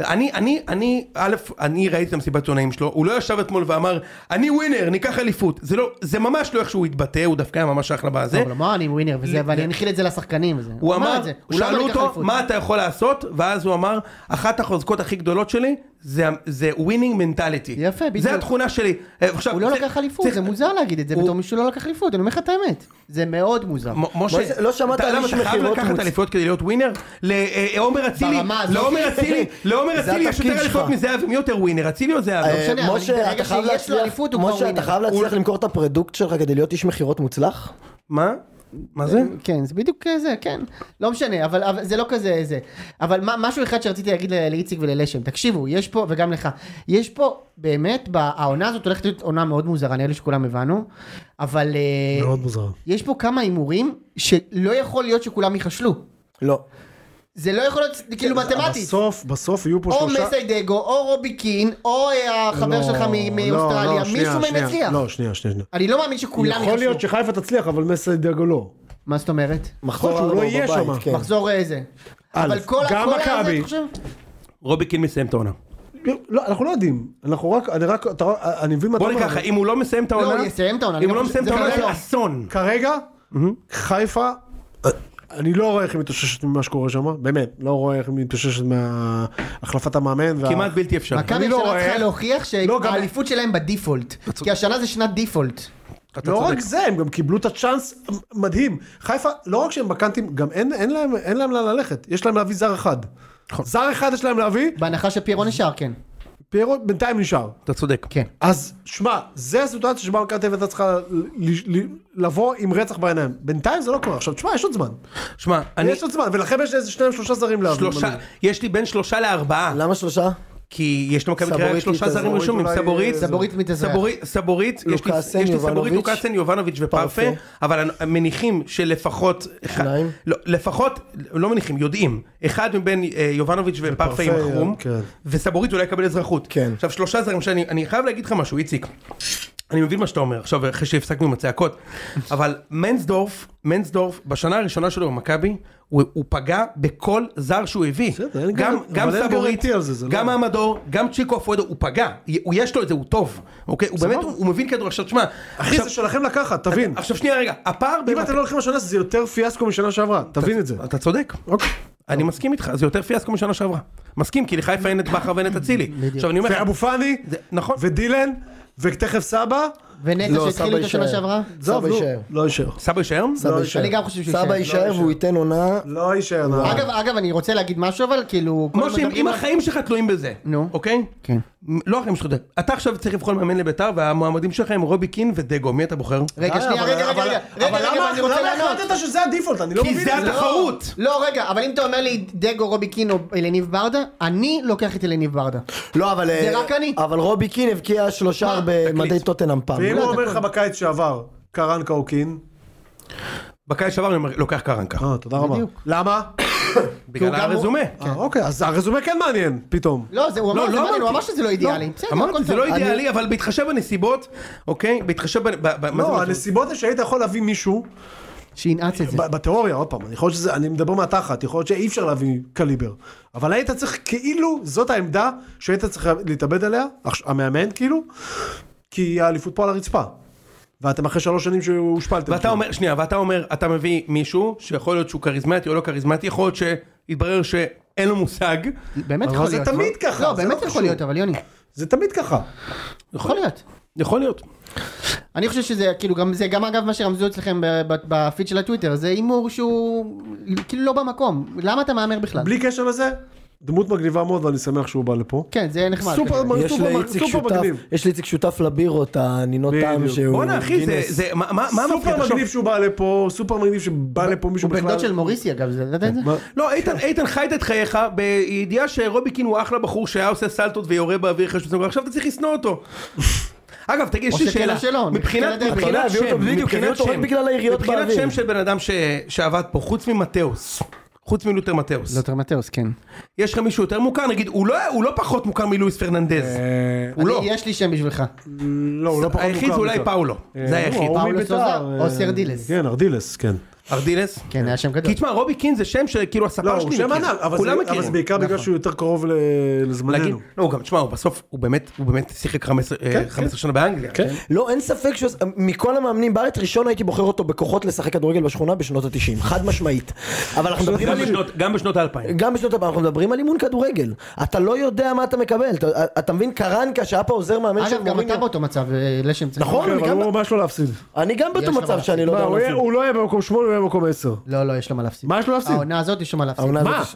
Speaker 1: אני, אני, אני, א', אני ראיתי את המסיבת עיתונאים שלו, הוא לא ישב אתמול ואמר, אני ווינר, ניקח אליפות. זה לא, זה ממש לא איך שהוא התבטא, הוא דווקא היה ממש אחלה בזה.
Speaker 4: אבל אמר אני ווינר וזה, ואני אנחיל את זה לשחקנים וזה.
Speaker 1: הוא אמר,
Speaker 4: את זה. הוא לא אמר
Speaker 1: שאלו
Speaker 4: לקח
Speaker 1: אותו,
Speaker 4: אליפות.
Speaker 1: מה אתה יכול לעשות? ואז הוא אמר, אחת החוזקות הכי גדולות שלי, זה- זה ווינינג מנטליטי.
Speaker 4: יפה,
Speaker 1: זה
Speaker 4: בדיוק.
Speaker 1: התכונה שלי. אה, עכשיו,
Speaker 4: הוא לא
Speaker 1: צריך-
Speaker 4: לקח אליפות,
Speaker 1: צריך-
Speaker 4: זה מוזר להגיד את זה
Speaker 1: הוא-
Speaker 4: בתור מישהו לא לקח אליפות, אני אומר לך את האמת. זה מאוד מוזר.
Speaker 1: מ- משה,
Speaker 2: משה, לא שמעת
Speaker 1: אתה-
Speaker 2: על
Speaker 1: למה
Speaker 2: איש
Speaker 1: אתה חייב
Speaker 2: מכירות
Speaker 1: לקחת
Speaker 2: מוצ-
Speaker 1: אליפויות כדי להיות ווינר? לעומר אצילי,
Speaker 4: ברמה הזאת.
Speaker 1: לעומר
Speaker 2: <laughs>
Speaker 1: אצילי, לעומר
Speaker 2: זה
Speaker 1: אצילי יש יותר
Speaker 2: התפקיד
Speaker 1: אליפויות
Speaker 2: שלך.
Speaker 1: מזהבי, מי יותר ווינר? אצילי או זהבי?
Speaker 2: אה,
Speaker 4: משנה, אבל ברגע
Speaker 2: משה, אתה חייב
Speaker 4: שיש לו
Speaker 2: להצליח-
Speaker 4: אליפות, הוא כבר
Speaker 2: משה,
Speaker 4: ווינר.
Speaker 2: אתה חייב להצליח למכור את הפרדוקט שלך כדי להיות איש מכירות מוצלח?
Speaker 1: מה? מה
Speaker 2: אה,
Speaker 1: זה?
Speaker 4: כן, זה בדיוק זה, כן. לא משנה, אבל, אבל זה לא כזה זה. אבל מה, משהו אחד שרציתי להגיד ל- לאיציק וללשם, תקשיבו, יש פה, וגם לך, יש פה, באמת, ב- העונה הזאת הולכת להיות עונה מאוד מוזרה, נראה לי שכולם הבנו, אבל... אה,
Speaker 9: מאוד מוזר.
Speaker 4: יש פה כמה הימורים שלא יכול להיות שכולם ייכשלו.
Speaker 2: לא.
Speaker 4: זה לא יכול להיות, כאילו
Speaker 9: כן,
Speaker 4: מתמטית.
Speaker 9: בסוף, בסוף יהיו פה
Speaker 4: או
Speaker 9: שלושה...
Speaker 4: מסיידגו, או רובי קין, או אה, החבר
Speaker 9: לא,
Speaker 4: שלך מ-
Speaker 9: לא,
Speaker 4: מאוסטרליה,
Speaker 9: לא, שנייה,
Speaker 4: מישהו מהם
Speaker 9: שנייה.
Speaker 4: יצליח.
Speaker 9: לא, שנייה, שנייה. שנייה.
Speaker 4: אני לא מאמין שכולם
Speaker 3: יכול להיות
Speaker 4: ייכשלו.
Speaker 3: שחיפה תצליח, אבל מסי דגו לא.
Speaker 4: מה זאת אומרת?
Speaker 2: מחזור
Speaker 9: שהוא לא
Speaker 2: ארבע
Speaker 9: יהיה
Speaker 2: בבית,
Speaker 9: שמה.
Speaker 2: כן.
Speaker 4: מחזור אה, זה. אבל כל
Speaker 3: גם
Speaker 4: כל הזה,
Speaker 3: מכבי.
Speaker 4: אתה חושב?
Speaker 1: רובי קין מסיים את העונה.
Speaker 9: כן.
Speaker 3: לא, אנחנו לא יודעים. אנחנו רק, אני רק, אתה רואה, אני מבין מה אתה
Speaker 1: בוא
Speaker 3: אומר.
Speaker 1: נגיד ככה,
Speaker 3: אבל-
Speaker 1: אם הוא לא מסיים את העונה,
Speaker 4: הוא יסיים את העונה,
Speaker 1: אם
Speaker 4: אני
Speaker 1: הוא לא
Speaker 4: גם
Speaker 1: מסיים את
Speaker 4: חושב-
Speaker 1: העונה
Speaker 4: זה
Speaker 1: זה
Speaker 4: כרגע-
Speaker 1: אסון.
Speaker 3: כרגע, חיפה, אני לא רואה איך היא מתאוששת ממה שקורה שם, באמת, לא רואה איך היא מתאוששת מהחלפת המאמן. וה-
Speaker 1: כמעט בלתי אפשר.
Speaker 4: אה. מכבי
Speaker 3: אני לא
Speaker 4: השנה
Speaker 3: רואה.
Speaker 4: צריכה להוכיח
Speaker 3: לא, גם-
Speaker 4: שהאליפות שלהם בדיפולט. כי השנה זה שנת דיפולט.
Speaker 1: אתה
Speaker 3: לא
Speaker 1: צודק.
Speaker 3: רק זה, הם גם קיבלו את הצ'אנס מדהים. חיפה, לא רק שהם בקאנטים, גם אין, אין, להם, אין להם לאן ללכת, יש להם להביא זר אחד.
Speaker 1: נכון.
Speaker 3: זר אחד יש להם להביא,
Speaker 4: בהנחה שפיירו נשאר, כן.
Speaker 3: פיירו בינתיים נשאר.
Speaker 1: אתה צודק.
Speaker 4: כן.
Speaker 3: אז שמע, זה הסיטואציה שבה מכבי תל אביב הייתה צריכה ל- ל- לבוא עם רצח בעיניים. בינתיים זה לא קורה. עכשיו, תשמע, יש עוד זמן.
Speaker 1: שמע, אני
Speaker 3: יש עוד זמן, ולכם יש איזה שניים שלושה זרים להביא.
Speaker 1: שלושה,
Speaker 3: מנוי.
Speaker 1: יש לי בין שלושה לארבעה.
Speaker 4: לא,
Speaker 2: למה שלושה?
Speaker 1: כי יש למכבי
Speaker 2: סבורית
Speaker 1: קריית שלושה
Speaker 2: מתאזרח.
Speaker 1: זרים ראשונים,
Speaker 3: אולי- אה,
Speaker 1: סבורית,
Speaker 4: סבורית מתאזרח.
Speaker 1: סבורית, סבורית, יש לי-
Speaker 2: לוקאסן,
Speaker 1: יש לי סבורית,
Speaker 2: יובנוביץ',
Speaker 1: לוקאסן, יובנוביץ' ופרפה,
Speaker 2: פרפה.
Speaker 1: אבל מניחים שלפחות, אחד-
Speaker 2: שניים.
Speaker 1: לא, לפחות, לא מניחים, יודעים, אחד מבין אה, יובנוביץ' ופרפה עם
Speaker 3: ופרפה,
Speaker 1: חרום,
Speaker 3: כן.
Speaker 1: וסבורית אולי יקבל אזרחות.
Speaker 2: כן.
Speaker 1: עכשיו שלושה זרים שאני אני חייב להגיד לך משהו, איציק. אני מבין מה שאתה אומר עכשיו אחרי שהפסקנו עם
Speaker 3: <laughs>
Speaker 1: הצעקות אבל מנסדורף מנסדורף בשנה הראשונה שלו במכבי הוא, הוא פגע בכל זר שהוא הביא
Speaker 3: בסדר, אין
Speaker 1: גם,
Speaker 3: גר-
Speaker 1: גם
Speaker 3: אבל אין
Speaker 1: סבורית
Speaker 3: גרנטי על זה, זה לא-
Speaker 1: גם המדור גם צ'יקו אפואדו הוא פגע הוא יש לו את זה הוא טוב אוקיי הוא באמת הוא, הוא מבין כדור עכשיו תשמע
Speaker 3: אחי
Speaker 1: עכשיו,
Speaker 3: זה שלכם לקחת, תבין.
Speaker 1: עכשיו שנייה רגע הפער
Speaker 3: אם
Speaker 1: במכ-
Speaker 3: אתם לא הולכים לשנה זה יותר פיאסקו משנה שעברה, תבין את זה.
Speaker 1: אתה צודק. אני מסכים איתך, זה יותר פיאסקו משנה שעברה. מסכים, כי לחיפה אין את בכר ואין את אצילי. עכשיו אני אומר לך,
Speaker 3: ואבו פאני,
Speaker 1: זה- נכון.
Speaker 3: ודילן, ותכף סבא,
Speaker 4: ונטע
Speaker 2: לא,
Speaker 4: שהתחיל
Speaker 2: סבא
Speaker 4: איתו שנה
Speaker 2: יישאר.
Speaker 4: שעברה?
Speaker 3: זהו,
Speaker 2: סבא
Speaker 3: נו,
Speaker 2: יישאר.
Speaker 3: לא יישאר.
Speaker 1: סבא יישאר?
Speaker 2: סבא יישאר.
Speaker 4: אני גם חושב לא, שהוא
Speaker 2: לא, סבא
Speaker 4: יישאר.
Speaker 2: יישאר והוא ייתן עונה.
Speaker 3: לא יישאר, נראה.
Speaker 4: אגב, אגב, אני רוצה להגיד משהו, אבל כאילו... כל הזמן
Speaker 1: משה, אם-
Speaker 4: מדברים
Speaker 1: אם
Speaker 4: על-
Speaker 1: החיים שלך תלויים בזה,
Speaker 4: נו.
Speaker 1: אוקיי?
Speaker 4: כן.
Speaker 1: מ- לא החיים שלך, תלויים. אתה עכשיו צריך לבחור מאמן לביתר, והמועמדים שלך הם רובי קין ודגו, מי אתה בוחר?
Speaker 4: רגע, שנייה,
Speaker 3: אה, אבל-
Speaker 4: רגע, רגע,
Speaker 3: אבל-
Speaker 4: רגע, רגע,
Speaker 3: אבל
Speaker 4: רגע,
Speaker 3: למה- לא
Speaker 4: אבל אני רוצה
Speaker 3: למה
Speaker 4: לענות.
Speaker 3: החלטת שזה הדיפולט? אני לא
Speaker 1: כי
Speaker 3: מבין
Speaker 1: זה
Speaker 3: את זה.
Speaker 1: התחרות!
Speaker 4: לא, רגע, אבל אם אתה אומר לי דגו, רובי קין או אלניב ברדה, אני לוקח את אלניב ברדה.
Speaker 2: לא, אבל...
Speaker 4: זה
Speaker 2: אה,
Speaker 4: רק אני.
Speaker 2: אבל רובי קין הבקיע שלושה במדי טוטנאם פעם.
Speaker 3: ואם
Speaker 2: לא,
Speaker 3: הוא אומר לך בקיץ שעבר, קרנקה או קין?
Speaker 1: בקיץ שעבר אני אומר, לוקח קרנקה.
Speaker 3: אה, תודה רבה. למה?
Speaker 1: בגלל
Speaker 4: גם הוא-
Speaker 1: הרזומה.
Speaker 3: אה, אוקיי, אז הרזומה כן מעניין, פתאום.
Speaker 4: לא, זה- הוא אמר
Speaker 1: לא,
Speaker 4: את זה,
Speaker 1: לא
Speaker 4: מעניין, הוא
Speaker 1: אמרתי.
Speaker 4: אמר שזה לא אידיאלי. בסדר, הכל
Speaker 1: אמרתי, זה
Speaker 4: טוב.
Speaker 1: לא אידיאלי, אבל בהתחשב בנסיבות, אוקיי? בהתחשב ב... ב- ב- מה זה
Speaker 3: לא,
Speaker 1: מה-
Speaker 3: הנסיבות הן שהיית יכול להביא מישהו,
Speaker 4: שינעץ את זה.
Speaker 3: ב- בתיאוריה, עוד פעם, יכול להיות שזה, אני מדבר מהתחת, יכול להיות שאי אפשר להביא קליבר, אבל היית צריך, כאילו, זאת העמדה שהיית צריך להתאבד עליה, הכש- המאמן כאילו, כי האליפות פה על הרצפה. ואתם אחרי שלוש שנים שהושפלתם.
Speaker 1: ואתה
Speaker 3: שם.
Speaker 1: אומר, שנייה, ואתה אומר, אתה מביא מישהו שיכול להיות שהוא כריזמטי או לא כריזמטי, יכול להיות שיתברר שאין לו מושג,
Speaker 4: באמת
Speaker 3: אבל
Speaker 4: יכול
Speaker 3: זה
Speaker 4: להיות.
Speaker 3: תמיד
Speaker 4: מה?
Speaker 3: ככה,
Speaker 4: לא,
Speaker 3: זה
Speaker 4: באמת
Speaker 3: לא
Speaker 4: יכול
Speaker 3: קשור.
Speaker 4: להיות, אבל יוני.
Speaker 3: זה תמיד ככה.
Speaker 4: יכול להיות.
Speaker 1: יכול להיות.
Speaker 4: אני חושב שזה כאילו גם זה גם אגב מה שרמזו אצלכם ב- ב- בפיד של הטוויטר זה הימור שהוא כאילו לא במקום למה אתה מהמר בכלל?
Speaker 3: בלי קשר לזה, דמות מגניבה מאוד ואני שמח שהוא בא לפה.
Speaker 4: כן זה נחמד.
Speaker 3: סופר
Speaker 4: כנראה.
Speaker 2: יש
Speaker 3: סופר-
Speaker 2: לאיציק
Speaker 3: סופר
Speaker 2: שותף,
Speaker 3: מגניב.
Speaker 2: יש לאיציק שותף לבירות, הנינות טעם
Speaker 3: בדיוק.
Speaker 2: שהוא...
Speaker 1: בואנה אחי, זה-
Speaker 2: גינס.
Speaker 1: זה, מה- מה מה מפחיד?
Speaker 3: סופר
Speaker 1: עכשיו,
Speaker 3: מגניב שהוא בא לפה, סופר מגניב שבא לפה מישהו
Speaker 4: הוא
Speaker 3: בכלל.
Speaker 4: בן דוד של מוריסי אגב זה ידעת את זה?
Speaker 3: מה?
Speaker 1: לא, איתן, איתן חיית את חייך בידיעה שרובי קין הוא אחלה בחור שהיה עושה סלטות ויורה באוויר אחרי שהוא עכשיו אתה צריך לשנוא אותו. אגב, תגיד, יש
Speaker 4: או
Speaker 1: לי
Speaker 4: שכן
Speaker 1: שאלה.
Speaker 4: או שלא,
Speaker 1: מבחינת
Speaker 4: מבחינת הדרך.
Speaker 2: אתה יודע,
Speaker 1: מבחינת
Speaker 2: הביאו אותו
Speaker 1: שם,
Speaker 2: בדיוק,
Speaker 1: מבחינת
Speaker 2: הביאו אותו רק
Speaker 1: שם,
Speaker 2: בגלל היריות
Speaker 1: מבחינת
Speaker 2: באוויר.
Speaker 1: שם של בן אדם ש- שעבד פה, חוץ ממטאוס, חוץ מלותר מטאוס,
Speaker 3: לא-
Speaker 4: לותר מטאוס כן.
Speaker 1: יש לך מישהו יותר מוכר? נגיד, הוא לא- הוא לא פחות מוכר מלואיס פרננדז. הוא
Speaker 4: אני-
Speaker 1: לא.
Speaker 4: יש לי שם בשבילך.
Speaker 3: לא, אה, הוא לא פחות מוכר. אה,
Speaker 1: היחיד זה אולי
Speaker 3: מכאן.
Speaker 1: פאולו, זה היחיד.
Speaker 3: הוא
Speaker 4: פאולו
Speaker 3: מביתר,
Speaker 4: סוזה או
Speaker 3: אה,
Speaker 4: סרדילס.
Speaker 3: כן, ארדילס, כן.
Speaker 1: ארדילס?
Speaker 4: כן היה שם גדול.
Speaker 1: כי תשמע, רובי קין זה שם שכאילו
Speaker 3: לא,
Speaker 1: הספר
Speaker 3: הוא
Speaker 1: שלי
Speaker 3: שם
Speaker 1: מכיר.
Speaker 3: ענק,
Speaker 4: כן.
Speaker 3: אבל זה-
Speaker 1: כולם
Speaker 3: אבל זה
Speaker 1: מכירים.
Speaker 3: בעיקר בגלל שהוא יותר קרוב ל-
Speaker 1: להגיד,
Speaker 3: לזמננו.
Speaker 1: לא, הוא גם, תשמע, הוא בסוף, הוא באמת, הוא באמת שיחק 15 אה, 15 שנה באנגליה.
Speaker 2: לא, אין ספק שהוא... מכל המאמנים בארץ, ראשון הייתי בוחר אותו בכוחות לשחק כדורגל בשכונה בשנות ה-90, חד משמעית. אבל אנחנו מדברים
Speaker 1: גם
Speaker 2: על...
Speaker 1: בשנות- גם בשנות האלפיים.
Speaker 2: גם בשנות הבא, אנחנו מדברים על אימון כדורגל. אתה לא יודע מה אתה מקבל. אתה, אתה מבין, קרנקה שהיה פה עוזר מאמן
Speaker 4: אגב גם אתה באותו מצב אה, לשם צדיק.
Speaker 2: נכון,
Speaker 3: כן,
Speaker 2: אני
Speaker 3: אבל
Speaker 2: גם-
Speaker 3: הוא ממש לא להפסיד.
Speaker 2: אני גם באותו
Speaker 4: יש לך
Speaker 2: מצב
Speaker 4: מה
Speaker 2: שאני לא
Speaker 3: מה,
Speaker 2: יודע
Speaker 3: הוא
Speaker 2: מה
Speaker 3: יהיה-
Speaker 2: זה.
Speaker 3: הוא לא יהיה במקום שמונה, הוא יהיה במקום עשר.
Speaker 4: לא לא יש לו מה להפסיד.
Speaker 3: מה יש לו להפסיד?
Speaker 4: העונה הזאת יש לו מה להפסיד.
Speaker 2: העונה
Speaker 3: מה?
Speaker 2: הזאת-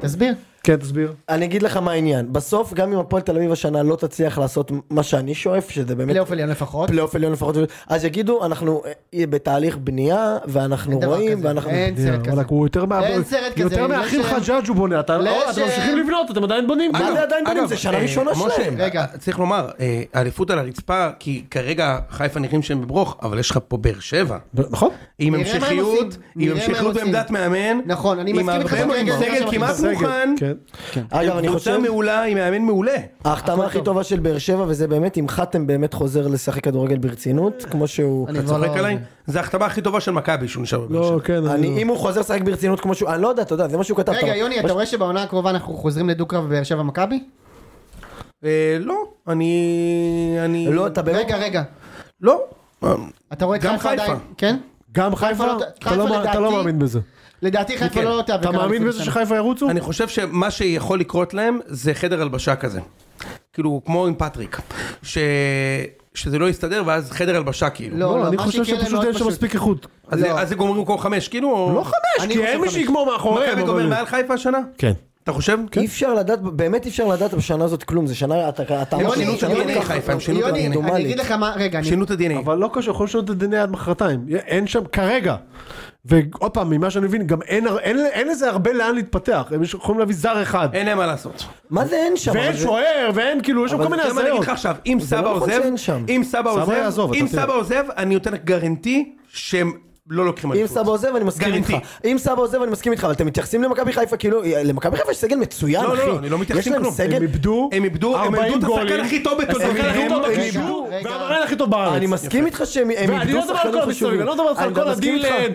Speaker 4: תסביר.
Speaker 3: כן, תסביר.
Speaker 2: אני אגיד לך מה העניין. בסוף, גם אם הפועל תל אביב השנה לא תצליח לעשות מה שאני שואף, שזה באמת...
Speaker 4: פלייאוף עליון לפחות.
Speaker 2: פלייאוף עליון לפחות, אז יגידו, אנחנו אה, בתהליך בנייה, ואנחנו
Speaker 4: אין דבר
Speaker 2: רואים,
Speaker 4: כזה.
Speaker 2: ואנחנו...
Speaker 4: אין סרט
Speaker 3: וואלכ,
Speaker 4: כזה.
Speaker 3: הוא יותר מה-
Speaker 4: אין סרט כזה,
Speaker 3: יותר
Speaker 4: אני
Speaker 3: מהאחים
Speaker 4: לשם.
Speaker 3: חג'אג' הוא בונה. אתה
Speaker 4: לשם.
Speaker 3: או, אתם ממשיכים לבנות, אתם עדיין בונים.
Speaker 2: מה זה עדיין בונים? זה שנה
Speaker 1: אה,
Speaker 2: ראשונה
Speaker 1: משה,
Speaker 2: שלהם.
Speaker 4: רגע.
Speaker 1: אה, צריך לומר, אה, האליפות על הרצפה, כי כרגע חיפה נראים שהם בברוך, אבל יש לך פה באר שבע.
Speaker 3: נכון.
Speaker 1: עם
Speaker 4: נראה מה הם
Speaker 1: המשכיות,
Speaker 4: עושים,
Speaker 1: עם
Speaker 4: נראה מה הם
Speaker 1: המשכיות
Speaker 4: עושים.
Speaker 1: בעמדת מאמן.
Speaker 4: נכון, אני מסכים איתך
Speaker 1: עם הרבה מאוד
Speaker 4: שכרגע זה מה
Speaker 1: סגל
Speaker 4: שאנחנו
Speaker 1: כמעט
Speaker 4: עושים.
Speaker 1: מוכן.
Speaker 3: כן.
Speaker 2: אגב, אני
Speaker 1: קבוצה
Speaker 2: חושב...
Speaker 1: מעולה עם מאמן מעולה.
Speaker 2: ההחתמה הכי טובה של באר שבע, וזה באמת אם חתם באמת חוזר לשחק כדורגל ברצינות, כמו שהוא...
Speaker 4: אני
Speaker 1: אתה
Speaker 4: כבר
Speaker 1: צוחק
Speaker 4: לא-
Speaker 1: עליי? זה ההחתמה הכי טובה של מכבי שהוא נשאר בבאר שבע.
Speaker 3: לא, כן.
Speaker 2: אני,
Speaker 3: אני-
Speaker 2: אם הוא חוזר לשחק ברצינות כמו שהוא, אני לא יודע, אתה יודע, זה מה שהוא כתב.
Speaker 4: רגע
Speaker 2: אתה- לא-
Speaker 4: יוני אתה רואה שבעונה הקרובה אנחנו חוזרים לדו-קרב באר שבע מכבי?
Speaker 1: אה, לא, אני... אני...
Speaker 2: לא, אתה באמת...
Speaker 4: רגע רגע.
Speaker 1: לא. אה,
Speaker 4: אתה רואה את
Speaker 1: גם
Speaker 4: חיפה
Speaker 1: חיפה.
Speaker 4: עדיין? כן?
Speaker 3: גם חיפה?
Speaker 4: לא-
Speaker 3: אתה לא
Speaker 4: חיפה
Speaker 3: מא- אתה לא
Speaker 4: לדעתי-
Speaker 3: מאמין בזה.
Speaker 4: לדעתי חיפה
Speaker 1: כן.
Speaker 4: לא תיאבק.
Speaker 3: אתה
Speaker 4: על
Speaker 3: מאמין
Speaker 4: האליפות
Speaker 3: בזה
Speaker 4: השנה.
Speaker 3: שחיפה ירוצו?
Speaker 1: אני חושב שמה שיכול לקרות להם זה חדר הלבשה כזה. כאילו, כמו עם פטריק. ש... שזה לא יסתדר ואז חדר הלבשה כאילו.
Speaker 4: לא,
Speaker 3: לא,
Speaker 4: לא,
Speaker 3: אני
Speaker 4: מה
Speaker 3: חושב
Speaker 4: שיקרה להם
Speaker 3: שפשוט
Speaker 4: מאוד
Speaker 3: אין שם
Speaker 4: פשוט.
Speaker 3: מספיק איכות.
Speaker 1: אז, לא. אז זה גומרים כל חמש כאילו? או...
Speaker 3: לא חמש, כי אין מי שיגמור מאחוריהם.
Speaker 1: מכבי גומר
Speaker 3: אבל-
Speaker 1: מעל חיפה השנה?
Speaker 3: כן.
Speaker 1: אתה חושב?
Speaker 2: אי אפשר לדעת, באמת אי אפשר לדעת בשנה הזאת כלום, זה שנה, אתה אתה אמרת
Speaker 1: יוני,
Speaker 2: שזו
Speaker 1: שינו את
Speaker 2: שנה לא
Speaker 1: ה-DNA
Speaker 2: כל כך
Speaker 1: חיפה, הם שינו את
Speaker 4: יוני,
Speaker 1: ה-DNA.
Speaker 4: אני
Speaker 2: רנדומלית.
Speaker 1: כן.
Speaker 4: אגיד לך מה, רגע, אני-
Speaker 1: שינו את ה-DNA.
Speaker 3: אבל לא קשור, יכול לשנות את הדנ"א עד מחרתיים. אין שם כרגע. ועוד פעם, ממה שאני מבין, גם אין, הר- אין, אין לזה הרבה לאן להתפתח. הם יכולים להביא זר אחד.
Speaker 1: אין להם מה לעשות.
Speaker 2: מה זה אין שם?
Speaker 3: ואין
Speaker 2: אבל זה-
Speaker 3: שוער, ואין כאילו, יש שם
Speaker 2: אבל
Speaker 3: כל מיני
Speaker 1: תראה מה אני אגיד
Speaker 3: הזיות.
Speaker 1: לך עכשיו, אם
Speaker 2: זה לא
Speaker 1: סבא
Speaker 2: נכון
Speaker 1: עוזב,
Speaker 2: שאין שם.
Speaker 1: אם סבא
Speaker 3: סבא
Speaker 1: עוזב,
Speaker 3: יעזוב,
Speaker 1: אם
Speaker 3: אתה תראה.
Speaker 1: סבא עוזב, אני נותן לך גרנטי שהם לא לוקחים
Speaker 2: אם
Speaker 1: אליפות.
Speaker 2: סבא עוזב אני מסכים
Speaker 1: גרנטי.
Speaker 2: איתך, אם סבא עוזב אני מסכים איתך, אבל אתם מתייחסים למכבי חיפה כאילו, למכבי חיפה יש סגל מצוין
Speaker 1: לא,
Speaker 2: אחי,
Speaker 1: לא, לא, אני לא מתייחס
Speaker 2: יש להם
Speaker 1: לכלום.
Speaker 2: סגל-
Speaker 3: הם איבדו
Speaker 1: הם איבדו, הם
Speaker 3: 40
Speaker 1: איבדו את השחקן
Speaker 3: גולים.
Speaker 1: הכי טוב בתולדות.
Speaker 3: השחקן הכי טוב
Speaker 2: הם-
Speaker 3: בקישור,
Speaker 4: רגע.
Speaker 3: והמרן הכי טוב בארץ.
Speaker 2: אני מסכים איתך שהם הם
Speaker 3: ואני לא
Speaker 2: איבדו
Speaker 3: מדבר על כל
Speaker 2: שחקנים
Speaker 3: המסתובבים,
Speaker 2: חשובים,
Speaker 3: אני לא מדבר איתך על
Speaker 2: אני גם
Speaker 3: כל
Speaker 2: מסכים איתך.
Speaker 3: הדילן,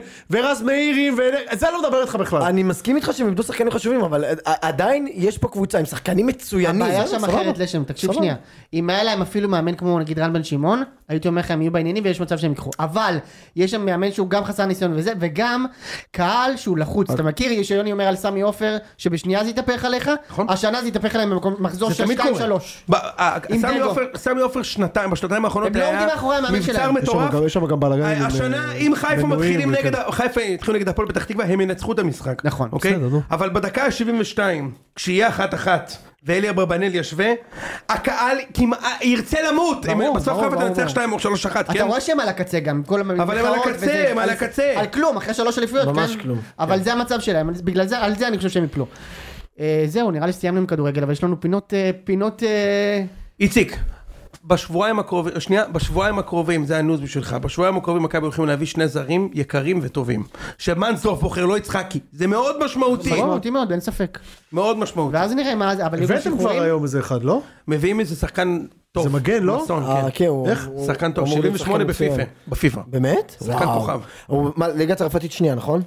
Speaker 3: ורז מאירים, ו- זה אני לא מדבר איתך בכלל.
Speaker 2: אני מסכים איתך שהם איבדו שחקנים חשובים, אבל ע- עדיין יש פה קבוצה עם שחקנים מצוינים.
Speaker 4: הבעיה
Speaker 2: זה
Speaker 4: שם
Speaker 2: סבבה.
Speaker 4: אחרת לשם, תקשיב
Speaker 2: סבבה.
Speaker 4: שנייה. אם היה להם אפילו מאמן כמו נגיד רן בן שמעון, הייתי אומר לך הם יהיו בעניינים ויש מצב שהם ייקחו. אבל, יש שם מאמן שהוא גם חסר ניסיון וזה, וגם קהל שהוא לחוץ. אתה מכיר שיוני אומר על סמי עופר, שבשנייה זה יתהפך עליך, השנה זה יתהפך עליהם במקום מחזור
Speaker 1: זה תמיד
Speaker 4: 6-2-3.
Speaker 1: קורה. ב- ה-
Speaker 4: עם
Speaker 1: סמי
Speaker 4: דגו.
Speaker 1: עופר- סמי עופר שנתיים, בשנתיים האחרונות
Speaker 4: הם לא עומדים מאחורי המאמן
Speaker 1: מבצר
Speaker 4: שלהם.
Speaker 3: יש שם
Speaker 1: מטורף.
Speaker 3: גם- יש שם גם בלאגן. עם,
Speaker 1: השנה
Speaker 3: אה,
Speaker 1: אם חיפה
Speaker 3: מנויים
Speaker 1: מתחילים
Speaker 3: וכאלה.
Speaker 1: נגד, ה- חיפה יתחילו נגד הפועל פתח תקווה, הם ינצחו את המשחק.
Speaker 4: נכון,
Speaker 1: אוקיי?
Speaker 3: בסדר, נו.
Speaker 1: אבל בדקה ה-72, כשיהיה אחת אחת. ואלי אברבנאל ישווה, הקהל כמעט ירצה למות, הם-
Speaker 4: ברור,
Speaker 1: בסוף
Speaker 4: ברור,
Speaker 1: חיפה
Speaker 4: ברור,
Speaker 1: תנצח
Speaker 4: ברור.
Speaker 1: 2 או 3-1,
Speaker 4: אתה
Speaker 1: כן?
Speaker 4: רואה שהם על הקצה גם, כל המחאות
Speaker 1: אבל הם על הקצה,
Speaker 4: וזה,
Speaker 1: הם על הקצה.
Speaker 4: על כלום, אחרי שלוש אליפויות,
Speaker 3: ממש
Speaker 4: כן?
Speaker 3: כלום,
Speaker 4: אבל זה המצב שלהם, אז בגלל זה, על זה אני חושב שהם יפלו. אה, זהו, נראה לי סיימנו עם כדורגל, אבל יש לנו פינות, אה, פינות... אה,
Speaker 1: איציק, בשבועיים הקרובים, שנייה, בשבועיים הקרובים, זה הניוז בשבילך, בשבועיים הקרובים מכבי הולכים להביא שני זרים יקרים וטובים. שמנסוף בוחר, לא יצחקי. זה מאוד משמעותי,
Speaker 4: סבבה, אותי מאוד, אין ספק.
Speaker 1: מאוד משמעותי.
Speaker 4: ואז נראה מה זה, אבל יהיו גם
Speaker 3: הבאתם כבר
Speaker 4: שחרורים.
Speaker 3: היום איזה אחד, לא?
Speaker 1: מביאים איזה שחקן טוב.
Speaker 3: זה מגן, לא?
Speaker 1: מסון,
Speaker 2: אה, כן, הוא-
Speaker 1: איך?
Speaker 2: הוא-
Speaker 1: שחקן טוב,
Speaker 2: אמור להיות
Speaker 1: 78
Speaker 2: שחקן
Speaker 1: בפיפא.
Speaker 2: מצוין.
Speaker 1: בפיפא.
Speaker 2: באמת?
Speaker 1: שחקן
Speaker 2: וואו.
Speaker 1: כוכב. כן.
Speaker 2: הוא- מה, ליגה צרפתית שנייה נכון?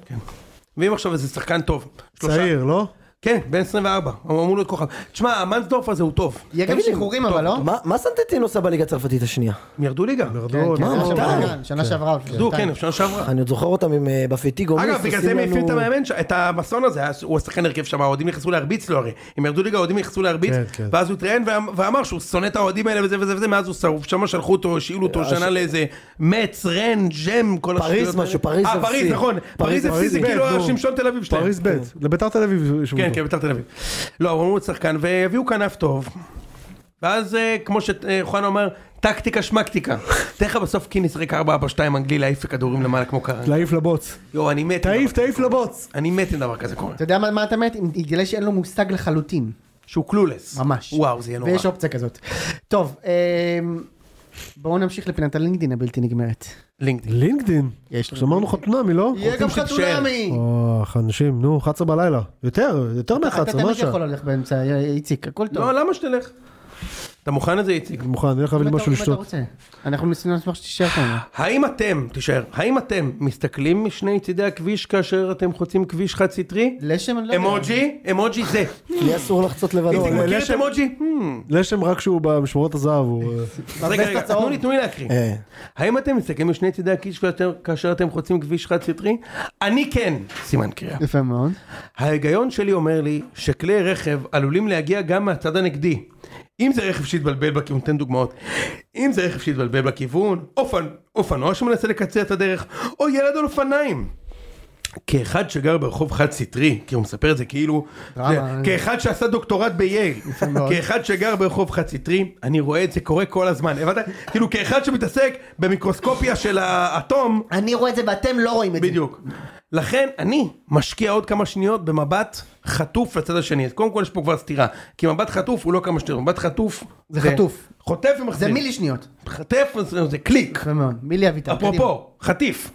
Speaker 1: מביאים עכשיו איזה שחקן טוב. שלושה-
Speaker 3: צעיר, לא?
Speaker 1: כן, בן 24. הוא אמור להיות כוכב. תשמע, המנסדורף הזה הוא טוב.
Speaker 4: יהיה גם
Speaker 2: תגיד לי,
Speaker 4: שחרורים אבל לא?
Speaker 2: מה- מה סנטטין עושה בליגה הצרפתית השנייה?
Speaker 1: הם ירדו ליגה. הם
Speaker 4: כן, כן,
Speaker 2: מה,
Speaker 3: אה,
Speaker 4: שנה
Speaker 2: מה,
Speaker 4: שעברה,
Speaker 2: די.
Speaker 4: כן, שנה שעברה. או
Speaker 1: ירדו,
Speaker 4: שנתיים.
Speaker 1: כן, שנה שעברה.
Speaker 2: אני עוד זוכר אותם עם אה, בפטיגו מיס,
Speaker 1: אגב, בגלל
Speaker 2: עושים
Speaker 1: זה הם העיפו את
Speaker 2: לנו-
Speaker 1: המאמן, ש- את המסון הזה, היה- הוא השחקן הרכב שם, האוהדים נכנסו להרביץ לו הרי. הם ירדו ליגה, האוהדים נכנסו להרביץ,
Speaker 3: כן, כן.
Speaker 1: ואז הוא התראיין ואמ- ואמר שהוא שונא את האוהדים האלה וזה וזה וזה, מאז הוא שרוף, שם שלחו אותו, השאילו אותו שנה לאיזה מצ, רן, ג'ם, כל
Speaker 2: אה, פריז
Speaker 1: השטויות האלה.
Speaker 2: משהו, פריז
Speaker 1: אה, פריז,
Speaker 2: אפסי.
Speaker 1: נכון. פריז אפסי זה
Speaker 3: פריז,
Speaker 1: כאילו
Speaker 3: נו.
Speaker 1: השמשון תל אביב שלהם.
Speaker 3: פריז ב',
Speaker 4: כן.
Speaker 3: לביתר תל אביב. ישבו
Speaker 1: כן,
Speaker 3: אותו.
Speaker 1: כן, ביתר תל אביב. לא, אבל אמרו שחקן, והביאו כנף טוב. ואז אה, כמו שחואנה אומר, טקטיקה שמקטיקה. תאר לך בסוף קיניס ריק 4-4-2 אנגלי להעיף כדורים למעלה כמו קרן.
Speaker 3: להעיף לבוץ.
Speaker 1: יואו, אני מת. עם דבר
Speaker 3: תעיף,
Speaker 1: כזה
Speaker 3: תעיף
Speaker 1: קורה.
Speaker 3: לבוץ.
Speaker 1: אני מת אם דבר כזה קורה.
Speaker 4: אתה יודע מה- מה אתה מת? אם יגלה שאין לו מושג לחלוטין.
Speaker 1: שהוא קלולס.
Speaker 4: ממש.
Speaker 1: וואו, זה יהיה נורא.
Speaker 4: ויש אופציה כזאת. טוב, אמ, בואו נמשיך לפינת הלינקדאין הבלתי נגמרת.
Speaker 1: לינקדאין.
Speaker 3: לינקדין.
Speaker 4: יש לנו.
Speaker 3: אז אמרנו חתונמי, לא?
Speaker 4: יהיה גם
Speaker 1: רוצים שתישאר.
Speaker 4: חתונמי!
Speaker 3: אוח, אנשים, נו, 11 בלילה. יותר, יותר
Speaker 4: אתה
Speaker 3: מ-11, מה
Speaker 4: תמיד
Speaker 3: השעה?
Speaker 4: יכול ללכת באמצע, אה, איציק, הכל טוב.
Speaker 1: לא, למה שתלך? אתה מוכן לזה, איציק?
Speaker 3: אני מוכן, אני הולך להביא לי
Speaker 4: אם אתה-
Speaker 3: משהו
Speaker 4: אם אתה
Speaker 3: לשתות.
Speaker 4: רוצה. אנחנו ניסינו לשמח שתישאר כאן.
Speaker 1: האם אתם, תישאר, האם אתם מסתכלים משני צידי הכביש כאשר אתם חוצים כביש חד סטרי?
Speaker 4: לשם אני לא יודע. לא,
Speaker 1: אמוג'י? אמוג'י זה.
Speaker 2: לי אסור לחצות אה, לבד.
Speaker 1: איציק
Speaker 2: אבל-
Speaker 1: מכיר את אמוג'י? Hmm.
Speaker 3: לשם רק שהוא במשמרות הזהב, הוא... אה,
Speaker 1: אז רגע, רגע,
Speaker 4: הצהוב.
Speaker 1: תנו לי, תנו לי להקריא.
Speaker 2: אה.
Speaker 1: האם אתם מסתכלים משני צידי הכביש כאשר- כאשר אתם חוצים כביש חד סטרי? אני כן. סימן קריאה.
Speaker 4: יפה מאוד.
Speaker 1: ההיגיון שלי אומר לי שכלי רכב עלולים להגיע גם מהצד הנגדי. אם זה רכב שהתבלבל בכיוון, תן דוגמאות. אם זה רכב שהתבלבל בכיוון, אופן, אופנוע שמנסה לקצר את הדרך, או ילד על אופניים. כאחד שגר ברחוב חד סטרי, כי הוא מספר את זה כאילו, זה,
Speaker 4: דרמה.
Speaker 1: כאחד שעשה דוקטורט בייל,
Speaker 4: מאוד.
Speaker 1: כאחד שגר ברחוב חד סטרי, אני רואה את זה קורה כל הזמן, הבנת? כאילו כאחד שמתעסק במיקרוסקופיה של האטום,
Speaker 4: אני רואה את זה ואתם לא רואים את זה.
Speaker 1: בדיוק. לכן אני משקיע עוד כמה שניות במבט חטוף לצד השני. אז קודם כל יש פה כבר סתירה. כי מבט חטוף הוא לא כמה שניות, מבט חטוף
Speaker 4: זה חטוף.
Speaker 1: חוטף
Speaker 4: זה
Speaker 1: ומחזיר.
Speaker 4: מילי שניות.
Speaker 1: חטף ומחזיר, זה קליק.
Speaker 4: יפה מאוד. מילי אביטל. קדימה.
Speaker 1: אפרופו, חטיף.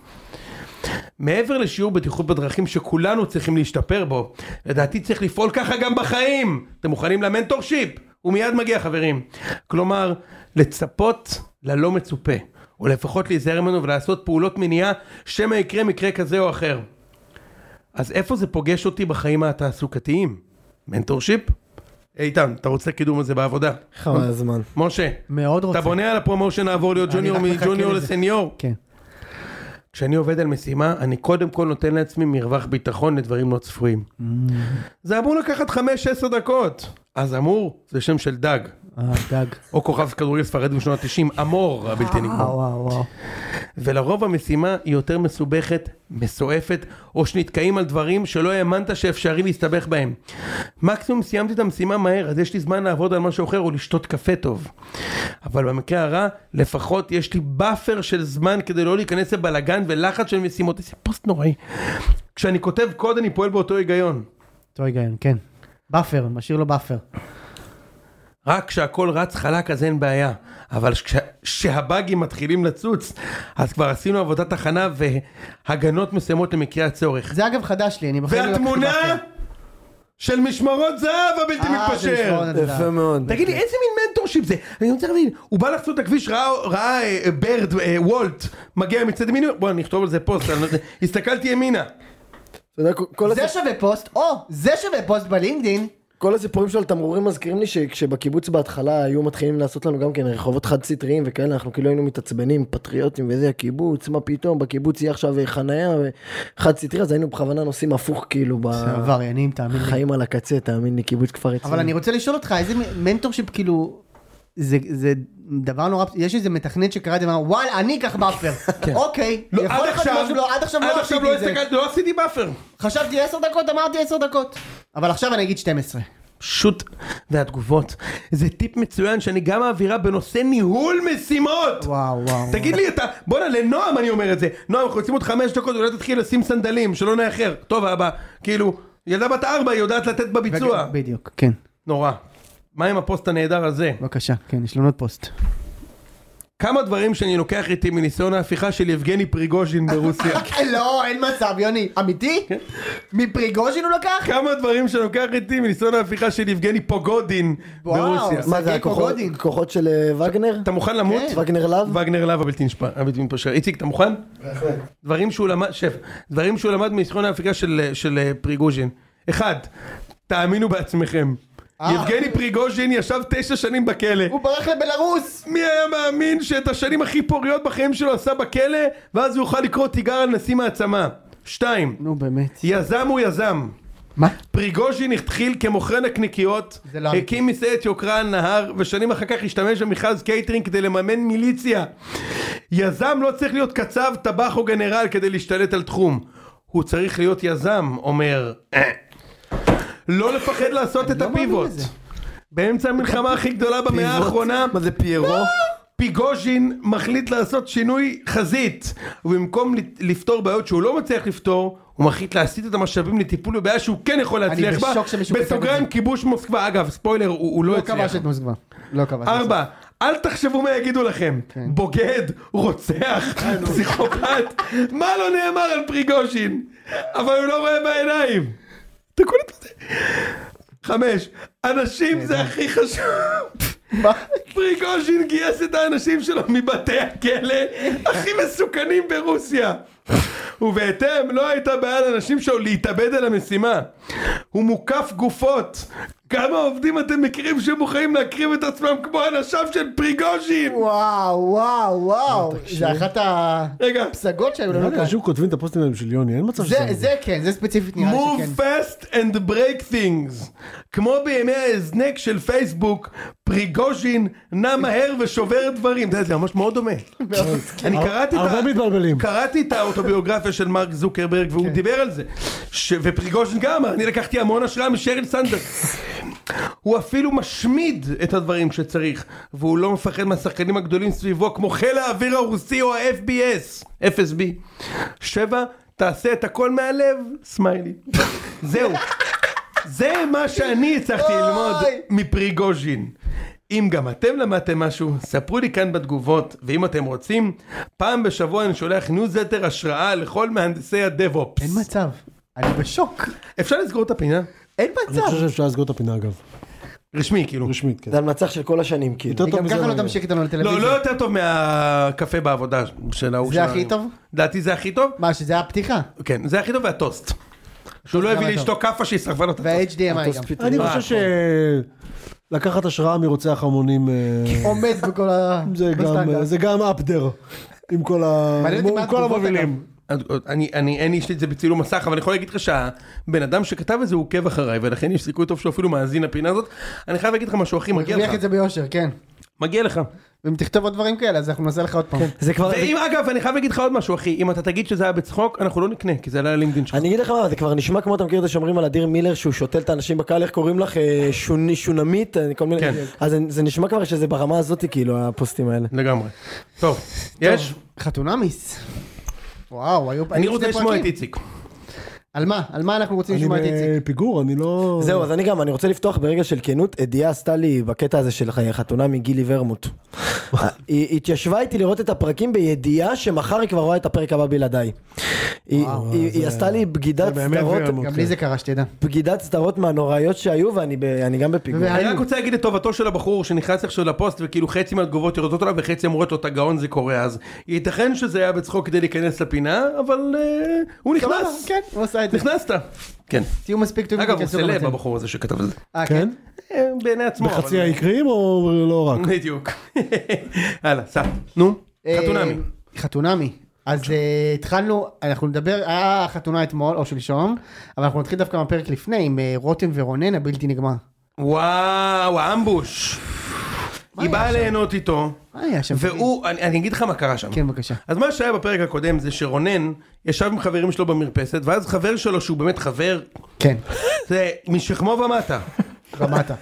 Speaker 1: מעבר לשיעור בטיחות בדרכים שכולנו צריכים להשתפר בו, לדעתי צריך לפעול ככה גם בחיים. אתם מוכנים למנטור שיפ? הוא מיד מגיע חברים. כלומר, לצפות ללא מצופה, או לפחות להיזהר ממנו ולעשות פעולות מניעה, שמא יקרה מקרה כזה או אחר. אז איפה זה פוגש אותי בחיים התעסוקתיים? מנטור שיפ? איתן, אתה רוצה קידום הזה בעבודה?
Speaker 2: חבל הזמן.
Speaker 1: משה,
Speaker 4: מאוד רוצה.
Speaker 1: אתה בונה על הפרומו שנעבור להיות
Speaker 4: אני
Speaker 1: ג'וניור
Speaker 4: רק מחכה
Speaker 1: מג'וניור
Speaker 4: לזה.
Speaker 1: לסניור?
Speaker 4: כן.
Speaker 1: כשאני עובד על משימה, אני קודם כל נותן לעצמי מרווח ביטחון לדברים לא צפויים.
Speaker 4: Mm.
Speaker 1: זה אמור לקחת 5-10 דקות. אז אמור, זה שם של דג,
Speaker 4: אה, דג.
Speaker 1: או כוכב כדורגל ספרדי בשנות ה-90, אמור הבלתי נגמר.
Speaker 4: וואו וואו.
Speaker 1: ולרוב המשימה היא יותר מסובכת, מסועפת, או שנתקעים על דברים שלא האמנת שאפשרי להסתבך בהם. מקסימום סיימתי את המשימה מהר, אז יש לי זמן לעבוד על משהו אחר או לשתות קפה טוב. אבל במקרה הרע, לפחות יש לי באפר של זמן כדי לא להיכנס לבלאגן ולחץ של משימות. איזה פוסט נוראי. כשאני כותב קוד אני פועל באותו היגיון.
Speaker 4: אותו היגיון, כן. באפר, משאיר לו באפר.
Speaker 1: רק כשהכל רץ חלק אז אין בעיה, אבל כשהבאגים מתחילים לצוץ, אז כבר עשינו עבודת הכנה והגנות מסוימות למקרה הצורך.
Speaker 4: זה אגב חדש לי, אני בחיים לא לקחתי
Speaker 1: והתמונה
Speaker 4: באפר.
Speaker 1: של משמרות זהב הבלתי
Speaker 4: אה, זה
Speaker 1: מתפשר.
Speaker 4: משמרות אוקיי. הזהב.
Speaker 2: יפה מאוד.
Speaker 1: תגיד לי, איזה מין מנטורשיפ זה? אני רוצה להבין, הוא בא לחצות את הכביש, ראה- ראה אה, ברד, אה, וולט, מגיע מצד ימין, בוא, אני אכתוב על זה פוסט, אני לא יודע, הסתכלתי ימינה.
Speaker 2: אתה יודע, כל
Speaker 4: זה
Speaker 2: הסיפור-
Speaker 4: שווה פוסט, או, זה שווה פוסט בלינקדאין.
Speaker 2: כל הסיפורים של התמרורים מזכירים לי שכשבקיבוץ בהתחלה היו מתחילים לעשות לנו גם כן רחובות חד סטריים וכאלה אנחנו כאילו היינו מתעצבנים פטריוטים וזה הקיבוץ מה פתאום בקיבוץ יהיה עכשיו אה, חנייה חד סטרי אז היינו בכוונה נוסעים הפוך כאילו
Speaker 4: עבריינים, תאמין לי.
Speaker 2: בחיים על הקצה תאמין לי קיבוץ כפר יציב.
Speaker 4: אבל אני רוצה לשאול אותך, איזה מנטורשיפ, כאילו, זה- זה דבר נורא, יש איזה מתכנת שקרא את זה ואמר, וואלה, אני אקח באפר. אוקיי,
Speaker 1: לא,
Speaker 4: יכול להיות משהו, לא, עד עכשיו
Speaker 1: עד
Speaker 4: לא
Speaker 1: עכשיו
Speaker 4: עשיתי
Speaker 1: לא
Speaker 4: את זה.
Speaker 1: הסתכלתי, לא עשיתי באפר.
Speaker 4: חשבתי 10 דקות, אמרתי 10 דקות. אבל עכשיו אני אגיד 12.
Speaker 1: פשוט, והתגובות. זה טיפ מצוין שאני גם מעבירה בנושא ניהול משימות.
Speaker 4: וואו, וואו.
Speaker 1: תגיד לי אתה, בואנה לנועם אני אומר את זה, נועם אנחנו יוצאים עוד חמש דקות אולי תתחיל לשים סנדלים שלא נאחר, טוב אבא, כאילו ילדה בת ארבע היא יודעת לתת בביצוע,
Speaker 4: בדיוק, כן.
Speaker 1: נורא. מה עם הפוסט הנהדר הזה?
Speaker 4: בבקשה, כן, יש לנו עוד פוסט.
Speaker 1: כמה דברים שאני לוקח איתי מניסיון ההפיכה של יבגני פריגוז'ין ברוסיה.
Speaker 4: <laughs> <laughs> לא, אין מצב, יוני. אמיתי?
Speaker 1: כן.
Speaker 4: מפריגוז'ין הוא לקח?
Speaker 1: כמה דברים שאני לוקח איתי מניסיון ההפיכה של יבגני פוגודין
Speaker 4: וואו.
Speaker 1: ברוסיה.
Speaker 2: מה זה
Speaker 4: סרגי
Speaker 2: הכוחות
Speaker 4: פוגודין.
Speaker 2: כוחות של אה, וגנר?
Speaker 1: אתה מוכן למות?
Speaker 4: כן.
Speaker 2: וגנר להב?
Speaker 1: וגנר להב הבלתי נשפ- הבלתי מתפשר. איציק, אתה מוכן? דברים שהוא למד, שף, דברים שהוא למד מניסיון ההפיקה של, של אה, פריגוז'ין. אחד, תאמינו בעצמכם.
Speaker 2: אה.
Speaker 1: יבגני פריגוז'ין ישב תשע שנים בכלא.
Speaker 4: הוא ברח לבלארוס!
Speaker 1: מי היה מאמין שאת השנים הכי פוריות בחיים שלו עשה בכלא, ואז הוא יוכל לקרוא תיגר על נשיא מעצמה. שתיים,
Speaker 4: נו באמת.
Speaker 1: יזם הוא יזם.
Speaker 4: מה?
Speaker 1: פריגוז'ין התחיל כמוכר נקניקיות,
Speaker 4: זה לא
Speaker 1: הקים מסעדת יוקרה על נהר, ושנים אחר כך השתמש במכרז קייטרינג כדי לממן מיליציה. יזם לא צריך להיות קצב, טבח או גנרל כדי להשתלט על תחום. הוא צריך להיות יזם, אומר... <clears throat> "אה". לא לפחד לעשות את
Speaker 4: לא מאמין
Speaker 1: הפיבוט.
Speaker 4: לזה.
Speaker 1: באמצע המלחמה הכי גדולה במאה האחרונה,
Speaker 2: מה זה פיירו?
Speaker 1: פיגוז'ין מחליט לעשות שינוי חזית, ובמקום לת- לפתור בעיות שהוא לא מצליח לפתור, הוא מחליט להסיט את המשאבים לטיפול בבעיה שהוא כן יכול להצליח בה.
Speaker 4: בשוק שמישהו כתב את
Speaker 1: בסוגריים
Speaker 4: זה.
Speaker 1: כיבוש מוסקבה, אגב, ספוילר, הוא, הוא לא
Speaker 4: לא כבש
Speaker 1: הצליח.
Speaker 4: את מוסקבה. לא כבש. את מוסקבה.
Speaker 1: ארבע, אל תחשבו מה יגידו לכם.
Speaker 2: כן.
Speaker 1: בוגד, רוצח,
Speaker 2: אה,
Speaker 1: פסיכופת, מה לא נאמר על פריגוז'ין? אבל הוא לא רואה בעיניים. אתה קולט את זה? חמש, אנשים זה הכי חשוב. פריגוז'ין גייס את האנשים שלו מבתי הכלא הכי מסוכנים ברוסיה. ובהתאם לא הייתה בעיה לאנשים שלו להתאבד על המשימה. הוא מוקף גופות. כמה עובדים אתם מכירים שמוכנים להקריב את עצמם כמו אנשיו של פריגוז'ין?
Speaker 4: וואו, וואו, וואו. זה אחת
Speaker 1: רגע,
Speaker 4: הפסגות שהיו לנו כאן.
Speaker 3: לא אנשים כותבים את הפוסטים האלה בשביל יוני, אין מצב
Speaker 4: לא זה,
Speaker 3: שזה...
Speaker 4: זה כן, זה ספציפית נראה לי
Speaker 1: move
Speaker 4: שכן.
Speaker 1: fast and break things. כמו בימי ההזנק של פייסבוק, פריגוז'ין נע מהר ושובר דברים. אתה יודע, זה ממש מאוד דומה. כן. אני קראתי את ה-
Speaker 3: הרבה מתבלבלים. כן.
Speaker 1: קראתי את האוטוביוגרפיה של מרק זוקרברג והוא דיבר על זה. ש- ופריגוז'ין גם, אני לקחתי המון השראה משריל סנדרס. הוא אפילו משמיד את הדברים שצריך, והוא לא מפחד מהשחקנים הגדולים סביבו כמו חיל האוויר הרוסי או ה-FBS, FSB. שבע, תעשה את הכל מהלב, סמיילי. זהו. זה מה שאני הצלחתי ללמוד מפריגוז'ין. אם גם אתם למדתם משהו, ספרו לי כאן בתגובות, ואם אתם רוצים, פעם בשבוע אני שולח ניוזלטר השראה לכל מהנדסי הדב-אופס.
Speaker 4: אין מצב. אני בשוק.
Speaker 1: אפשר לסגור את הפינה?
Speaker 4: אין
Speaker 3: אני
Speaker 4: מצב.
Speaker 3: חושב שאפשר לסגור את הפינה אגב,
Speaker 1: רשמי, כאילו.
Speaker 3: רשמית, כן.
Speaker 2: זה המנצח של כל השנים כאילו.
Speaker 3: יותר טוב
Speaker 4: גם
Speaker 3: מזה
Speaker 4: ככה
Speaker 3: לא
Speaker 4: לא
Speaker 3: יהיה.
Speaker 4: תמשיך איתנו לטלוויזיה.
Speaker 1: לא, לא יותר טוב מהקפה בעבודה של ההוא
Speaker 4: זה
Speaker 1: שלנו.
Speaker 4: הכי טוב?
Speaker 1: לדעתי זה הכי טוב.
Speaker 4: מה, שזה היה פתיחה.
Speaker 1: כן, זה הכי טוב והטוסט. שהוא לא
Speaker 4: גם
Speaker 1: הביא
Speaker 4: היה
Speaker 1: לאשתו כאפה שהיא שרפה לו את הטוסט.
Speaker 4: וה-HDMI גם.
Speaker 3: אני חושב שלקחת השראה מרוצח המונים אה,
Speaker 4: עומד בכל ה...
Speaker 3: זה גם- אה,
Speaker 4: בסטנדרט.
Speaker 3: זה גם אפדר. עם כל ה-
Speaker 4: לא מעניין אותי מה
Speaker 3: עם כל
Speaker 4: התגובות,
Speaker 3: המובילים.
Speaker 1: אני, אני, אין לי יש לי את זה בצילום מסך, אבל אני יכול להגיד לך שהבן אדם שכתב את זה הוא עוקב אחריי, ולכן יש סיכוי טוב שהוא אפילו מאזין לפינה הזאת. אני חייב להגיד לך משהו, אחי,
Speaker 4: הוא
Speaker 1: מגיע
Speaker 4: הרוויח
Speaker 1: לך.
Speaker 4: את זה ביושר, כן.
Speaker 1: מגיע לך.
Speaker 4: ואם תכתוב עוד דברים כאלה, אז אנחנו נעשה לך עוד פעם.
Speaker 2: זה כבר...
Speaker 1: ואם אגב, אני חייב להגיד לך עוד משהו, אחי, אם אתה תגיד שזה היה בצחוק, אנחנו לא נקנה, כי זה עלה ללינקדאין שלך.
Speaker 2: אני אגיד לך מה, זה כבר נשמע כמו אתה מכיר את השומרים על אדיר מילר שהוא שותל את האנשים בקהל, איך קוראים לך? אה, שוני- שונמית? אה, כל מיני...
Speaker 1: כן.
Speaker 2: אז זה- זה נשמע כבר שזה ברמה הזאת כאילו הפוסטים האלה.
Speaker 1: לגמרי. טוב, יש?
Speaker 4: טוב, חתונמיס. וואו, היו פה...
Speaker 1: אני
Speaker 4: היו
Speaker 1: רוצה
Speaker 4: שני
Speaker 1: לשמוע את
Speaker 4: פרקים.
Speaker 1: איציק.
Speaker 4: על מה? על מה אנחנו רוצים
Speaker 3: אני
Speaker 4: לשמוע את איציק?
Speaker 3: בפיגור, אני לא...
Speaker 2: זהו, אז אני גם, אני רוצה לפתוח ברגע של כנות, אדיה עשתה לי בקטע הזה של חתונה מגילי
Speaker 3: <laughs>
Speaker 2: ורמוט. היא התיישבה איתי לראות את הפרקים בידיעה שמחר היא כבר רואה את הפרק הבא בלעדיי. היא- היא היא עשתה לי בגידת
Speaker 3: באמת
Speaker 2: סדרות,
Speaker 3: ורמוט.
Speaker 4: גם לי זה קרה, שתדע.
Speaker 2: בגידת סדרות מהנוראיות שהיו ואני ב- אני גם בפיגור.
Speaker 4: ומה-
Speaker 1: אני
Speaker 4: היינו.
Speaker 1: רק רוצה להגיד לטובתו של הבחור שנכנס עכשיו לפוסט וכאילו חצי מהתגובות יורדות עליו וחצי אמורות לו אתה גאון זה קורה אז. ייתכן שזה היה בצחוק כדי להיכנס לפינה אבל אה, הוא נכנס.
Speaker 4: סבבה, כן, הוא עשה את זה.
Speaker 1: נכנסת. כן.
Speaker 4: תהיו מספיק טובים.
Speaker 1: אגב הוא
Speaker 4: תיכנסו
Speaker 1: סלב
Speaker 4: לבתים.
Speaker 1: הבחור הזה שכתב את זה.
Speaker 4: אה,
Speaker 3: כן?
Speaker 4: כן?
Speaker 1: אה, בעיני עצמו. אבל-
Speaker 3: חצי העיקריים או לא רק?
Speaker 1: בדיוק. <laughs> הלאה, סע. נו, חתונמי.
Speaker 4: אה, חתונמי. אז אה, התחלנו, אנחנו נדבר, היה חתונה אתמול או שלשום, אבל אנחנו נתחיל דווקא מהפרק לפני עם אה, רותם ורונן הבלתי נגמר.
Speaker 1: וואו, האמבוש. היא
Speaker 4: היה
Speaker 1: באה
Speaker 4: שם?
Speaker 1: ליהנות איתו,
Speaker 4: מה אה, היה שם?
Speaker 1: והוא, אני אני אגיד לך מה קרה שם.
Speaker 4: כן, בבקשה.
Speaker 1: אז מה שהיה בפרק הקודם זה שרונן ישב עם חברים שלו במרפסת, ואז חבר שלו שהוא באמת חבר,
Speaker 4: כן,
Speaker 1: זה משכמו ומטה.
Speaker 4: למטה.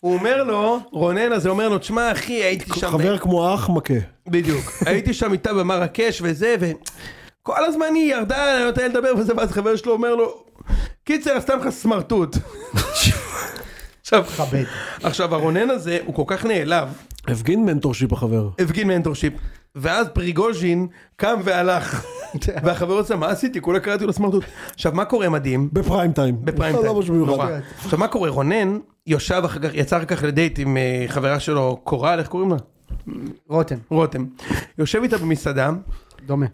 Speaker 1: הוא אומר לו, רונן הזה אומר לו, תשמע אחי, הייתי שם,
Speaker 3: חבר כמו אח מכה.
Speaker 1: בדיוק, הייתי שם איתה במרקש וזה, וכל הזמן היא ירדה, אני נותן לה לדבר וזה, ואז חבר שלו אומר לו, קיצר, עשתה לך סמרטוט. עכשיו,
Speaker 4: כבד.
Speaker 1: עכשיו, הרונן הזה, הוא כל כך נעלב,
Speaker 3: הפגין מנטורשיפ החבר.
Speaker 1: הפגין מנטורשיפ, ואז פריגוז'ין קם
Speaker 3: <laughs>
Speaker 1: והלך, והחבר עושה, מה עשיתי? כולה קראתי לו סמרטוט. עכשיו, מה קורה מדהים?
Speaker 3: בפריים טיים.
Speaker 1: בפריים
Speaker 3: לא,
Speaker 1: טיים,
Speaker 3: לא משהו מיוחד.
Speaker 1: נורא. עכשיו, מה קורה? רונן יושב אחר כך, יצא אחר כך לדייט עם אה, חברה שלו, קורל, איך קוראים לה?
Speaker 4: רותם,
Speaker 1: רותם. יושב איתה במסעדה,
Speaker 4: דומה.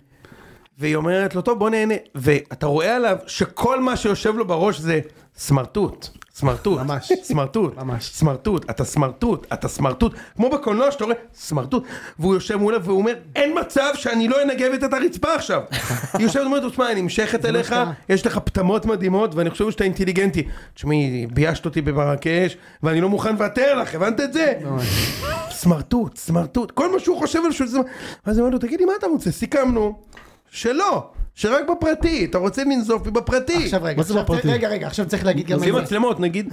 Speaker 1: והיא אומרת לו, טוב, בוא נהנה. ואתה רואה עליו שכל מה שיושב לו בראש זה סמרטוט. סמרטוט,
Speaker 4: ממש.
Speaker 1: סמרטוט,
Speaker 4: ממש.
Speaker 1: סמרטוט, אתה סמרטוט, אתה סמרטוט, כמו בקולנוע שאתה רואה, סמרטוט, והוא יושב מולה והוא אומר, אין מצב שאני לא אנגבת את הרצפה עכשיו. היא יושבת ואומרת לו, תשמע, אני נמשכת אליך,
Speaker 4: שקרה.
Speaker 1: יש לך פטמות מדהימות, ואני חושב שאתה אינטליגנטי. תשמעי, ביישת אותי במרקש, ואני לא מוכן לוותר לך, הבנת את זה? סמרטוט, סמרטוט, כל מה שהוא חושב על שהוא... זה- ואז אמרנו, תגיד לי, מה אתה רוצה? סיכמנו, שלא, שרק בפרטי, אתה רוצה לנזוף בי בפרטי.
Speaker 4: עכשיו רגע,
Speaker 3: זה
Speaker 4: עכשיו-
Speaker 3: בפרטי?
Speaker 4: רגע, רגע, עכשיו צריך להגיד גם
Speaker 1: נשים
Speaker 4: על זה.
Speaker 1: מצלמות,
Speaker 4: <coughs>
Speaker 1: נגיד.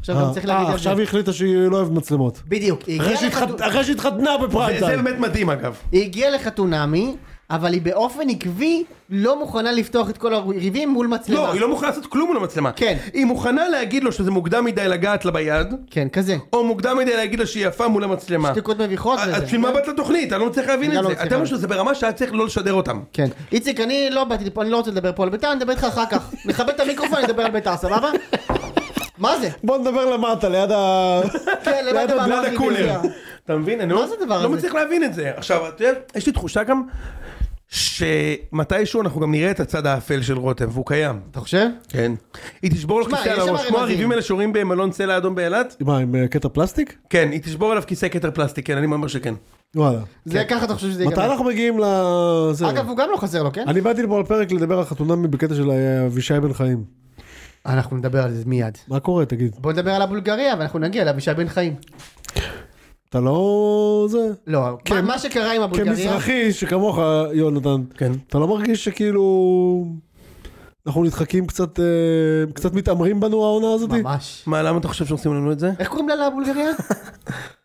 Speaker 4: עכשיו גם צריך להגיד
Speaker 3: אה,
Speaker 4: על זה.
Speaker 3: עכשיו היא החליטה שהיא לא אוהבת מצלמות.
Speaker 4: בדיוק, היא
Speaker 3: אחרי
Speaker 4: הגיעה לחתונה-
Speaker 3: שהתחת- אחרי שהתחתנה בפריים
Speaker 1: זה זה
Speaker 3: טיים.
Speaker 1: באמת מדהים אגב.
Speaker 4: היא הגיעה לחתונמי, אבל היא באופן עקבי לא מוכנה לפתוח את כל הריבים מול מצלמה.
Speaker 1: לא, היא לא מוכנה לעשות כלום מול המצלמה.
Speaker 4: כן.
Speaker 1: היא מוכנה להגיד לו שזה מוקדם מדי לגעת לה ביד,
Speaker 4: כן, כזה.
Speaker 1: או מוקדם מדי להגיד לה שהיא יפה מול המצלמה. אה,
Speaker 4: שתיקות מביכות
Speaker 1: אז
Speaker 4: וזה.
Speaker 1: בשביל מה באת לתוכנית? אני לא מצליח
Speaker 4: אני
Speaker 1: להבין את
Speaker 4: לא
Speaker 1: זה.
Speaker 4: מצליח
Speaker 1: אתם
Speaker 4: להבין.
Speaker 1: חושבים שזה ברמה שהיה צריך לא לשדר אותם.
Speaker 4: כן. איציק, אני לא באתי לפה, אני לא רוצה לדבר פה על ביתר, אני אדבר איתך אחר
Speaker 3: <laughs>
Speaker 4: כך. נכבד את המיקרופון, נדבר על ביתר, סבבה? מה זה?
Speaker 3: בוא נדבר למטה, ליד ה...
Speaker 4: <laughs> כן, למטה
Speaker 3: ליד
Speaker 4: במערב
Speaker 1: ליד הקולר.
Speaker 4: הגיליון.
Speaker 1: אתה מבין? אני
Speaker 4: מה זה הדבר הזה?
Speaker 1: לא מצליח להבין את זה. עכשיו, אתה יודע, יש לי תחושה גם שמתישהו אנחנו גם נראה את הצד האפל של רותם, והוא קיים.
Speaker 4: אתה חושב?
Speaker 1: כן. היא תשבור לו
Speaker 4: שמע,
Speaker 1: כיסא
Speaker 4: יש
Speaker 1: על
Speaker 4: שם
Speaker 1: הראש, כמו
Speaker 4: רמזים.
Speaker 1: הריבים האלה שרואים במלון צלע אדום באילת?
Speaker 3: מה, עם אה, קטע פלסטיק?
Speaker 1: כן, היא תשבור עליו כיסא כתר פלסטיק, כן, אני אומר שכן.
Speaker 3: וואלה.
Speaker 4: זה ככה אתה חושב שזה
Speaker 3: מתי
Speaker 4: ייגמר.
Speaker 3: אנחנו מגיעים ל... זה.
Speaker 4: אגב, הוא גם לא חסר לו, כן?
Speaker 3: אני באתי לפה על פרק לדבר על חתונמי בקטע של אה, אבישי בן חיים.
Speaker 4: אנחנו נדבר על זה מיד.
Speaker 3: מה קורה, תגיד?
Speaker 4: בוא נדבר על הבולגריה, ואנחנו נגיע לאבישי בן חיים.
Speaker 3: אתה לא... זה...
Speaker 4: לא, מה- מה שקרה עם הבולגריה...
Speaker 3: כן. כמזרחי שכמוך, יונתן.
Speaker 1: כן.
Speaker 3: אתה לא מרגיש שכאילו... אנחנו נדחקים קצת... אה, קצת מתעמרים בנו העונה הזאת?
Speaker 4: ממש.
Speaker 1: מה, למה אתה חושב שעושים לנו את זה?
Speaker 4: איך קוראים לה
Speaker 3: <laughs>
Speaker 4: לבולגריה?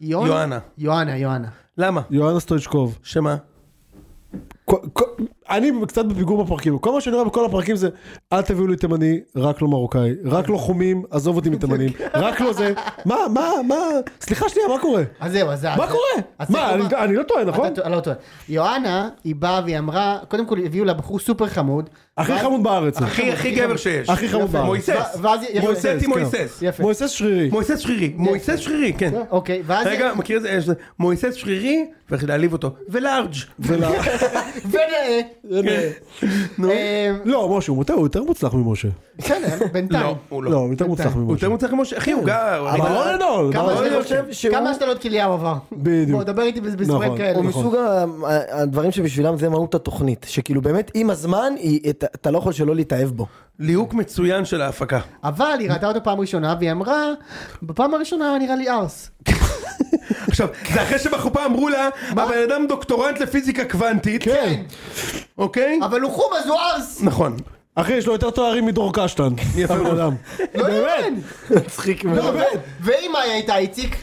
Speaker 4: יונה?
Speaker 1: יואנה.
Speaker 4: יואנה, יואנה.
Speaker 1: למה?
Speaker 3: יואנה סטויצ'קוב.
Speaker 1: שמה?
Speaker 3: כל- כל- אני קצת בפיגור בפרקים, כל מה שאני רואה בכל הפרקים זה אל תביאו לי תימני, רק לא מרוקאי, רק לא חומים, עזוב אותי
Speaker 4: <laughs>
Speaker 3: מתימנים,
Speaker 4: כן.
Speaker 3: רק לא זה, מה, מה, מה, סליחה שנייה, מה קורה?
Speaker 4: אז זהו, אז...
Speaker 3: מה
Speaker 4: אז-
Speaker 3: קורה?
Speaker 4: אז
Speaker 3: מה,
Speaker 4: צריך
Speaker 3: אני-
Speaker 4: לומר-
Speaker 3: אני לא טועה, נכון?
Speaker 4: אתה טוע- לא טועה. יואנה, היא באה והיא אמרה, קודם כל הביאו לה בחור סופר חמוד.
Speaker 3: הכי
Speaker 4: ואז-
Speaker 3: חמוד בארץ.
Speaker 1: הכי הכי גבר שיש.
Speaker 3: הכי חמוד
Speaker 1: יפה.
Speaker 3: בארץ.
Speaker 1: מויסס.
Speaker 4: ו- ואז- יפה.
Speaker 1: מויסס היא
Speaker 3: כן.
Speaker 1: מויסס.
Speaker 4: יפה.
Speaker 3: מויסס שרירי.
Speaker 1: מויסס שרירי. מויסס שרירי, כן.
Speaker 4: אוקיי, ואז...
Speaker 1: רגע, מכיר את זה? יש- מויסס שרירי, ואיך להעליב אותו. ולארג'.
Speaker 3: ול-
Speaker 4: ונאה.
Speaker 1: נו.
Speaker 4: אה,
Speaker 3: לא, משה, הוא מוטה, הוא יותר יותר מוצלח ממשה.
Speaker 4: בסדר, בינתיים.
Speaker 1: <laughs> לא, הוא
Speaker 3: לא,
Speaker 1: לא.
Speaker 3: הוא יותר מוצלח
Speaker 1: הוא
Speaker 3: ממשה.
Speaker 1: יותר מוצלח ממשה, אחי
Speaker 4: כן.
Speaker 1: הוא גר.
Speaker 3: אבל לא,
Speaker 1: אני-
Speaker 3: all in all,
Speaker 4: כמה
Speaker 1: לא,
Speaker 3: אבל-
Speaker 4: השתלות-
Speaker 2: חושב שהוא-
Speaker 4: כמה השתלות כליה הוא עבר.
Speaker 3: בדיוק.
Speaker 4: בוא, דבר איתי בסיפורים
Speaker 3: נכון.
Speaker 4: כאלה.
Speaker 2: הוא
Speaker 3: נכון.
Speaker 2: מסוג ה- ה- הדברים שבשבילם זה מהות התוכנית, שכאילו באמת עם הזמן היא- אתה- אתה לא יכול שלא להתאהב בו.
Speaker 1: ליהוק מצוין של ההפקה.
Speaker 4: אבל היא ראתה אותו פעם ראשונה, והיא אמרה, בפעם הראשונה הוא נראה לי ארס.
Speaker 1: עכשיו,
Speaker 4: כן.
Speaker 1: זה אחרי שבחופה אמרו לה, הבן אדם דוקטורנט לפיזיקה קוונטית. כן. אוקיי?
Speaker 4: אבל הוא חום אז הוא ארס!
Speaker 1: נכון.
Speaker 3: אחי, יש לו יותר תוארים מדרור קשטן.
Speaker 1: יפה
Speaker 3: הבן
Speaker 1: מאוד.
Speaker 3: אדם.
Speaker 4: לא יאמן!
Speaker 2: מצחיק מאוד.
Speaker 4: ו- ואם היא הייתה איציק,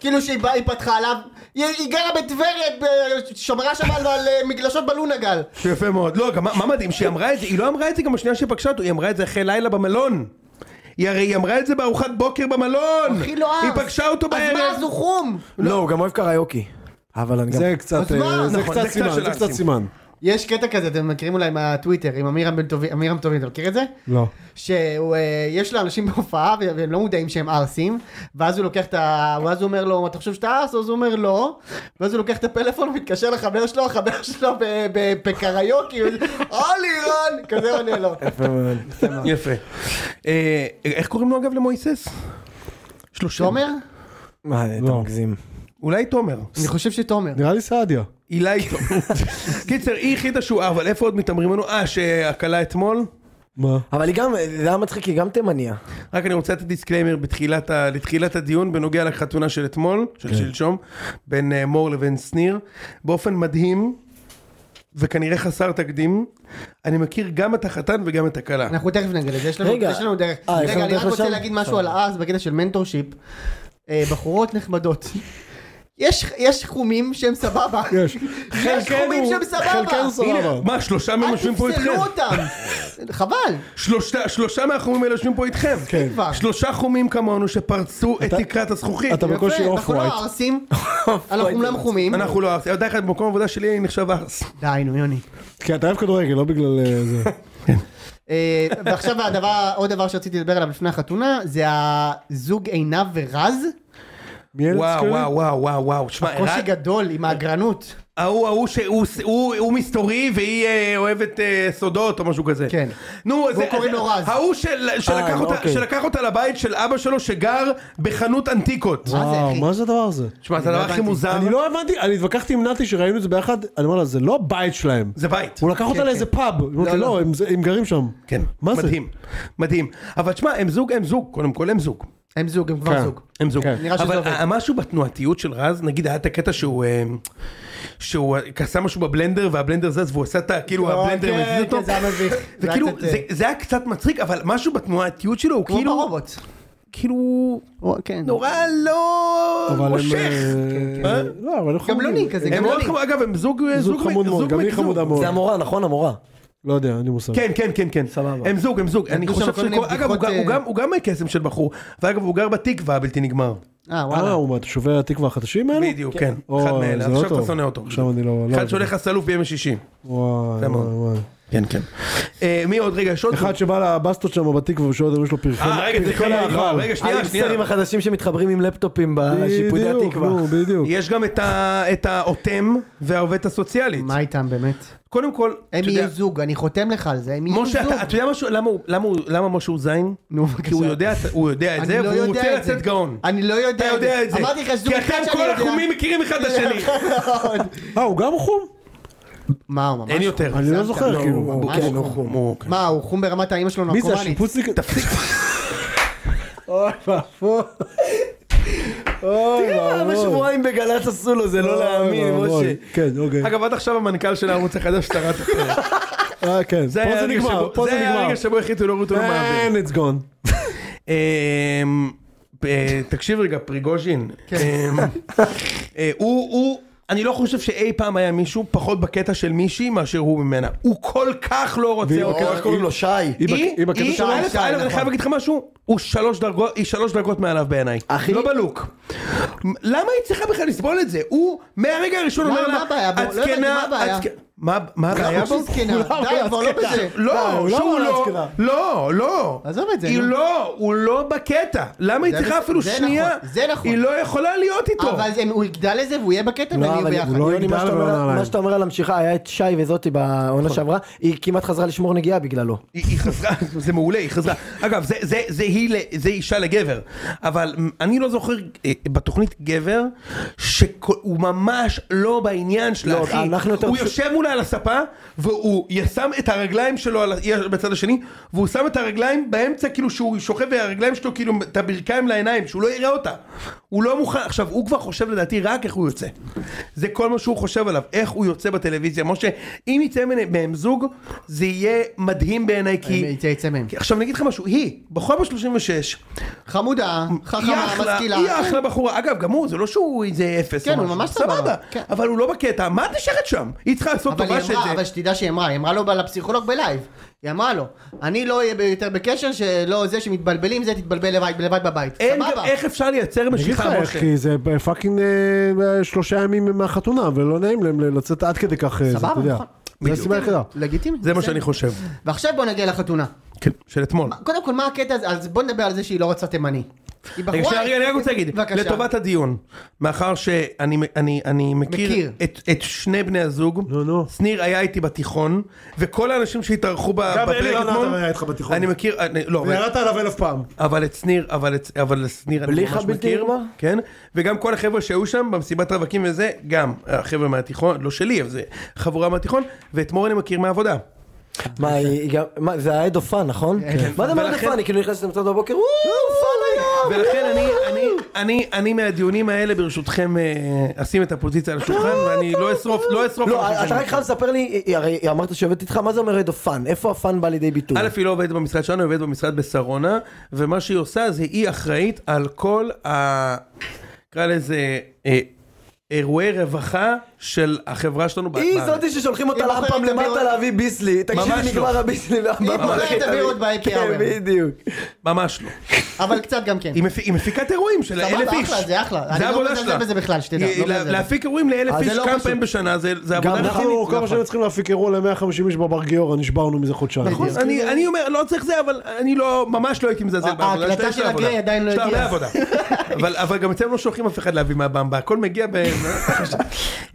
Speaker 4: כאילו שהיא באה, היא פתחה עליו, היא- היא גרה בטבריה, ב- שמרה שם על על, אה, מגלשות בלונגל.
Speaker 1: יפה מאוד. לא, גם מה- מה מדהים, שהיא אמרה את זה, היא לא אמרה את זה גם בשנייה שהיא פגשה אותו, היא אמרה את זה אחרי לילה במלון. היא הרי היא אמרה את זה בארוחת בוקר במלון.
Speaker 4: אחי לא ארס.
Speaker 1: היא פגשה אותו בערב.
Speaker 4: אז מה, אז הוא חום!
Speaker 2: לא, הוא גם אוהב קריוקי. אבל אני גם...
Speaker 3: זה קצת
Speaker 4: אז מה?
Speaker 3: אה, זה
Speaker 1: נכון, זה
Speaker 3: קצת
Speaker 1: קצת
Speaker 3: סימן,
Speaker 1: של
Speaker 3: זה קצת
Speaker 1: האסים.
Speaker 3: סימן.
Speaker 4: יש קטע כזה, אתם מכירים אולי מהטוויטר, עם אמירם בן טובים, אמירם טובים, אתה מכיר את זה?
Speaker 3: לא.
Speaker 4: שיש לו אנשים <laughs> בהופעה ו- והם לא מודעים שהם ערסים, ואז הוא לוקח את ה... ואז הוא אומר לו, אתה חושב שאתה ערס? אז הוא אומר לא, ואז הוא לוקח את הפלאפון מתקשר לחבר שלו, החבר שלו ב- ב- בקריוקי, הוא- אולי רן, כזה עונה
Speaker 2: <laughs>
Speaker 4: לו.
Speaker 1: יפה. אה, איך קוראים לו אגב למויסס? שלושה.
Speaker 4: תומר?
Speaker 2: מה, אתה
Speaker 3: לא.
Speaker 2: מגזים.
Speaker 1: אולי תומר.
Speaker 4: אני חושב שתומר.
Speaker 3: נראה לי סעדיה.
Speaker 1: אילי
Speaker 4: <laughs>
Speaker 1: תומר. קיצר, היא החליטה שהוא, אבל איפה עוד מתעמרים לנו? אה, שהכלה אתמול?
Speaker 3: מה?
Speaker 2: אבל היא גם, זה היה מצחיק, היא גם תימניה.
Speaker 1: רק אני רוצה לתת דיסקליימר בתחילת ה- לתחילת הדיון בנוגע לחתונה של אתמול, של שלשום, בין אה, מור לבין שניר. באופן מדהים, וכנראה חסר תקדים, אני מכיר גם את החתן וגם את הכלה.
Speaker 4: אנחנו תכף נגיד לזה, יש לנו-
Speaker 2: רגע.
Speaker 4: יש לנו דרך.
Speaker 2: אה, יש לנו
Speaker 4: רגע, אני
Speaker 2: דרך
Speaker 4: רק רוצה
Speaker 2: לשם?
Speaker 4: להגיד משהו על הארס בקטע של מנטורשיפ. אה, בחורות נחמדות. יש, יש חומים שהם
Speaker 2: <laughs>
Speaker 4: סבבה. יש. יש חומים שהם סבבה.
Speaker 3: חלקנו סבבה.
Speaker 1: מה, שלושה מהם
Speaker 4: אל
Speaker 1: יושבים פה איתכם?
Speaker 4: תפסלו אותם.
Speaker 1: <laughs>
Speaker 4: חבל.
Speaker 1: שלושה- שלושה מהחומים האלה יושבים פה איתכם.
Speaker 3: כן.
Speaker 4: כבר.
Speaker 1: שלושה חומים כמונו שפרצו את תקרת הזכוכית.
Speaker 3: אתה בקושי
Speaker 4: יפה,
Speaker 3: אוף
Speaker 4: אנחנו לא
Speaker 1: <laughs>
Speaker 3: ווייט.
Speaker 4: ערסים, אנחנו אומנם חומים.
Speaker 1: אנחנו לא ארס. אתה יודע איך במקום העבודה שלי אני נחשב ארס.
Speaker 4: די, נו, יוני.
Speaker 3: כי אתה אוהב כדורגל, לא בגלל אה, זה.
Speaker 4: אה, ועכשיו הדבר, עוד דבר שרציתי לדבר עליו לפני החתונה, זה הזוג עינב ורז.
Speaker 3: מי אלה
Speaker 1: וואו
Speaker 3: הזכירים?
Speaker 1: וואו וואו וואו וואו. שמע,
Speaker 4: קושי
Speaker 1: ערן-
Speaker 4: גדול עם
Speaker 1: אה,
Speaker 4: האגרנות.
Speaker 1: ההוא, ההוא שהוא הוא- הוא מסתורי והיא אה, אוהבת אה, סודות או משהו כזה.
Speaker 4: כן.
Speaker 1: נו, זה...
Speaker 4: קוראים לו רז.
Speaker 1: ההוא של- שלקח
Speaker 2: אה,
Speaker 1: אותה-
Speaker 2: אוקיי.
Speaker 1: שלקח אותה לבית של אבא שלו שגר בחנות אנטיקות.
Speaker 4: מה זה, אחי?
Speaker 3: וואו, מה זה הדבר הזה?
Speaker 1: תשמע, זה הדבר הכי מוזר.
Speaker 3: אני לא הבנתי, אני התווכחתי עם נתי שראינו את זה ביחד, אני אומר לה, זה לא הבית שלהם.
Speaker 1: זה בית.
Speaker 3: הוא לקח אותה לאיזה פאב. היא אומרת לי,
Speaker 4: לא.
Speaker 3: לא, הם זה- הם גרים שם.
Speaker 1: כן.
Speaker 3: מה זה?
Speaker 1: מדהים. מדהים. אבל תשמע, הם זוג, הם זוג. קודם כל הם זוג.
Speaker 4: הם זוג, הם
Speaker 3: כן.
Speaker 4: כבר זוג.
Speaker 1: הם זוג.
Speaker 3: כן.
Speaker 4: נראה שזה
Speaker 1: אבל
Speaker 4: עובד.
Speaker 1: ה- משהו בתנועתיות של רז, נגיד היה את הקטע שהוא... אה, שהוא אה, עשה משהו בבלנדר והבלנדר זז והוא עשה את ה... כאילו
Speaker 4: לא,
Speaker 1: הבלנדר
Speaker 4: כן,
Speaker 1: מזיז
Speaker 4: כן,
Speaker 1: אותו.
Speaker 4: זה היה מביך. זה היה
Speaker 1: וכאילו
Speaker 4: קצת, אה,
Speaker 1: זה- זה היה קצת מצחיק אבל משהו בתנועתיות שלו הוא
Speaker 4: כמו
Speaker 1: כאילו
Speaker 4: ברובוט.
Speaker 1: כאילו
Speaker 4: כן.
Speaker 1: נורא לא
Speaker 3: אבל הם...
Speaker 1: מושך.
Speaker 3: אה,
Speaker 1: אה?
Speaker 3: לא, אבל הם חמודים.
Speaker 4: גמלונים כזה,
Speaker 1: הם מאוד
Speaker 4: גמלונים.
Speaker 1: חמוד, אגב הם זוג
Speaker 3: זוג חמוד
Speaker 1: זוג
Speaker 3: מאוד, גם היא
Speaker 1: זוג.
Speaker 3: חמודה מאוד.
Speaker 2: זה המורה, נכון? המורה.
Speaker 3: לא יודע, אין לי מושג.
Speaker 1: כן כן כן כן הם זוג הם זוג אני
Speaker 4: נתנו שם
Speaker 1: חושב
Speaker 4: כל מיני
Speaker 1: שכל- אגב הוא
Speaker 4: בדיחות,
Speaker 1: גם- הוא
Speaker 4: אה,
Speaker 1: גם- הוא גם קסם של בחור ואגב הוא גר בתקווה הבלתי נגמר
Speaker 4: אה,
Speaker 3: אה,
Speaker 4: וואלה.
Speaker 3: הוא מה, תושבי התקווה החדשים האלו?
Speaker 1: בדיוק כן
Speaker 3: אוי,
Speaker 1: אחד מאלה
Speaker 3: זה לא
Speaker 1: עכשיו
Speaker 3: טוב.
Speaker 1: אתה שונא אותו
Speaker 3: עכשיו אני לא... לא-
Speaker 1: אחד שהולך לסלוף בימי שישי
Speaker 3: וואי,
Speaker 1: זה
Speaker 3: וואי,
Speaker 1: מאוד.
Speaker 3: וואי.
Speaker 1: כן כן אה, מי עוד רגע יש עוד
Speaker 3: אחד שבא לבסטות שם בתקווה ושעוד יש לו פרחי...
Speaker 1: אה רגע זה
Speaker 3: פרחי
Speaker 1: לא,
Speaker 3: לאכל.
Speaker 1: רגע שנייה שנייה
Speaker 2: האיפסטרים החדשים שמתחברים עם לפטופים בשיפודי
Speaker 3: בדיוק,
Speaker 2: התקווה.
Speaker 3: נו, בדיוק.
Speaker 1: יש גם את ה- את האוטם והעובדת הסוציאלית
Speaker 4: מה איתם באמת?
Speaker 1: קודם כל
Speaker 4: הם
Speaker 1: אתה יודע-
Speaker 4: יהיו זוג, אני חותם לך על זה, הם יהיו
Speaker 1: משה,
Speaker 4: זוג.
Speaker 1: אתה, אתה יודע משהו, למה, הוא- למה, הוא- למה משה הוא זין?
Speaker 4: נו, בבקשה.
Speaker 1: כי הוא יודע, הוא יודע את
Speaker 4: אני
Speaker 1: זה,
Speaker 4: לא
Speaker 1: והוא
Speaker 4: יודע
Speaker 1: רוצה
Speaker 4: את זה.
Speaker 1: לצאת גאון.
Speaker 4: אני לא יודע
Speaker 1: אתה יודע את זה.
Speaker 4: אמרתי לך שזוג
Speaker 1: כי
Speaker 4: אחד שאני
Speaker 1: אתם
Speaker 4: יודע.
Speaker 1: כל החומים מכירים אחד את השני.
Speaker 3: אה, הוא גם חום?
Speaker 4: מה, הוא ממש...
Speaker 1: אין יותר.
Speaker 3: אני לא זוכר,
Speaker 2: לא,
Speaker 3: כאילו.
Speaker 2: הוא-
Speaker 4: ממש
Speaker 2: כן, הוא
Speaker 4: חום.
Speaker 2: חום.
Speaker 1: הוא-
Speaker 3: אוקיי.
Speaker 1: כן.
Speaker 4: מה, הוא חום ברמת האמא שלו
Speaker 3: מי זה
Speaker 4: נרקומנית?
Speaker 3: השיפוצניק? תפסיק. אוי
Speaker 2: אה,
Speaker 3: ואבוי.
Speaker 2: מה שבועיים בגל"צ עשו לו, זה לא להאמין,
Speaker 3: אה, אוי
Speaker 2: משה.
Speaker 3: ואבוי. כן, אוקיי.
Speaker 1: אגב, עד עכשיו המנכ"ל של הערוץ החדש
Speaker 3: <laughs>
Speaker 1: שרד אחרת.
Speaker 3: אה, כן.
Speaker 1: זה
Speaker 3: פה
Speaker 1: היה
Speaker 3: זה
Speaker 1: הרגע
Speaker 3: נגמר,
Speaker 1: שבו-
Speaker 3: פה זה
Speaker 1: זה היה
Speaker 3: נגמר. אה,
Speaker 1: הרגע שבו החליטו להוריד אותו למעביר.
Speaker 3: And it's gone.
Speaker 1: אמ, אה, תקשיב רגע, פריגוז'ין.
Speaker 3: כן.
Speaker 1: אמ, אה, הוא, הוא, אני לא חושב שאי פעם היה מישהו פחות בקטע של מישהי מאשר הוא ממנה. הוא כל כך לא רוצה
Speaker 2: או,
Speaker 1: אותה.
Speaker 2: איך קוראים לו? שי.
Speaker 3: בק-
Speaker 1: היא,
Speaker 3: היא בקטע
Speaker 1: היא-
Speaker 3: שלה.
Speaker 1: א',
Speaker 4: שי,
Speaker 1: א',
Speaker 4: נכון.
Speaker 1: אני חייב להגיד לך משהו, הוא שלוש דרגות, היא שלוש דרגות מעליו בעיניי.
Speaker 2: אחי-
Speaker 1: לא בלוק. למה היא צריכה בכלל לסבול את זה? הוא מהרגע הראשון
Speaker 4: למה?
Speaker 1: אומר לה,
Speaker 4: מה הבעיה?
Speaker 1: את
Speaker 4: לא הבנתי,
Speaker 1: זקנה,
Speaker 4: מה הבעיה?" לא
Speaker 1: את זק- מה מה הבעיה בו?
Speaker 4: שהיא זקנה,
Speaker 1: כולם
Speaker 4: די, כבר לא
Speaker 1: בקטע.
Speaker 4: בזה.
Speaker 1: לא,
Speaker 4: די,
Speaker 1: שהוא
Speaker 4: לא
Speaker 1: לא,
Speaker 4: בקטע.
Speaker 1: לא, לא.
Speaker 4: עזוב את זה,
Speaker 1: היא
Speaker 4: נו.
Speaker 1: לא, הוא לא בקטע. למה היא
Speaker 4: זה
Speaker 1: צריכה
Speaker 4: בס-
Speaker 1: אפילו
Speaker 4: זה
Speaker 1: שנייה?
Speaker 4: נכון, זה נכון.
Speaker 1: היא לא יכולה להיות איתו.
Speaker 4: אבל זה- הוא יגדל לזה והוא יהיה בקטע והם
Speaker 2: לא,
Speaker 4: יהיו
Speaker 2: אבל
Speaker 4: ביחד.
Speaker 3: לא
Speaker 2: יוני, מה
Speaker 3: יגדל
Speaker 2: שאתה
Speaker 3: ולא
Speaker 2: אומר-
Speaker 3: נעליים.
Speaker 2: מה שאתה אומר על המשיכה, היה את שי וזאתי בעונה שעברה, היא כמעט חזרה לשמור נגיעה בגללו.
Speaker 1: היא היא חזרה, זה מעולה, היא חזרה. אגב, זה, זה, זה, היא, ל- זה אישה לגבר, אבל אני לא זוכר אה, בתוכנית גבר, שהוא ממש לא בעניין שלה,
Speaker 2: לא,
Speaker 1: אחי.
Speaker 2: אנחנו יותר
Speaker 1: הוא
Speaker 2: פשוט-
Speaker 1: יושב מולה על הספה, והוא ישם את הרגליים שלו על, ה- בצד השני, והוא שם את הרגליים באמצע, כאילו שהוא שוכב והרגליים שלו, כאילו, את הברכיים לעיניים, שהוא לא יראה אותה. הוא לא מוכן, עכשיו, הוא כבר חושב לדעתי רק איך הוא יוצא. זה כל מה שהוא חושב עליו, איך הוא יוצא בטלוויזיה. משה, אם יצא מהם- מהם זוג, זה יהיה מדהים בעיניי, כי...
Speaker 4: יצא- יצא מהם.
Speaker 1: כי עכשיו אני אגיד לך משהו, היא, בחור ב-36,
Speaker 4: חמודה,
Speaker 1: היא
Speaker 4: חכמה,
Speaker 1: אחלה,
Speaker 4: משכילה.
Speaker 1: היא אחלה בחורה, אגב גם הוא, זה לא שהוא איזה אפס, או
Speaker 4: כן, הוא
Speaker 1: משהו.
Speaker 4: ממש
Speaker 1: סבבה,
Speaker 4: סבבה, כן.
Speaker 1: אבל הוא לא בקטע, מה את נשארת שם? היא צריכה לעשות
Speaker 4: אבל היא
Speaker 1: טובה של
Speaker 4: אמרה, אבל
Speaker 1: זה,
Speaker 4: שתדע שהיא אמרה, היא אמרה לו לפסיכולוג בלייב. היא אמרה לו, אני לא אהיה יותר בקשר שלא זה שמתבלבלים, זה תתבלבל לבד- לבד בבית.
Speaker 1: אין גם
Speaker 4: סבבה.
Speaker 1: איך אפשר לייצר
Speaker 3: אני אגיד לך
Speaker 1: משיכה,
Speaker 3: איך,
Speaker 1: משה,
Speaker 3: כי זה פאקינג אה, שלושה ימים מהחתונה, ולא נעים להם לצאת עד כדי כך, אה, זה,
Speaker 4: סבבה,
Speaker 3: אתה יודע.
Speaker 4: נכון.
Speaker 3: זה הסיבה היחידה.
Speaker 4: לגיטימי.
Speaker 1: זה מה
Speaker 4: בסדר.
Speaker 1: שאני חושב,
Speaker 4: ועכשיו בוא נגיע לחתונה.
Speaker 1: כן, של אתמול.
Speaker 4: קודם כל, מה הקטע הזה? אז בוא נדבר על זה שהיא לא רוצה תימני. היא
Speaker 1: רגע,
Speaker 4: בחורה-
Speaker 1: שנייה, רגע, אני רק רוצה להגיד,
Speaker 4: בבקשה.
Speaker 1: לטובת הדיון, מאחר שאני אני- אני מכיר
Speaker 4: מכיר.
Speaker 1: את- את שני בני הזוג,
Speaker 3: נו, נו.
Speaker 1: שניר היה איתי בתיכון, וכל האנשים שהתארחו ב-
Speaker 9: גם אלי
Speaker 1: בפרק
Speaker 9: רנטה
Speaker 1: אתמול,
Speaker 9: היה איתך בתיכון.
Speaker 1: אני מכיר, אני- לא, אבל-
Speaker 9: וירדת עליו אלף פעם.
Speaker 1: אבל את שניר, אבל את אבל את שניר אני
Speaker 2: בלי
Speaker 1: ממש
Speaker 2: לך בלתי
Speaker 1: מכיר,
Speaker 2: נגמר?
Speaker 1: כן, וגם כל החבר'ה שהיו שם במסיבת רווקים וזה, גם החבר'ה מהתיכון, לא שלי, אבל זה חבורה מהתיכון, ואת מור אני מכיר מהעבודה.
Speaker 2: מה, היא גם, מה, זה היה דופן, נכון? מה זה מה
Speaker 1: ולכן-
Speaker 2: דופן? היא כאילו נכנסת למצב בבוקר, וואו, פאן היום!
Speaker 1: ולכן אני, אני, אני, אני מהדיונים האלה ברשותכם אה, אשים את הפוזיציה על השולחן
Speaker 4: אה,
Speaker 1: ואני לא אשרוף, לא אשרוף. על
Speaker 2: לא,
Speaker 1: השולחן
Speaker 2: אתה רק
Speaker 1: שלכם.
Speaker 2: חייב לספר לי, היא- הרי היא אמרת שעובדת איתך, מה זה אומר דופן? איפה הפאן בא לידי ביטוי?
Speaker 1: א' היא לא עובדת במשרד שלנו, היא עובדת במשרד בשרונה, ומה שהיא עושה זה היא אחראית על כל ה... נקרא לזה אה, אירועי רווחה של החברה שלנו
Speaker 2: היא
Speaker 1: בארץ.
Speaker 2: זאתי ששולחים אותה
Speaker 4: היא
Speaker 2: לאמפם
Speaker 4: בוחרת
Speaker 2: למטה
Speaker 4: לדבר-
Speaker 2: להביא ביסלי,
Speaker 1: ממש
Speaker 2: תקשיב,
Speaker 1: לא.
Speaker 2: נגמר הביסלי
Speaker 4: היא
Speaker 2: והמבא
Speaker 4: בוחרת לדבר עוד
Speaker 2: כן,
Speaker 4: ב-happy hour.
Speaker 2: בדיוק.
Speaker 1: ממש לא.
Speaker 4: אבל קצת גם כן.
Speaker 1: היא מפי- היא מפיקת אירועים של
Speaker 4: סבבה,
Speaker 1: אלף
Speaker 4: אחלה,
Speaker 1: איש.
Speaker 4: זה אחלה. אני לא
Speaker 1: העבודה
Speaker 4: מזלזל
Speaker 1: שלה.
Speaker 4: בזה בכלל, שתדע,
Speaker 1: היא-
Speaker 4: לא
Speaker 1: לה-
Speaker 4: מזלזל.
Speaker 1: להפיק אירועים לאלף
Speaker 4: אבל זה
Speaker 1: איש
Speaker 4: לא
Speaker 1: כמה
Speaker 4: פשוט.
Speaker 1: פעמים בשנה, זה זה
Speaker 3: גם
Speaker 1: עבודה
Speaker 3: אנחנו,
Speaker 1: רצינית.
Speaker 4: נכון.
Speaker 3: כמה שנים צריכים להפיק אירוע ל-150 איש בבר גיורא, נשברנו מזה חודשיים.
Speaker 4: נכון.
Speaker 1: אז אני- אני אומר, לא צריך זה, אבל אני לא, ממש לא הייתי מזלזל
Speaker 4: ה-
Speaker 1: בעבודה.
Speaker 4: ההקלטה
Speaker 1: יש לה
Speaker 4: של
Speaker 1: עבודה.
Speaker 4: הגרי עדיין לא
Speaker 1: יש לה הרבה
Speaker 4: הגיעה. <laughs>
Speaker 1: עבודה. אבל- אבל גם אצלנו לא שולחים אף אחד להביא מהבמבה, הכל מגיע ב...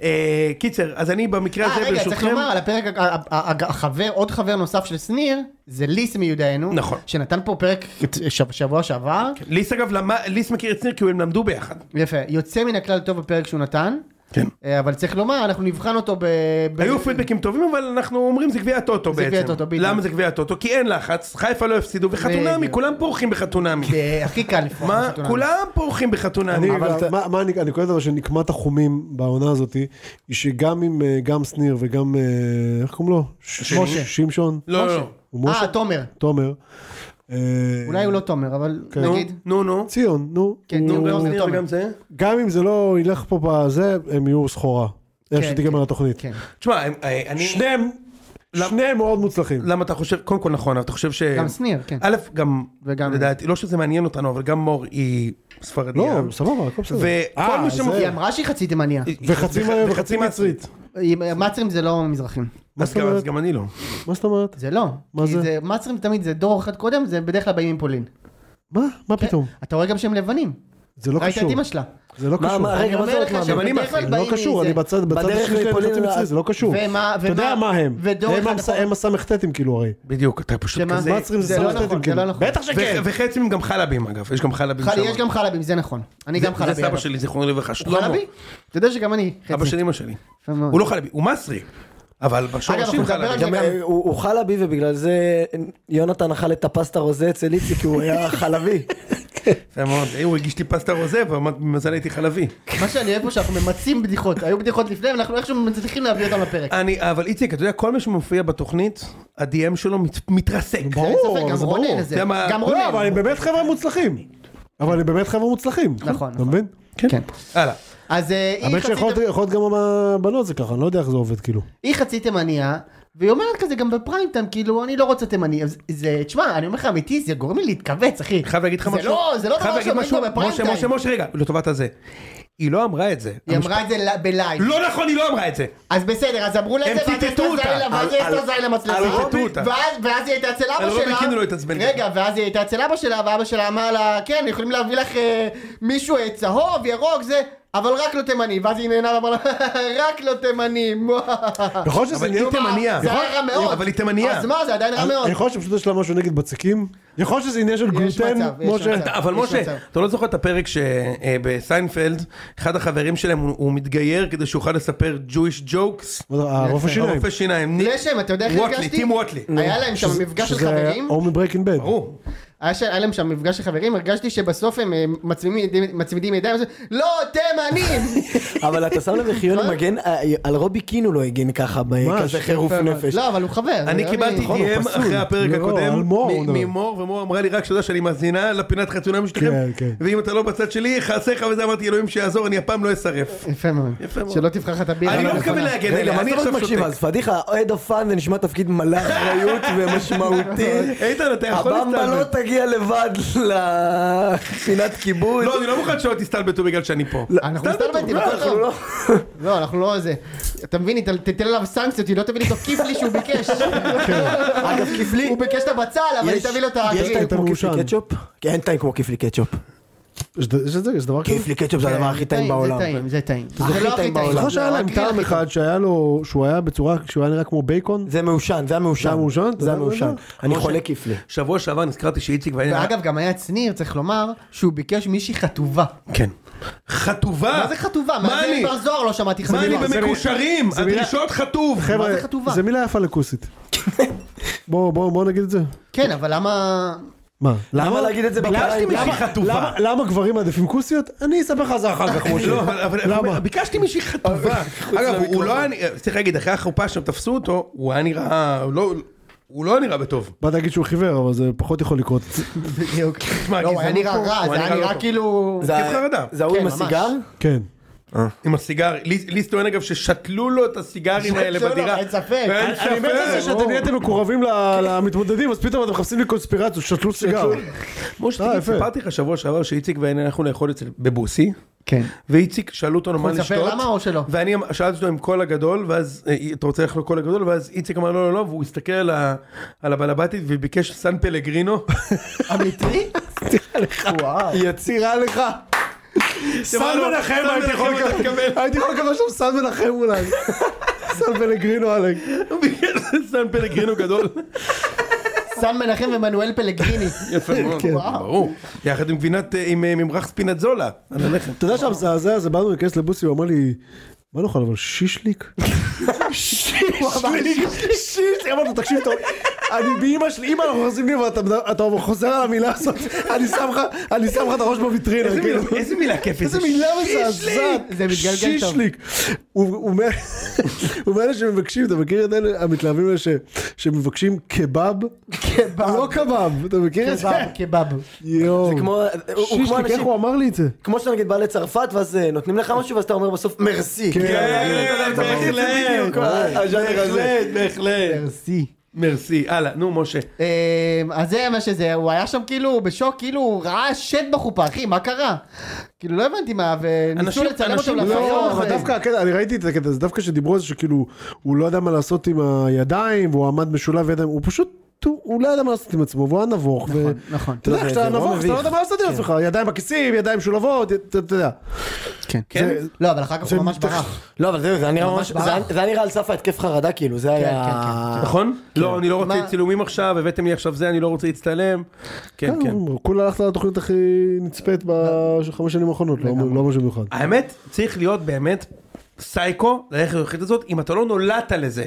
Speaker 1: אה, קיצר, אז אני במקרה
Speaker 4: אה,
Speaker 1: הזה,
Speaker 4: רגע, צריך
Speaker 1: ברשותכם,
Speaker 4: לומר על הפרק, ה- ה- ה- ה- החבר, עוד חבר נוסף של שניר, זה ליס מיודענו.
Speaker 1: נכון. כן.
Speaker 4: שנתן פה פרק שב- שבוע שעבר.
Speaker 1: ליס אגב, למד- ליס מכיר את שניר כי הם למדו ביחד.
Speaker 4: יפה, יוצא מן הכלל טוב בפרק שהוא נתן.
Speaker 1: כן.
Speaker 4: אה, אבל צריך לומר, אנחנו נבחן אותו ב... ב-
Speaker 1: היו פידבקים טובים, אבל אנחנו אומרים זה גביע הטוטו
Speaker 4: זה
Speaker 1: בעצם.
Speaker 4: גביע הטוטו, בדיוק.
Speaker 1: למה זה גביע הטוטו? כי אין לחץ, חיפה לא הפסידו, וחתונמי,
Speaker 4: בדיוק. כן,
Speaker 1: כולם פורחים בחתונמי.
Speaker 4: זה הכי קל לפחות.
Speaker 1: מה? כולם פורחים בחתונמי.
Speaker 3: אני,
Speaker 1: אבל-
Speaker 3: אבל מה, מה אני, אני קולט אבל שנקמת החומים בעונה הזאתי, היא שגם עם, אה, גם שניר וגם, אה, איך קוראים לו? ש-
Speaker 1: שני.
Speaker 3: משה. שמשון,
Speaker 1: לא, לא,
Speaker 3: הוא
Speaker 4: משה.
Speaker 3: משה,
Speaker 4: אה, תומר.
Speaker 3: תומר, אה,
Speaker 4: אולי הוא לא תומר, אבל
Speaker 3: כן.
Speaker 1: לא.
Speaker 4: נגיד.
Speaker 1: נו, נו.
Speaker 3: ציון, נו,
Speaker 4: כן,
Speaker 3: הוא-
Speaker 1: נו,
Speaker 4: תומר,
Speaker 1: גם שניר
Speaker 4: תומר.
Speaker 1: וגם זה.
Speaker 3: גם אם זה לא ילך פה בזה, הם יהיו סחורה, איך
Speaker 4: כן,
Speaker 3: שתיגמר
Speaker 4: כן,
Speaker 3: התוכנית.
Speaker 4: כן.
Speaker 1: תשמע, הם- אה, אני...
Speaker 3: שניהם, שניהם מאוד מוצלחים.
Speaker 4: לא,
Speaker 1: למה אתה חושב, קודם כל נכון, אבל אתה חושב ש...
Speaker 4: גם שניר, כן.
Speaker 1: א', גם,
Speaker 4: וגם-
Speaker 1: לדעתי, לא שזה מעניין אותנו, אבל גם מור היא ספרדיה.
Speaker 3: לא, סבבה, הכל בסדר.
Speaker 1: וכל
Speaker 3: אה,
Speaker 1: מי
Speaker 3: זה-
Speaker 4: היא
Speaker 1: שמופיע...
Speaker 4: אמרה שהיא חצי תימניה.
Speaker 3: וחצי מה- וחצי מצרית.
Speaker 4: היא- מצרים זה לא מזרחים.
Speaker 3: מה
Speaker 1: אז
Speaker 3: זאת
Speaker 1: גם- אז
Speaker 3: אומרת?
Speaker 1: גם אני לא.
Speaker 3: מה זאת אומרת?
Speaker 4: זה לא.
Speaker 3: מה
Speaker 4: כי
Speaker 3: זה?
Speaker 4: מצרים תמיד זה דור אחד קודם, זה בדרך כלל באים עם פולין.
Speaker 3: מה? מה
Speaker 4: כן.
Speaker 3: פתאום?
Speaker 4: אתה רואה גם שהם לבנים.
Speaker 3: זה לא
Speaker 4: ראית את
Speaker 3: קשור.
Speaker 4: אימא שלה.
Speaker 3: זה לא
Speaker 2: מה,
Speaker 3: קשור.
Speaker 2: מה, רגע,
Speaker 4: אני
Speaker 2: מה זה
Speaker 4: אומר
Speaker 2: עוד
Speaker 4: לך
Speaker 2: מה?
Speaker 1: גם אני
Speaker 4: שבדרך כלל
Speaker 1: מצרי,
Speaker 3: זה לא
Speaker 4: באים
Speaker 3: קשור,
Speaker 4: מזה.
Speaker 3: אני בצד בצד
Speaker 2: בדרך
Speaker 3: השני שלהם
Speaker 2: לפולין
Speaker 3: חצי
Speaker 2: ל-
Speaker 3: מצרי, זה לא קשור.
Speaker 4: ומה-
Speaker 3: אתה יודע
Speaker 4: ומה-
Speaker 3: מה הם,
Speaker 4: ודור
Speaker 3: הם
Speaker 4: אחד
Speaker 3: המס-
Speaker 4: אחורה.
Speaker 3: הם הס"טים כאילו הרי.
Speaker 1: בדיוק, אתה פשוט
Speaker 4: שמה?
Speaker 1: כזה...
Speaker 3: מצרים זה
Speaker 4: זה לא
Speaker 3: סלט,
Speaker 4: נכון, זה
Speaker 3: כאילו.
Speaker 4: לא נכון.
Speaker 3: בטח
Speaker 1: ו- וחצי הם גם חלבים אגב, יש גם חלבים
Speaker 4: חל-
Speaker 1: שם.
Speaker 4: יש גם חלבים, זה נכון. אני גם
Speaker 1: זה-
Speaker 4: חלבי.
Speaker 1: זה סבא
Speaker 4: אגב.
Speaker 1: שלי, לא זיכרונו לברכה.
Speaker 4: הוא
Speaker 1: שלמה.
Speaker 4: חלבי? אתה יודע שגם אני
Speaker 1: אבא
Speaker 4: חצי.
Speaker 1: של אמא שלי.
Speaker 4: יפה מאוד.
Speaker 1: הוא לא חלבי, הוא מסרי. אבל
Speaker 4: אגב, אנחנו
Speaker 1: בשורשים
Speaker 4: נדבר על
Speaker 1: חלבי.
Speaker 4: זה
Speaker 2: גם
Speaker 4: גם.
Speaker 2: אה, הוא הוא חלבי ובגלל זה יונתן אכל את הפסטה רוזה אצל איציק כי הוא
Speaker 4: <laughs>
Speaker 2: היה חלבי.
Speaker 1: יפה מאוד. אה, הוא הגיש לי פסטה רוזה, ובמזל הייתי חלבי.
Speaker 4: מה שאני אוהב פה שאנחנו ממצים בדיחות. היו בדיחות לפני, ואנחנו איכשהו מצליחים להביא אותם לפרק.
Speaker 1: אני, אבל איציק, אתה יודע, כל מי שמופיע בתוכנית, ה-DM שלו מת- מתרסק.
Speaker 4: אין ספק,
Speaker 3: ברור,
Speaker 4: גם
Speaker 3: זה ברור.
Speaker 4: רונן הזה.
Speaker 1: אתה יודע מה-
Speaker 4: גם
Speaker 1: לא,
Speaker 3: לא, אבל
Speaker 4: רונן.
Speaker 3: הם באמת חבר'ה מוצלחים. אבל הם באמת חבר'ה מוצלחים.
Speaker 4: נכון,
Speaker 3: אתה
Speaker 4: נכון.
Speaker 3: מבין?
Speaker 4: כן.
Speaker 1: הלאה.
Speaker 4: אז אה, היא
Speaker 3: האמת
Speaker 4: חצי
Speaker 3: שיכול להיות- יכול להיות גם עם הבנות זה ככה, אני לא יודע איך זה עובד כאילו.
Speaker 4: היא חצי תימניה, והיא אומרת כזה גם בפריים טיים, כאילו, אני לא רוצה תימני. אז זה, תשמע, אני אומר לך אמיתי, זה גורם לי להתכווץ, אחי.
Speaker 1: אני חייב להגיד לך
Speaker 4: זה
Speaker 1: משהו.
Speaker 4: לא- זה לא
Speaker 1: חייב
Speaker 4: דבר
Speaker 1: להגיד
Speaker 4: שאומרים
Speaker 1: משהו.
Speaker 4: כבר בפריים
Speaker 1: משה,
Speaker 4: טיים.
Speaker 1: משה, משה, רגע, לטובת הזה. היא לא אמרה את זה.
Speaker 4: היא אמרה את זה ל- בלייב.
Speaker 1: לא נכון, היא לא אמרה את זה.
Speaker 4: אז בסדר, אז אמרו לה את
Speaker 1: הם
Speaker 4: זה, ואז
Speaker 1: ציטטו
Speaker 4: אסתר
Speaker 1: אותה.
Speaker 4: זיילה- ואז
Speaker 1: על-
Speaker 4: אסתר
Speaker 1: על-
Speaker 4: זיילה
Speaker 1: על
Speaker 4: מצלצלת.
Speaker 1: רובי- אותה.
Speaker 4: ואז- ואז היא הייתה אצל
Speaker 1: על
Speaker 4: אבא
Speaker 1: רובי
Speaker 4: שלה.
Speaker 1: קינן לא התעצבן.
Speaker 4: רגע, ואז היא הייתה אצל אבא שלה, ואבא שלה אמר לה, כן, יכולים להביא לך אה, מישהו אה, צהוב, ירוק, זה, אבל רק לא תימני. ואז היא נהנה ואמרה לה, <laughs> רק לא תימני.
Speaker 3: יכול להיות שזה
Speaker 1: אבל היא
Speaker 3: עניין-
Speaker 1: תימניה.
Speaker 4: זה היה רע מאוד.
Speaker 1: אבל היא תימניה. אה,
Speaker 4: אז מה, זה עדיין רע מאוד.
Speaker 3: אני חושב שפשוט יש לה משהו נגד בצקים. יכול להיות שזה עניין של
Speaker 4: יש
Speaker 3: גלוטן,
Speaker 4: מצב, יש
Speaker 3: משה.
Speaker 4: מצב.
Speaker 1: אבל
Speaker 4: יש
Speaker 1: משה,
Speaker 4: מצב.
Speaker 1: אתה לא זוכר את הפרק שבסיינפלד, אחד החברים שלהם הוא- הוא מתגייר כדי שיוכל לספר Jewish jokes.
Speaker 3: הרופא אה, שיניים.
Speaker 1: הרופא שיניים. ניק
Speaker 4: לשם, אתה יודע איך
Speaker 1: ווטלי,
Speaker 4: הרגשתי?
Speaker 1: טים ווטלי.
Speaker 4: היה להם שם מפגש של
Speaker 3: שזה
Speaker 4: חברים.
Speaker 3: או מברייקינג בד.
Speaker 1: ברור.
Speaker 4: היה ש- היה להם שם מפגש של חברים, הרגשתי שבסוף הם אה, מצמידים ידיים- מצמידים ידיים, וזה, לא
Speaker 1: <laughs>
Speaker 4: תימנים!
Speaker 2: אבל אתה שם לב איך יוני מגן, אה, על רובי קין הוא לא הגן ככה, בכזה חירוף נפש.
Speaker 4: לא, אבל הוא חבר.
Speaker 1: אני קיבלתי
Speaker 4: נכון.
Speaker 1: DM אחרי הפרק
Speaker 3: לא, על
Speaker 1: הקודם,
Speaker 3: מור
Speaker 1: מ-
Speaker 3: הוא מדבר.
Speaker 1: ממור, ומור אמרה לי רק שתדע שאני מאזינה לפינת חתונם שלכם,
Speaker 3: כן, כן.
Speaker 1: ואם אתה לא בצד שלי, חסר לך וזה, אמרתי אלוהים שיעזור, אני הפעם לא אסרף.
Speaker 4: יפה מאוד.
Speaker 1: יפה מאוד.
Speaker 4: שלא תבחר לך את הבירה.
Speaker 1: אני לא
Speaker 4: הנכונה.
Speaker 1: מתכוון להגן
Speaker 2: רגע,
Speaker 1: עליה,
Speaker 2: מה
Speaker 1: אני
Speaker 3: לא
Speaker 2: זאת אומרת
Speaker 1: עכשיו
Speaker 2: מקשיב, אז
Speaker 1: לא שותק.
Speaker 2: פדיחה, אוהד הפאן זה נשמע תפקיד מלא
Speaker 1: <laughs>
Speaker 2: אחריות ומשמעותי.
Speaker 1: איתן, אתה יכול
Speaker 2: הבמבה לא
Speaker 1: להסתלבט.
Speaker 2: תגיע לבד לפינת כיבוי.
Speaker 1: לא, אני לא מוכן שלא תסתלבטו בגלל שאני פה.
Speaker 4: אנחנו מסתלבטים, הכל
Speaker 2: אנחנו
Speaker 4: טוב.
Speaker 2: לא...
Speaker 4: <laughs> לא, אנחנו לא זה. אתה מבין, אתה- תתן עליו סנקציות, היא לא תביא לי את הכיפלי שהוא ביקש.
Speaker 2: אגב, כיפלי...
Speaker 4: הוא ביקש את הבצל, אבל היא
Speaker 2: יש-
Speaker 4: תביא לו את
Speaker 2: יש
Speaker 4: הגריל.
Speaker 2: טעים כמו כיף
Speaker 3: מאושן.
Speaker 2: לי קטשופ? כן, אין טעים כמו כיף לי קטשופ.
Speaker 3: יש ד- יש את זה, יש דבר כזה.
Speaker 2: כיף לי קטשופ זה הדבר הכי טעים בעולם.
Speaker 4: כן, זה טעים, זה טעים.
Speaker 2: הכי
Speaker 4: זה לא הכי
Speaker 2: טעים
Speaker 4: טעים.
Speaker 2: בעולם.
Speaker 3: זוכר שהיה להם
Speaker 4: הגריל הכי
Speaker 3: טעם
Speaker 4: טוב.
Speaker 3: אחד שהיה לו, שהוא היה בצורה, שהוא היה נראה כמו בייקון?
Speaker 2: זה מעושן, זה המעושן.
Speaker 3: זה המעושן? אתה
Speaker 2: זה
Speaker 3: יודע
Speaker 2: המעושן.
Speaker 3: מה זה?
Speaker 2: אני חולה כיף לי.
Speaker 1: שבוע שעבר נזכרתי שאיציק ואני...
Speaker 4: ואגב, גם היה צניר, צריך לומר, שהוא ביקש מישהי חטובה.
Speaker 1: כן. חטובה.
Speaker 4: מה זה חטובה?
Speaker 1: מה
Speaker 4: מאזן
Speaker 1: אני?
Speaker 4: בר זוהר לא שמעתי
Speaker 1: מה אני
Speaker 4: חטובה.
Speaker 1: במקושרים?
Speaker 3: זה מילה-
Speaker 1: הדרישות חטוב.
Speaker 3: חבר'ה,
Speaker 4: מה זה חטובה?
Speaker 3: זה מילה יפה <laughs> לכוסית. בואו בואו בואו נגיד את זה.
Speaker 4: כן, אבל למה...
Speaker 3: מה?
Speaker 2: למה להגיד את זה בקהל?
Speaker 1: מישהי
Speaker 2: למה-
Speaker 1: חטובה?
Speaker 3: למה- למה גברים מעדיפים כוסיות? אני אספר לך זה אחר <laughs> כך, משה.
Speaker 1: לא, אבל- אבל-
Speaker 3: למה?
Speaker 1: ביקשתי מישהי חטובה.
Speaker 4: אה,
Speaker 1: אגב, הוא לא היה... צריך להגיד, אחרי החופה שם תפסו אותו, הוא היה נראה... הוא לא- הוא לא נראה בטוב.
Speaker 3: באת להגיד שהוא חיוור, אבל זה פחות יכול לקרות.
Speaker 4: בדיוק.
Speaker 1: תשמע,
Speaker 4: לא, הוא היה
Speaker 1: גזענות
Speaker 4: נראה
Speaker 1: פה,
Speaker 4: רע,
Speaker 1: הוא
Speaker 4: זה היה
Speaker 1: לא
Speaker 4: נראה
Speaker 1: טוב.
Speaker 4: כאילו...
Speaker 2: זה-
Speaker 1: התקף חרדה.
Speaker 2: זה ההוא עם
Speaker 4: כן, ממש.
Speaker 2: הסיגר?
Speaker 3: <laughs> כן.
Speaker 1: עם הסיגר. ליס ליס טוען אגב ששתלו לו את הסיגרים האלה
Speaker 4: שתלו לו,
Speaker 1: בדירה.
Speaker 4: אין ספק.
Speaker 1: אין
Speaker 4: אני-
Speaker 1: ספק.
Speaker 3: אני מת על זה שאתם נהייתם מקורבים ל- למתמודדים, אז פתאום אתם מחפשים לי קונספירציות, שתלו סיגר.
Speaker 1: משה,
Speaker 3: אה,
Speaker 1: תגיד,
Speaker 3: יפה.
Speaker 1: סיפרתי לך שבוע שעבר שאיציק ואני הלכנו לאכול אצל בבוסי.
Speaker 4: כן.
Speaker 1: ואיציק שאלו אותנו מה
Speaker 4: יכול לספר
Speaker 1: לשתות,
Speaker 4: למה או שלא?
Speaker 1: ואני אמ- שאלתי אותו עם קול הגדול, ואז אה, אתה רוצה ללכת לקול הגדול, ואז איציק אמר לא לא לא, והוא הסתכל על ה- על הבלבטית וביקש סן פלגרינו, <laughs>
Speaker 4: אמיתי? וואו.
Speaker 3: יצירה לך. סן
Speaker 1: אמרנו,
Speaker 3: מנחם,
Speaker 1: סן
Speaker 3: הייתי יכול
Speaker 1: מנחם אתה
Speaker 3: לקבל. הייתי יכול לקבל שם סן מנחם אולי. <laughs> סן פלגרינו עלק.
Speaker 1: הוא ביקש סן פלגרינו גדול,
Speaker 4: סן מנחם ומנואל פלגריני.
Speaker 1: <laughs> יפה מאוד, כן, ברור, יחד עם גבינת, אה, עם אה, ממרח ספינצולה, על הלחם.
Speaker 3: אתה יודע שהמזעזע הזה, באנו להיכנס לבוסי, הוא אמר לי, מה נאכל אבל שישליק? שישליק, שישליק, אמרנו תקשיב טוב, אני באמא שלי, אמא אנחנו חוזרים לי ואתה חוזר על המילה הזאת, אני שם לך, אני שם לך את הראש בוויטרינה,
Speaker 1: <laughs> איזה
Speaker 3: כאילו.
Speaker 1: מילה- איזה מילה כיפת,
Speaker 3: איזה מילה
Speaker 1: שישליק.
Speaker 3: מזעזעת,
Speaker 4: זה מתגלגל טוב.
Speaker 3: שישליק. הוא הוא מה- הוא מאלה שמבקשים, אתה מכיר את אלה המתלהבים האלה ש- שמבקשים קבב? לא קבב, אתה מכיר את זה?
Speaker 4: קבב, קבב.
Speaker 3: יואו.
Speaker 2: זה כמו... הוא הוא כמו
Speaker 3: שישליק, איך
Speaker 2: אנשים...
Speaker 3: הוא אמר לי את זה?
Speaker 2: כמו שאתה נגיד בא לצרפת ואז אה, נותנים לך משהו ואז אתה אומר בסוף מרסי.
Speaker 1: כן, בהחלט,
Speaker 2: בדיוק, הז'אנר הזה.
Speaker 1: בהחלט, בהחלט,
Speaker 4: מרסי.
Speaker 1: מרסי, הלאה, נו משה,
Speaker 4: אמ, אז זה מה שזה, הוא היה שם כאילו בשוק, כאילו הוא ראה שד בחופה, אחי, מה קרה? כאילו לא הבנתי מה, וניסו
Speaker 1: אנשים-
Speaker 4: לצלם אותו
Speaker 1: אנשים-
Speaker 4: לפרסום.
Speaker 3: לא, אבל דווקא הקטע, אני ראיתי את הקטע הזה, דווקא שדיברו על זה שכאילו הוא לא ידע מה לעשות עם הידיים, והוא עמד משולב ידיים, הוא פשוט, הוא- הוא לא ידע מה לעשות עם עצמו, והוא היה נבוך. נכון,
Speaker 4: נכון.
Speaker 3: אתה יודע,
Speaker 2: זה-
Speaker 3: כשאתה
Speaker 2: זה נורא
Speaker 3: נבוך, אתה לא יודע
Speaker 2: מביך.
Speaker 3: מה לעשות עם עצמך, ידיים בכיסים, ידיים משולבות, אתה אתה יודע.
Speaker 1: כן,
Speaker 4: לא, אבל אחר כך הוא ממש ברח.
Speaker 2: לא, אבל זהו, זה היה נראה ממש... כן,
Speaker 4: ברח.
Speaker 2: זה היה- זה היה נראה על סף ההתקף חרדה כאילו, זה היה...
Speaker 1: נכון? לא, אני לא רוצה
Speaker 4: מה-
Speaker 1: צילומים עכשיו, הבאתם לי עכשיו זה, אני לא רוצה להצטלם. כן, כן.
Speaker 3: כולה הלכת לתוכנית הכי נצפית בחמש שנים האחרונות, לא לא משהו מיוחד.
Speaker 1: האמת, צריך להיות באמת סייקו ללכת לתוכנית הזאת, אם אתה לא נולדת לזה.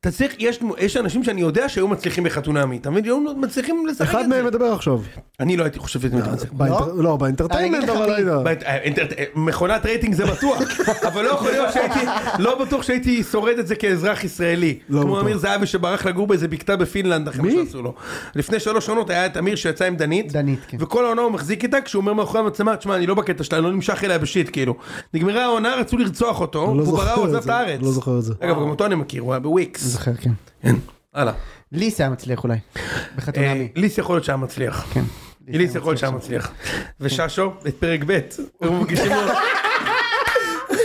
Speaker 1: אתה צריך, יש- יש אנשים שאני יודע שהיו מצליחים בחתונמי, אתה מבין? היו מצליחים לשחק
Speaker 3: אחד
Speaker 1: את זה.
Speaker 3: מהם מדבר עכשיו.
Speaker 1: אני לא הייתי חושב שזה מתמצא.
Speaker 3: באינטר- לא,
Speaker 4: אני
Speaker 3: באינטרטיימנט,
Speaker 4: אגיד לך
Speaker 3: אבל
Speaker 4: מי.
Speaker 3: לא יודע.
Speaker 1: אה, מכונת רייטינג זה
Speaker 3: <laughs>
Speaker 1: בטוח, אבל לא יכול להיות שהייתי, לא בטוח שהייתי שורד את זה כאזרח ישראלי.
Speaker 3: לא
Speaker 1: כמו
Speaker 3: בטוח.
Speaker 1: אמיר זהבי שברח לגור באיזה בקתה בפינלנד אחרי מה שעשו לו. לפני שלוש עונות היה את אמיר שיצא עם דנית,
Speaker 4: דנית, כן.
Speaker 1: וכל העונה הוא מחזיק איתה כשהוא אומר מאחורי המצלמה, תשמע אני לא בקטע שלה, אני לא נמשך אליה בשיט כאילו. נגמרה העונה, רצו לרצוח אותו,
Speaker 3: לא
Speaker 1: הוא
Speaker 3: זוכר
Speaker 1: ברא, הוא
Speaker 3: את
Speaker 1: עזב את
Speaker 3: זה,
Speaker 1: הארץ.
Speaker 3: לא זוכר את זה.
Speaker 1: אגב, גם אותו אני מכיר, הוא היה בוויקס.
Speaker 4: זוכר, כן.
Speaker 1: כן, הלאה.
Speaker 4: ליס היה מצליח אולי,
Speaker 1: אה,
Speaker 4: בחתונמי.
Speaker 1: ליס יכול להיות שהיה מצליח.
Speaker 4: כן.
Speaker 3: כן. <laughs>
Speaker 1: ליס יכול להיות שהיה מצליח. וששו, את פרק ב', הוא מרגישים לו-
Speaker 4: כמו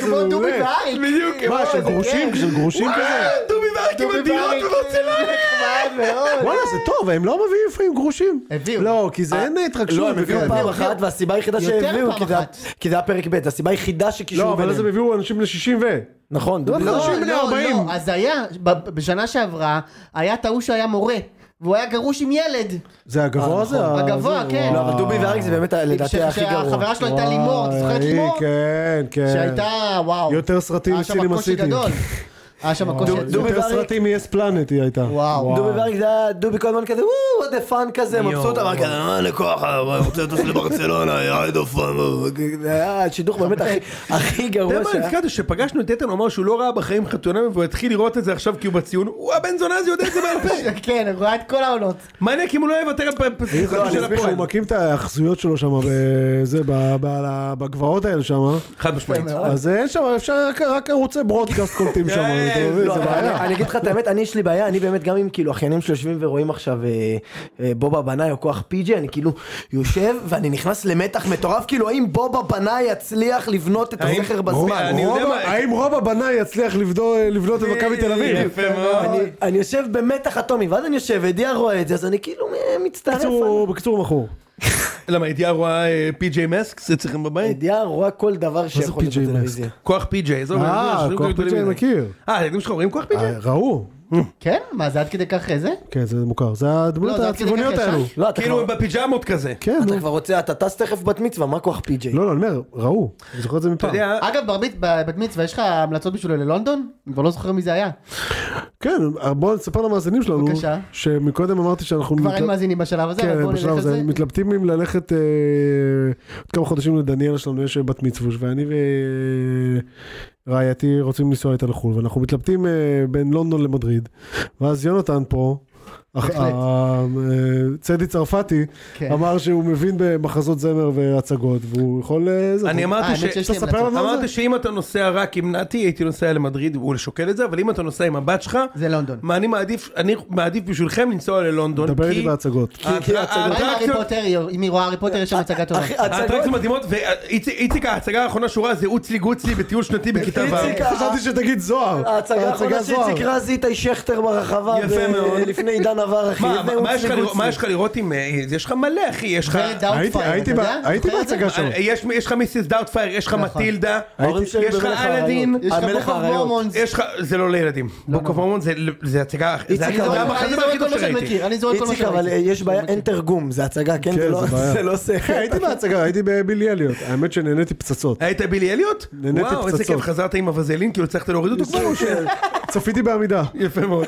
Speaker 4: דובי כאילו.
Speaker 3: מעולה. כן,
Speaker 4: ואריק.
Speaker 1: בדיוק,
Speaker 3: מה,
Speaker 4: זה
Speaker 3: של
Speaker 4: כיף.
Speaker 3: גרושים? של גרושים כזה?
Speaker 1: דובי ואריק עם
Speaker 4: דובי
Speaker 1: הדירות
Speaker 4: ואריק,
Speaker 1: בברצלונה.
Speaker 4: נחמד מאוד.
Speaker 3: וואלה, זה טוב, הם לא מביאים לפעמים גרושים.
Speaker 4: הביאו.
Speaker 3: לא, כי זה אין התרגשות.
Speaker 2: לא, הם הביאו
Speaker 3: וכאלה.
Speaker 2: פעם אחת, והסיבה היחידה
Speaker 4: יותר
Speaker 2: שהביאו,
Speaker 4: פעם
Speaker 2: כי זה היה-
Speaker 4: אחת.
Speaker 2: כי זה היה פרק ב', הסיבה היחידה
Speaker 3: לא,
Speaker 2: שקישרו
Speaker 3: אבל אז הם
Speaker 2: ביניהם.
Speaker 3: הביאו אנשים ל-60 ו...
Speaker 2: נכון, דובי
Speaker 3: לא,
Speaker 2: לא.
Speaker 3: אנשים בני 40.
Speaker 4: לא, אז היה, ב- בשנה שעברה, היה את ההוא שהיה מורה, והוא היה גרוש עם ילד.
Speaker 3: זה הגבוה זה? ה-
Speaker 4: הגבוה,
Speaker 3: אה, זה-
Speaker 4: כן. כאילו,
Speaker 2: לא, אבל דובי ואריק זה באמת ה-
Speaker 4: ש-
Speaker 2: לדעתי הכי גרוע.
Speaker 4: שהחברה שלו הייתה לימור, אתה זוכר את
Speaker 3: וואי,
Speaker 4: לימור?
Speaker 3: כן, כן.
Speaker 4: שהייתה, וואו.
Speaker 3: יותר סרטים
Speaker 4: היה שם
Speaker 3: מסינמה
Speaker 4: קושי
Speaker 3: סיטי.
Speaker 4: גדול. היה שם קושי
Speaker 2: דו-
Speaker 4: גדול.
Speaker 2: דובי
Speaker 3: יותר
Speaker 2: ואריק-
Speaker 3: סרטים יס פלנט היא הייתה.
Speaker 4: וואו.
Speaker 2: דובי ואריק זה היה דובי כל הזמן כזה, וואו, what the fun כזה, מבסוט, אמר כזה, אה, לקוח, אה, רוצה לטוס לברצלונה, אה, יא איזה פאן. זה היה השידוך באמת הכי- הכי
Speaker 1: אתה
Speaker 2: גרוע
Speaker 1: יודע מה,
Speaker 2: שהיה.
Speaker 1: נזכרתי שפגשנו את איתן, הוא אמר שהוא לא ראה בחיים חתונה והוא התחיל לראות את זה עכשיו כי הוא בציון, הוא הבן זונה הזה יודע את זה בעל פה.
Speaker 4: כן, הוא רואה את כל העונות.
Speaker 1: מעניין אם הוא לא יוותר על פ- פ-
Speaker 3: לא,
Speaker 1: פסיקה של
Speaker 3: אני מבין שהוא
Speaker 1: הפועל.
Speaker 3: מקים את ההאחזויות שלו שם, בזה, ב- ב- בגבעות האלה שם,
Speaker 1: חד משמעית.
Speaker 3: אז אה, אין שם, אפשר רק- רק ערוצי ברודקאסט קולטים <laughs> שם,
Speaker 1: כן,
Speaker 3: אתה מבין?
Speaker 2: לא,
Speaker 3: זה
Speaker 2: אבל
Speaker 3: בעיה.
Speaker 2: אני- אני אגיד לך את האמת, אני יש לי בעיה, אני באמת גם אם כאילו אחיינים שיושבים ורואים עכשיו אה, אה, בובה בנאי או כוח פיג'י, אני כאילו יושב ואני נכנס למתח מטורף, כאילו האם בובה בנאי יצליח לבנות את
Speaker 1: האם-
Speaker 2: הסכר
Speaker 1: רוב-
Speaker 2: בזמן?
Speaker 1: אני יודע
Speaker 3: רוב-
Speaker 1: מה- אה,
Speaker 3: האם רוב הבנאי יצליח לבדו- לבנות את מכבי תל אביב?
Speaker 1: יפה מאוד.
Speaker 2: אני- אני יושב במתח אטומי, ואז אני יושב, ודיה רואה את זה, אז אני כאילו אה, מצטרף.
Speaker 3: בקיצור, הוא- בקיצור הוא מכור.
Speaker 1: למה, אה, ידיעה רואה פי.ג'יי מסקס אצלכם בבית?
Speaker 2: דיה רואה כל דבר שיכול להיות
Speaker 3: PJ
Speaker 2: בטלוויזיה.
Speaker 1: כוח פי.ג'יי, עזוב.
Speaker 3: אה,
Speaker 1: אני יודע,
Speaker 3: כוח
Speaker 1: שני גדולים
Speaker 3: PJ
Speaker 1: מדי.
Speaker 3: מכיר.
Speaker 1: אה, הילדים שלך רואים כוח
Speaker 3: אה,
Speaker 1: פי.ג'יי?
Speaker 3: ראו.
Speaker 4: כן? מה, זה עד כדי כך זה?
Speaker 3: כן, זה מוכר. זה הדמויות
Speaker 4: לא, זה עד כדי כך
Speaker 3: הצבעוניות
Speaker 4: ישר?
Speaker 3: האלו.
Speaker 2: לא, אתה
Speaker 1: כאילו
Speaker 2: כבר-
Speaker 1: הם בפיג'מות כזה.
Speaker 3: כן, נו.
Speaker 2: אתה כבר רוצה, אתה טס תכף בת מצווה, מה כוח פיג'יי?
Speaker 3: לא, לא, אני אומר, ראו. אני זוכר את זה
Speaker 1: אתה
Speaker 3: מפעם.
Speaker 1: יודע,
Speaker 4: אגב, בר מצ- בת מצווה, יש לך המלצות בשבילו ללונדון? אני כבר לא זוכר מי זה היה.
Speaker 3: כן, בואו נספר למאזינים שלנו,
Speaker 4: בבקשה.
Speaker 3: שמקודם אמרתי שאנחנו...
Speaker 4: כבר
Speaker 3: מת-
Speaker 4: אין מאזינים בשלב הזה, אבל
Speaker 3: כן,
Speaker 4: בואו נלך
Speaker 3: בשלב
Speaker 4: על
Speaker 3: הזה
Speaker 4: זה.
Speaker 3: מתלבטים אם ללכת אה, עוד כמה חודשים לדניאל שלנו, יש בת מצווש, ואני ורעייתי רוצים לנסוע איתה לחו"ל, ואנחנו מתלבטים אה, בין לונדון למדריד, ואז יונתן פה. אך-
Speaker 4: בהחלט.
Speaker 3: אה, אה, צדי צרפתי
Speaker 4: כן.
Speaker 3: אמר שהוא מבין במחזות זמר והצגות והוא יכול... אה, זה,
Speaker 1: אני
Speaker 3: הוא-
Speaker 1: אמרתי
Speaker 4: האמת
Speaker 1: ש...
Speaker 4: שיש לי
Speaker 1: תספר לנו
Speaker 4: המלצה.
Speaker 1: על זה.
Speaker 3: אמרתי
Speaker 1: אמרתי שאם אתה נוסע רק עם נתי, הייתי נוסע למדריד, הוא שוקל את זה, אבל אם אתה נוסע עם הבת שלך,
Speaker 4: זה לונדון.
Speaker 1: מה, אני מעדיף, אני מעדיף בשבילכם לנסוע ללונדון.
Speaker 3: דבר איתי
Speaker 1: כי-
Speaker 3: בהצגות.
Speaker 1: כי
Speaker 4: מה עם הארי
Speaker 1: האטרקציות-
Speaker 4: פוטר? אם היא רואה הארי פוטר, יש שם הצגה טובה.
Speaker 2: אחי, הצגות,
Speaker 1: האטרקציות מדהימות, ואיציק, איציק, ההצגה האחרונה שהוא ראה זה אוצלי גוצלי בטיול שנתי בכיתה
Speaker 2: איציק,
Speaker 1: ו'.
Speaker 3: חשבתי שתגיד זוהר.
Speaker 2: ההצגה האחרונה
Speaker 3: זוהר.
Speaker 2: שאיציק רז איתי שכטר ברחבה,
Speaker 1: יפה
Speaker 2: ו-
Speaker 1: מאוד.
Speaker 2: לפני עידן עבר אחי,
Speaker 1: מה-
Speaker 2: זה
Speaker 1: מה- מה יש לך
Speaker 2: אוצלי
Speaker 1: לראות-
Speaker 2: גוצלי.
Speaker 1: מה יש לך לראות עם... אה, יש לך מלא, אחי, יש לך... אה,
Speaker 4: ורד דאוטפייר,
Speaker 3: אה, הייתי-
Speaker 4: אתה יודע?
Speaker 3: הייתי ב- הייתי
Speaker 4: זוכר את זה?
Speaker 3: בהצגה שלו.
Speaker 1: יש יש לך מיסיס דאוטפייר, יש לך
Speaker 4: נכון.
Speaker 1: מטילדה,
Speaker 2: ההורים
Speaker 1: יש
Speaker 2: שלי
Speaker 1: לך
Speaker 2: במלך
Speaker 1: אלאדין,
Speaker 2: האריות.
Speaker 4: יש לך
Speaker 2: המלך
Speaker 4: בוק אוף
Speaker 2: האריות.
Speaker 4: מורמונס.
Speaker 1: יש לך... זה לא לילדים. בוק אוף הורמון זה- זה הצגה... זה
Speaker 2: איציק,
Speaker 4: לא-
Speaker 1: הצגה
Speaker 2: אבל-
Speaker 1: בחזרה הכי טוב שראיתי.
Speaker 4: אני זורק כל מה
Speaker 2: איציק, אבל אה,
Speaker 4: שראיתי.
Speaker 2: יש בעיה, אין תרגום, זה הצגה, כן? זה לא-
Speaker 3: זה בעיה.
Speaker 2: זה לא שכל.
Speaker 3: אחי, הייתי בהצגה, הייתי בבילי אליוט. האמת שנהניתי פצצות.
Speaker 1: היית בילי אליוט?
Speaker 3: נהניתי
Speaker 1: וואו, איזה
Speaker 3: פצצות.
Speaker 1: כיף, חזרת עם הווזלין, כאילו צריך להוריד אותו כבר או ש...
Speaker 3: צפיתי בעמידה.
Speaker 1: יפה מאוד.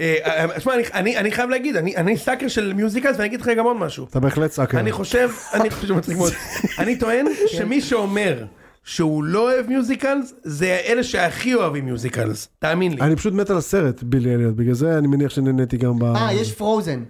Speaker 1: אה, אה, שמע, אני- אני אני חייב להגיד, אני- אני סאקר של מיוזיקלס, ואני אגיד לך גם עוד משהו.
Speaker 3: אתה בהחלט סאקר.
Speaker 1: אני חושב,
Speaker 3: <laughs>
Speaker 1: אני חושב שמצחיק מאוד. אני טוען
Speaker 3: כן.
Speaker 1: שמי שאומר שהוא לא אוהב מיוזיקלס, זה אלה שהכי אוהבים מיוזיקלס, תאמין לי.
Speaker 3: אני פשוט מת על הסרט בילי אליוט, בגלל זה אני מניח שנהניתי גם ב...
Speaker 4: אה, יש פרוזן.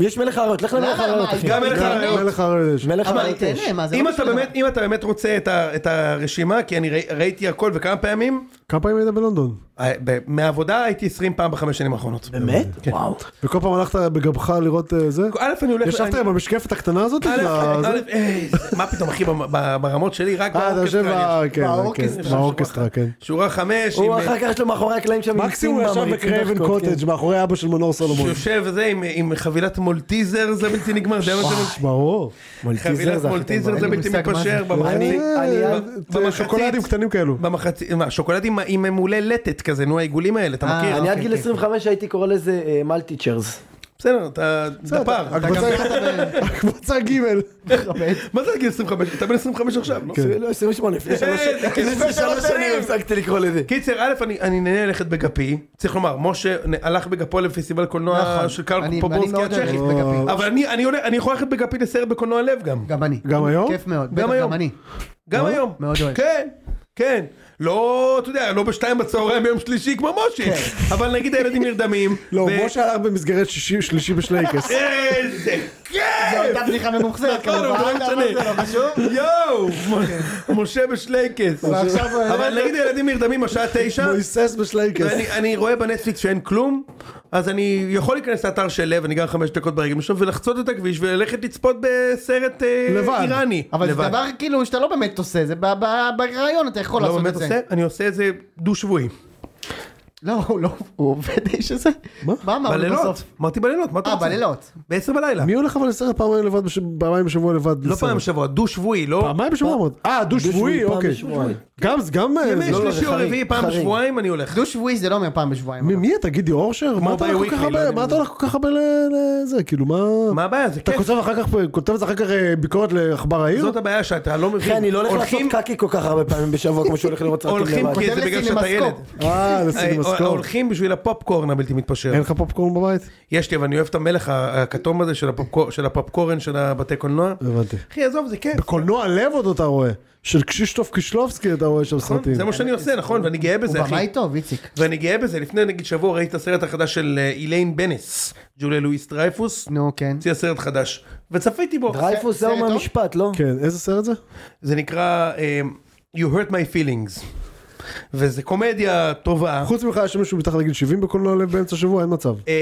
Speaker 2: יש מלך האריות, לך למלך
Speaker 4: למה?
Speaker 2: האריות,
Speaker 4: מה,
Speaker 2: אחי.
Speaker 1: גם מלך
Speaker 4: גם
Speaker 1: האריות.
Speaker 3: מלך הרדש.
Speaker 2: מלך
Speaker 4: אבל
Speaker 2: האריות. יש.
Speaker 4: תהנה, מה זה?
Speaker 1: אם
Speaker 4: לא
Speaker 1: אתה
Speaker 4: בשבילך.
Speaker 1: באמת, אם אתה באמת רוצה את ה- את הרשימה, כי אני ראי- ראיתי הכל וכמה פעמים,
Speaker 3: כמה פעמים היית בלונדון?
Speaker 1: אה, ב- מהעבודה הייתי 20 פעם בחמש שנים האחרונות.
Speaker 2: באמת?
Speaker 4: כן.
Speaker 2: וואו.
Speaker 3: וכל פעם הלכת בגבך לראות אה, זה?
Speaker 1: א', אני הולך...
Speaker 3: ישבת
Speaker 1: אני-
Speaker 3: עם המשקפת הקטנה הזאת?
Speaker 1: א',
Speaker 3: של ה-
Speaker 1: א',
Speaker 3: כאילו, זה?
Speaker 1: א', אה, מה פתאום אחי ב- ב- ברמות שלי רק
Speaker 3: אה, אתה יושב
Speaker 1: באורקסטרה. אני-
Speaker 3: ב- כן,
Speaker 4: באורקסטרה.
Speaker 3: כן, באורקסטרה, כן.
Speaker 1: שורה חמש, עם,
Speaker 2: הוא
Speaker 1: אה,
Speaker 2: אחר כך יש לו מאחורי הקלעים שם
Speaker 3: מקסימום הוא
Speaker 2: עם סימבה,
Speaker 3: ישב
Speaker 2: מריצים
Speaker 3: בקרייבן
Speaker 2: דחקות, כן.
Speaker 3: קוטג' מאחורי אבא של מנור סולומון.
Speaker 1: שיושב וזה עם- אה, עם חבילת מולטיזר זה בלתי נגמר, זה היה מה שאני-
Speaker 3: ברור.
Speaker 2: טיזר
Speaker 1: חבילת
Speaker 2: זה הכי
Speaker 1: מולטיזר
Speaker 2: טוב.
Speaker 1: זה
Speaker 4: אין לי
Speaker 1: בלתי
Speaker 4: מושג מה
Speaker 1: מתפשר
Speaker 4: זה.
Speaker 1: במחצית.
Speaker 2: אני-
Speaker 1: ב-
Speaker 3: אה,
Speaker 1: במחצית.
Speaker 3: שוקולדים קטנים כאלו.
Speaker 1: במחצית, מה, שוקולדים עם ממולי לטת כזה, נו העיגולים האלה, אתה
Speaker 4: אה,
Speaker 1: מכיר?
Speaker 2: אני עד
Speaker 4: אוקיי,
Speaker 2: גיל
Speaker 4: כן.
Speaker 2: 25 הייתי קורא לזה אה, מלטיצ'רס.
Speaker 1: בסדר, אתה דפר.
Speaker 3: בסדר, הקבוצה- כן- <laughs> הקבוצה ג'
Speaker 1: מה זה עד גיל 25? אתה בן 25 עכשיו,
Speaker 3: כן.
Speaker 1: לא?
Speaker 2: לא, 28,
Speaker 3: אה,
Speaker 2: לפני
Speaker 1: שלוש- לפני שלוש שנים
Speaker 2: הפסקתי לקרוא לזה.
Speaker 1: קיצר, א', אני אני נהנה ללכת בגפי, צריך לומר, משה נ- הלך בגפו לפסטיבל קולנוע
Speaker 4: נכון.
Speaker 1: של
Speaker 4: אני-
Speaker 1: קרל
Speaker 4: אני
Speaker 1: פופורסקי
Speaker 4: מאוד אוהב
Speaker 1: הצ'כי,
Speaker 4: ללכת בגפי.
Speaker 1: אבל אני- אני הולך- אני יכול ללכת בגפי לסרט בקולנוע לב גם,
Speaker 4: גם אני.
Speaker 3: אה, גם היום?
Speaker 4: כיף מאוד.
Speaker 1: גם
Speaker 4: בטח,
Speaker 1: היום.
Speaker 4: גם אני.
Speaker 1: <laughs> גם היום.
Speaker 4: מאוד אוהב.
Speaker 1: כן, כן. לא, אתה יודע, לא בשתיים בצהריים ביום שלישי כמו משה,
Speaker 4: כן.
Speaker 1: אבל נגיד הילדים נרדמים.
Speaker 3: לא,
Speaker 1: ו-
Speaker 3: משה הלך במסגרת שישי-
Speaker 1: <laughs>
Speaker 3: שלישי בשלייקס.
Speaker 1: איזה
Speaker 4: זו
Speaker 1: כיף!
Speaker 4: הייתה בדיחה ממוחזרת
Speaker 1: נכון, הוא
Speaker 4: כמובן,
Speaker 1: לא
Speaker 4: אבל זה לא
Speaker 1: משנה.
Speaker 4: חשוב.
Speaker 1: יואו! משה בשלייקס.
Speaker 4: ועכשיו- אה,
Speaker 1: אבל נגיד הילדים נרדמים בשעה תשע,
Speaker 3: מויסס בשלייקס.
Speaker 1: ואני אני רואה בנטפליקס שאין כלום, אז אני יכול להיכנס לאתר של לב, אני גר חמש דקות ברגל משם, ולחצות את הכביש וללכת לצפות בסרט אה,
Speaker 3: לבד.
Speaker 1: <laughs> איראני.
Speaker 4: אבל זה
Speaker 1: לבד.
Speaker 4: דבר כאילו שאתה לא באמת עושה, זה ב- ב- ברעיון אתה יכול
Speaker 1: לא
Speaker 4: לעשות
Speaker 1: באמת
Speaker 4: את
Speaker 1: עושה,
Speaker 4: זה.
Speaker 1: אני עושה את זה דו-שבועי.
Speaker 4: לא, הוא לא, הוא עובד <laughs> האיש הזה. מה אמרנו
Speaker 1: בלילות.
Speaker 4: בסוף?
Speaker 1: אמרתי בלילות, מה אתה
Speaker 4: אה,
Speaker 1: רוצה?
Speaker 4: בלילות.
Speaker 1: בעשר בלילה.
Speaker 3: מי הולך אבל לסרט פעמיים לבד, בש- פעמיים בשבוע לבד?
Speaker 1: לא
Speaker 3: לסרט?
Speaker 1: פעם בשבוע, דו-שבועי, לא...
Speaker 3: פעמיים בשבוע אמרת. אה, דו-שבועי,
Speaker 2: דו-שבועי, פעם
Speaker 3: אוקיי.
Speaker 2: בשבועיים.
Speaker 3: גם, גם... אה,
Speaker 1: ימי
Speaker 3: לא, לא,
Speaker 1: שלישי או
Speaker 2: חריג,
Speaker 1: רביעי, פעם
Speaker 2: חריג.
Speaker 1: בשבועיים אני הולך.
Speaker 4: דו שבועי זה לא אומר פעם בשבועיים.
Speaker 3: מי- מי אתה? גידי אורשר? מה אתה הולך כל כך
Speaker 1: ב-weekly, לא יודע
Speaker 3: הרבה, מה
Speaker 1: מי
Speaker 3: אתה הולך כל כך הרבה ל- לזה? כאילו, מה...
Speaker 1: מה הבעיה? זה
Speaker 3: אתה
Speaker 1: כיף.
Speaker 3: כותב אחר כך, כותב את זה אחר כך אה, ביקורת לעכבר העיר?
Speaker 1: זאת הבעיה שאתה לא מבין.
Speaker 2: אחי, אני לא הולך לעשות
Speaker 1: הולכים-
Speaker 2: קקי כל כך הרבה פעמים בשבוע כמו שהולך לראות סרטים
Speaker 1: הולכים
Speaker 2: לבד.
Speaker 1: כי זה
Speaker 4: כותב
Speaker 1: בגלל שאתה ילד.
Speaker 4: לסינמסקופ.
Speaker 3: אה,
Speaker 1: אה,
Speaker 3: לשים משכורת.
Speaker 1: הולכים בשביל הפופקורן הבלתי מתפשר.
Speaker 3: אין לך פופקורן בבית?
Speaker 1: יש לי, אבל אני אוהב את המלך ה- הכתום הזה של הפופקור- של הפופקורן של הבתי קולנוע.
Speaker 3: הבנתי.
Speaker 1: אחי, עזוב, זה כיף.
Speaker 3: קולנוע לב עוד אתה רואה. של קשישטוף קישלובסקי אתה רואה שם סרטים.
Speaker 1: נכון, זה מה שאני עושה, נכון? ואני גאה
Speaker 4: הוא
Speaker 1: בזה, אחי.
Speaker 4: במאי טוב, איציק.
Speaker 1: ואני גאה בזה. לפני, נגיד, שבוע ראיתי את הסרט החדש של אה, איליין בנס, ג'וליה לואיס טרייפוס.
Speaker 4: נו, כן.
Speaker 1: הוציאה סרט חדש. וצפיתי בו.
Speaker 2: דרייפוס
Speaker 4: סרט
Speaker 2: זהו
Speaker 4: טוב?
Speaker 2: מהמשפט, לא?
Speaker 3: כן, איזה סרט זה?
Speaker 1: זה נקרא אה, You hurt my feelings. וזה קומדיה טובה.
Speaker 3: חוץ ממך יש שם מישהו מתחת לגיל 70 בקולנוע לב באמצע השבוע? אין מצב.
Speaker 1: אה,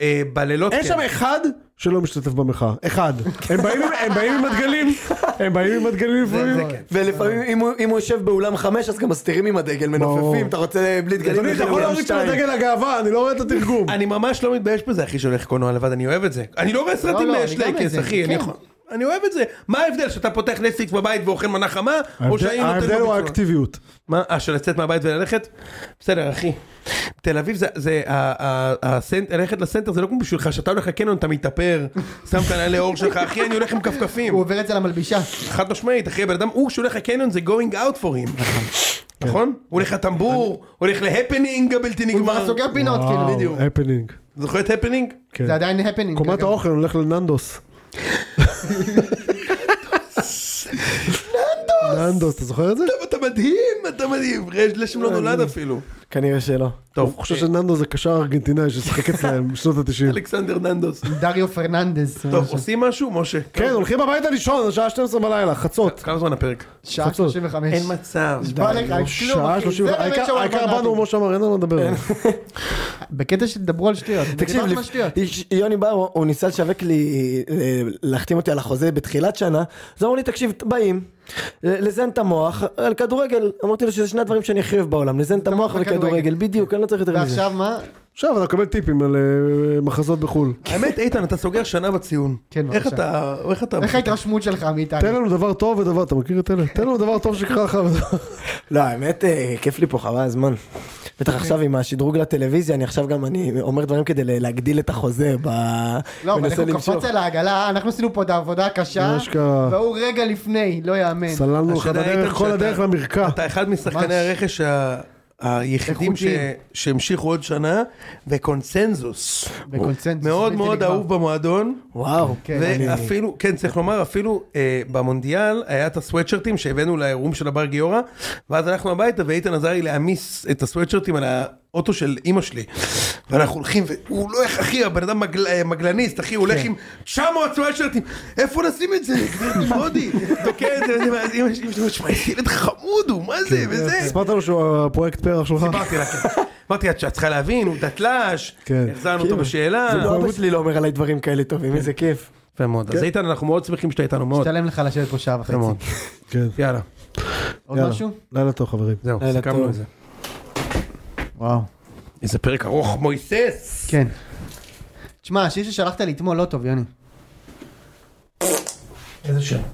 Speaker 1: אה, בלילות
Speaker 3: אין
Speaker 1: כן.
Speaker 3: שם אחד שלא משתתף במחאה. אחד. הם באים עם- הם באים עם הדגלים. הם באים עם הדגלים
Speaker 1: זה
Speaker 3: לפעמים.
Speaker 1: כן.
Speaker 2: ולפעמים
Speaker 3: אה.
Speaker 2: אם הוא- אם הוא יושב באולם חמש אז גם מסתירים עם הדגל, מנופפים, אתה רוצה בלי דגלים,
Speaker 3: אדוני, אתה יכול להוריד שם את דגל הגאווה, אני לא רואה את התרגום.
Speaker 1: אני ממש לא מתבייש בזה אחי שהולך קולנוע לבד אני אוהב את זה אני לא רואה סרטים
Speaker 4: לא, אני גם את
Speaker 1: שלייקס
Speaker 4: זה,
Speaker 1: אחי אני
Speaker 4: כן.
Speaker 1: יכול- אני אוהב את זה מה ההבדל שאתה פותח נטפליקס בבית ואוכל מנה חמה או
Speaker 3: ההבדל-
Speaker 1: שאני נותן
Speaker 3: ההבדל הוא
Speaker 1: בביצוע?
Speaker 3: האקטיביות.
Speaker 1: מה אה, של לצאת מהבית וללכת בסדר אחי. תל אביב זה, זה ה- ה- הסנט- ללכת לסנטר זה לא כמו בשבילך שאתה הולך לקניון אתה מתאפר שם את הנעלי עור שלך אחי אני הולך עם כפכפים
Speaker 4: הוא עובר את זה למלבישה.
Speaker 1: חד משמעית אחי הבן אדם הוא שהולך לקניון זה going out for him נכון? הוא הולך
Speaker 3: כן.
Speaker 1: לטמבור הוא הולך להפנינג הבלתי
Speaker 4: הוא
Speaker 1: נגמר
Speaker 4: כבר סוגר פינות, כאילו, בדיוק.
Speaker 3: הפנינג.
Speaker 1: זוכר את הפנינג?
Speaker 3: כן.
Speaker 4: זה עדיין הפנינג.
Speaker 3: קומת
Speaker 4: אגב.
Speaker 3: האוכל
Speaker 1: <laughs>
Speaker 3: הולך לננדוס. ננדוס! ננדוס, אתה זוכר את זה?
Speaker 1: אתה מדהים, אתה מדהים, לשם לא נולד אפילו.
Speaker 2: כנראה שלא.
Speaker 1: טוב,
Speaker 3: אני חושב שננדו זה קשר ארגנטינאי
Speaker 1: <laughs>
Speaker 3: ששיחק אצלהם בשנות ה-90.
Speaker 1: אלכסנדר ננדוס.
Speaker 4: דריו פרננדס.
Speaker 1: טוב, עושים משהו, משה?
Speaker 3: כן, הולכים הביתה לישון, השעה 12 בלילה, חצות.
Speaker 1: כמה זמן הפרק?
Speaker 4: שעה 35.
Speaker 1: אין מצב.
Speaker 4: בא לך, כלום,
Speaker 1: כאילו,
Speaker 3: שעה
Speaker 1: אוקיי,
Speaker 4: אחי,
Speaker 3: 30,
Speaker 4: זה באמת
Speaker 3: העיקר
Speaker 4: שואו
Speaker 3: העיקר
Speaker 4: אלמנטי.
Speaker 3: באנו, כמו שאמר, אין לנו לדבר.
Speaker 1: כן.
Speaker 4: בקטע שתדברו על שטויות.
Speaker 2: תקשיב,
Speaker 4: דיברנו על
Speaker 2: לפ-
Speaker 4: שטויות.
Speaker 2: יש- יוני בר, הוא ניסה לשווק לי, אה, להחתים אותי על החוזה בתחילת שנה, אז אמרו לי, תקשיב, באים, ל- לזיין את המוח, על כדורגל, אמרתי לו שזה שני הדברים שאני הכי אוהב בעולם, לזיין את המוח
Speaker 4: וכדורגל.
Speaker 2: וכדורגל, בדיוק, אני לא צריך יותר מזה.
Speaker 4: ועכשיו מה?
Speaker 3: עכשיו אתה מקבל טיפים על אה, מחזות בחו"ל.
Speaker 1: האמת, איתן, אתה סוגר שנה בציון.
Speaker 4: כן,
Speaker 1: איך
Speaker 4: בבקשה.
Speaker 1: אתה... איך אתה...
Speaker 4: איך ההתרשמות שלך מאיתנו?
Speaker 3: תן לנו דבר טוב ודבר, אתה מכיר את אלה? תן לנו דבר טוב שקרה לך.
Speaker 1: כן.
Speaker 2: לא, האמת, אה, כיף לי פה, חבל הזמן. בטח עכשיו עם השדרוג לטלוויזיה, אני עכשיו גם, אני אומר דברים כדי ל- להגדיל את החוזה, ב...
Speaker 4: לא, אבל
Speaker 2: מנסה
Speaker 4: איך הוא
Speaker 2: למשוך.
Speaker 4: קפץ על העגלה, אנחנו עשינו פה את העבודה הקשה,
Speaker 3: מה שקרה?
Speaker 4: והוא רגע לפני, לא יאמן.
Speaker 3: סללנו לך
Speaker 1: השאלה,
Speaker 3: בדרך,
Speaker 1: איתן,
Speaker 3: כל
Speaker 1: שאתה-
Speaker 3: הדרך למרקע.
Speaker 1: אתה אחד משחקני הרכש ה- היחידים ש-
Speaker 4: איכותיים.
Speaker 1: שהמשיכו עוד שנה, וקונסנזוס.
Speaker 4: בקונצנזוס.
Speaker 1: מאוד
Speaker 4: בלתי
Speaker 1: מאוד
Speaker 4: נגמר.
Speaker 1: אהוב במועדון.
Speaker 2: וואו.
Speaker 4: כן, אני-
Speaker 1: ואפילו, כן צריך לומר, אפילו אה, במונדיאל היה את הסוואטשרטים שהבאנו לאירועים של הבר גיורא, ואז הלכנו הביתה ואיתן עזר לי להעמיס את הסוואטשרטים על האוטו של אימא שלי. ואנחנו הולכים, והוא לא איך, אחי, הבן אדם מגל, אה, מגלניסט, אחי, הוא הולך עם 900 סוואטשרטים, איפה נשים את זה, גברת מודי? וכן, זה, זה, ואז אימא שלי אומרת, שמע, איזה ילד חמוד הוא, מה
Speaker 3: כן,
Speaker 1: זה, וזה.
Speaker 3: הסברת לו שהוא הפרויקט פרח שלך?
Speaker 1: סיפרתי לה, כן. אמרתי לה, את צריכה להבין, הוא דתל"ש,
Speaker 3: כן.
Speaker 1: החזרנו אותו
Speaker 4: אה,
Speaker 1: בשאלה.
Speaker 2: לא, אבא שלי לא אומר עליי דברים כאלה טובים, איזה כיף.
Speaker 1: יפה מאוד. אז איתן, אנחנו מאוד שמחים שאתה איתנו, מאוד.
Speaker 4: משתלם לך לשבת פה שעה
Speaker 1: יפה מאוד.
Speaker 4: וחצי.
Speaker 3: כן.
Speaker 1: יאללה.
Speaker 4: עוד
Speaker 3: יאללה.
Speaker 4: משהו?
Speaker 3: לילה טוב חברים.
Speaker 1: זהו,
Speaker 2: לילה
Speaker 1: סיכמנו
Speaker 2: טוב.
Speaker 1: את זה.
Speaker 4: וואו.
Speaker 1: איזה פרק ארוך, מויסס!
Speaker 4: כן. תשמע, השיר ששלחת לי אתמול לא טוב, יוני.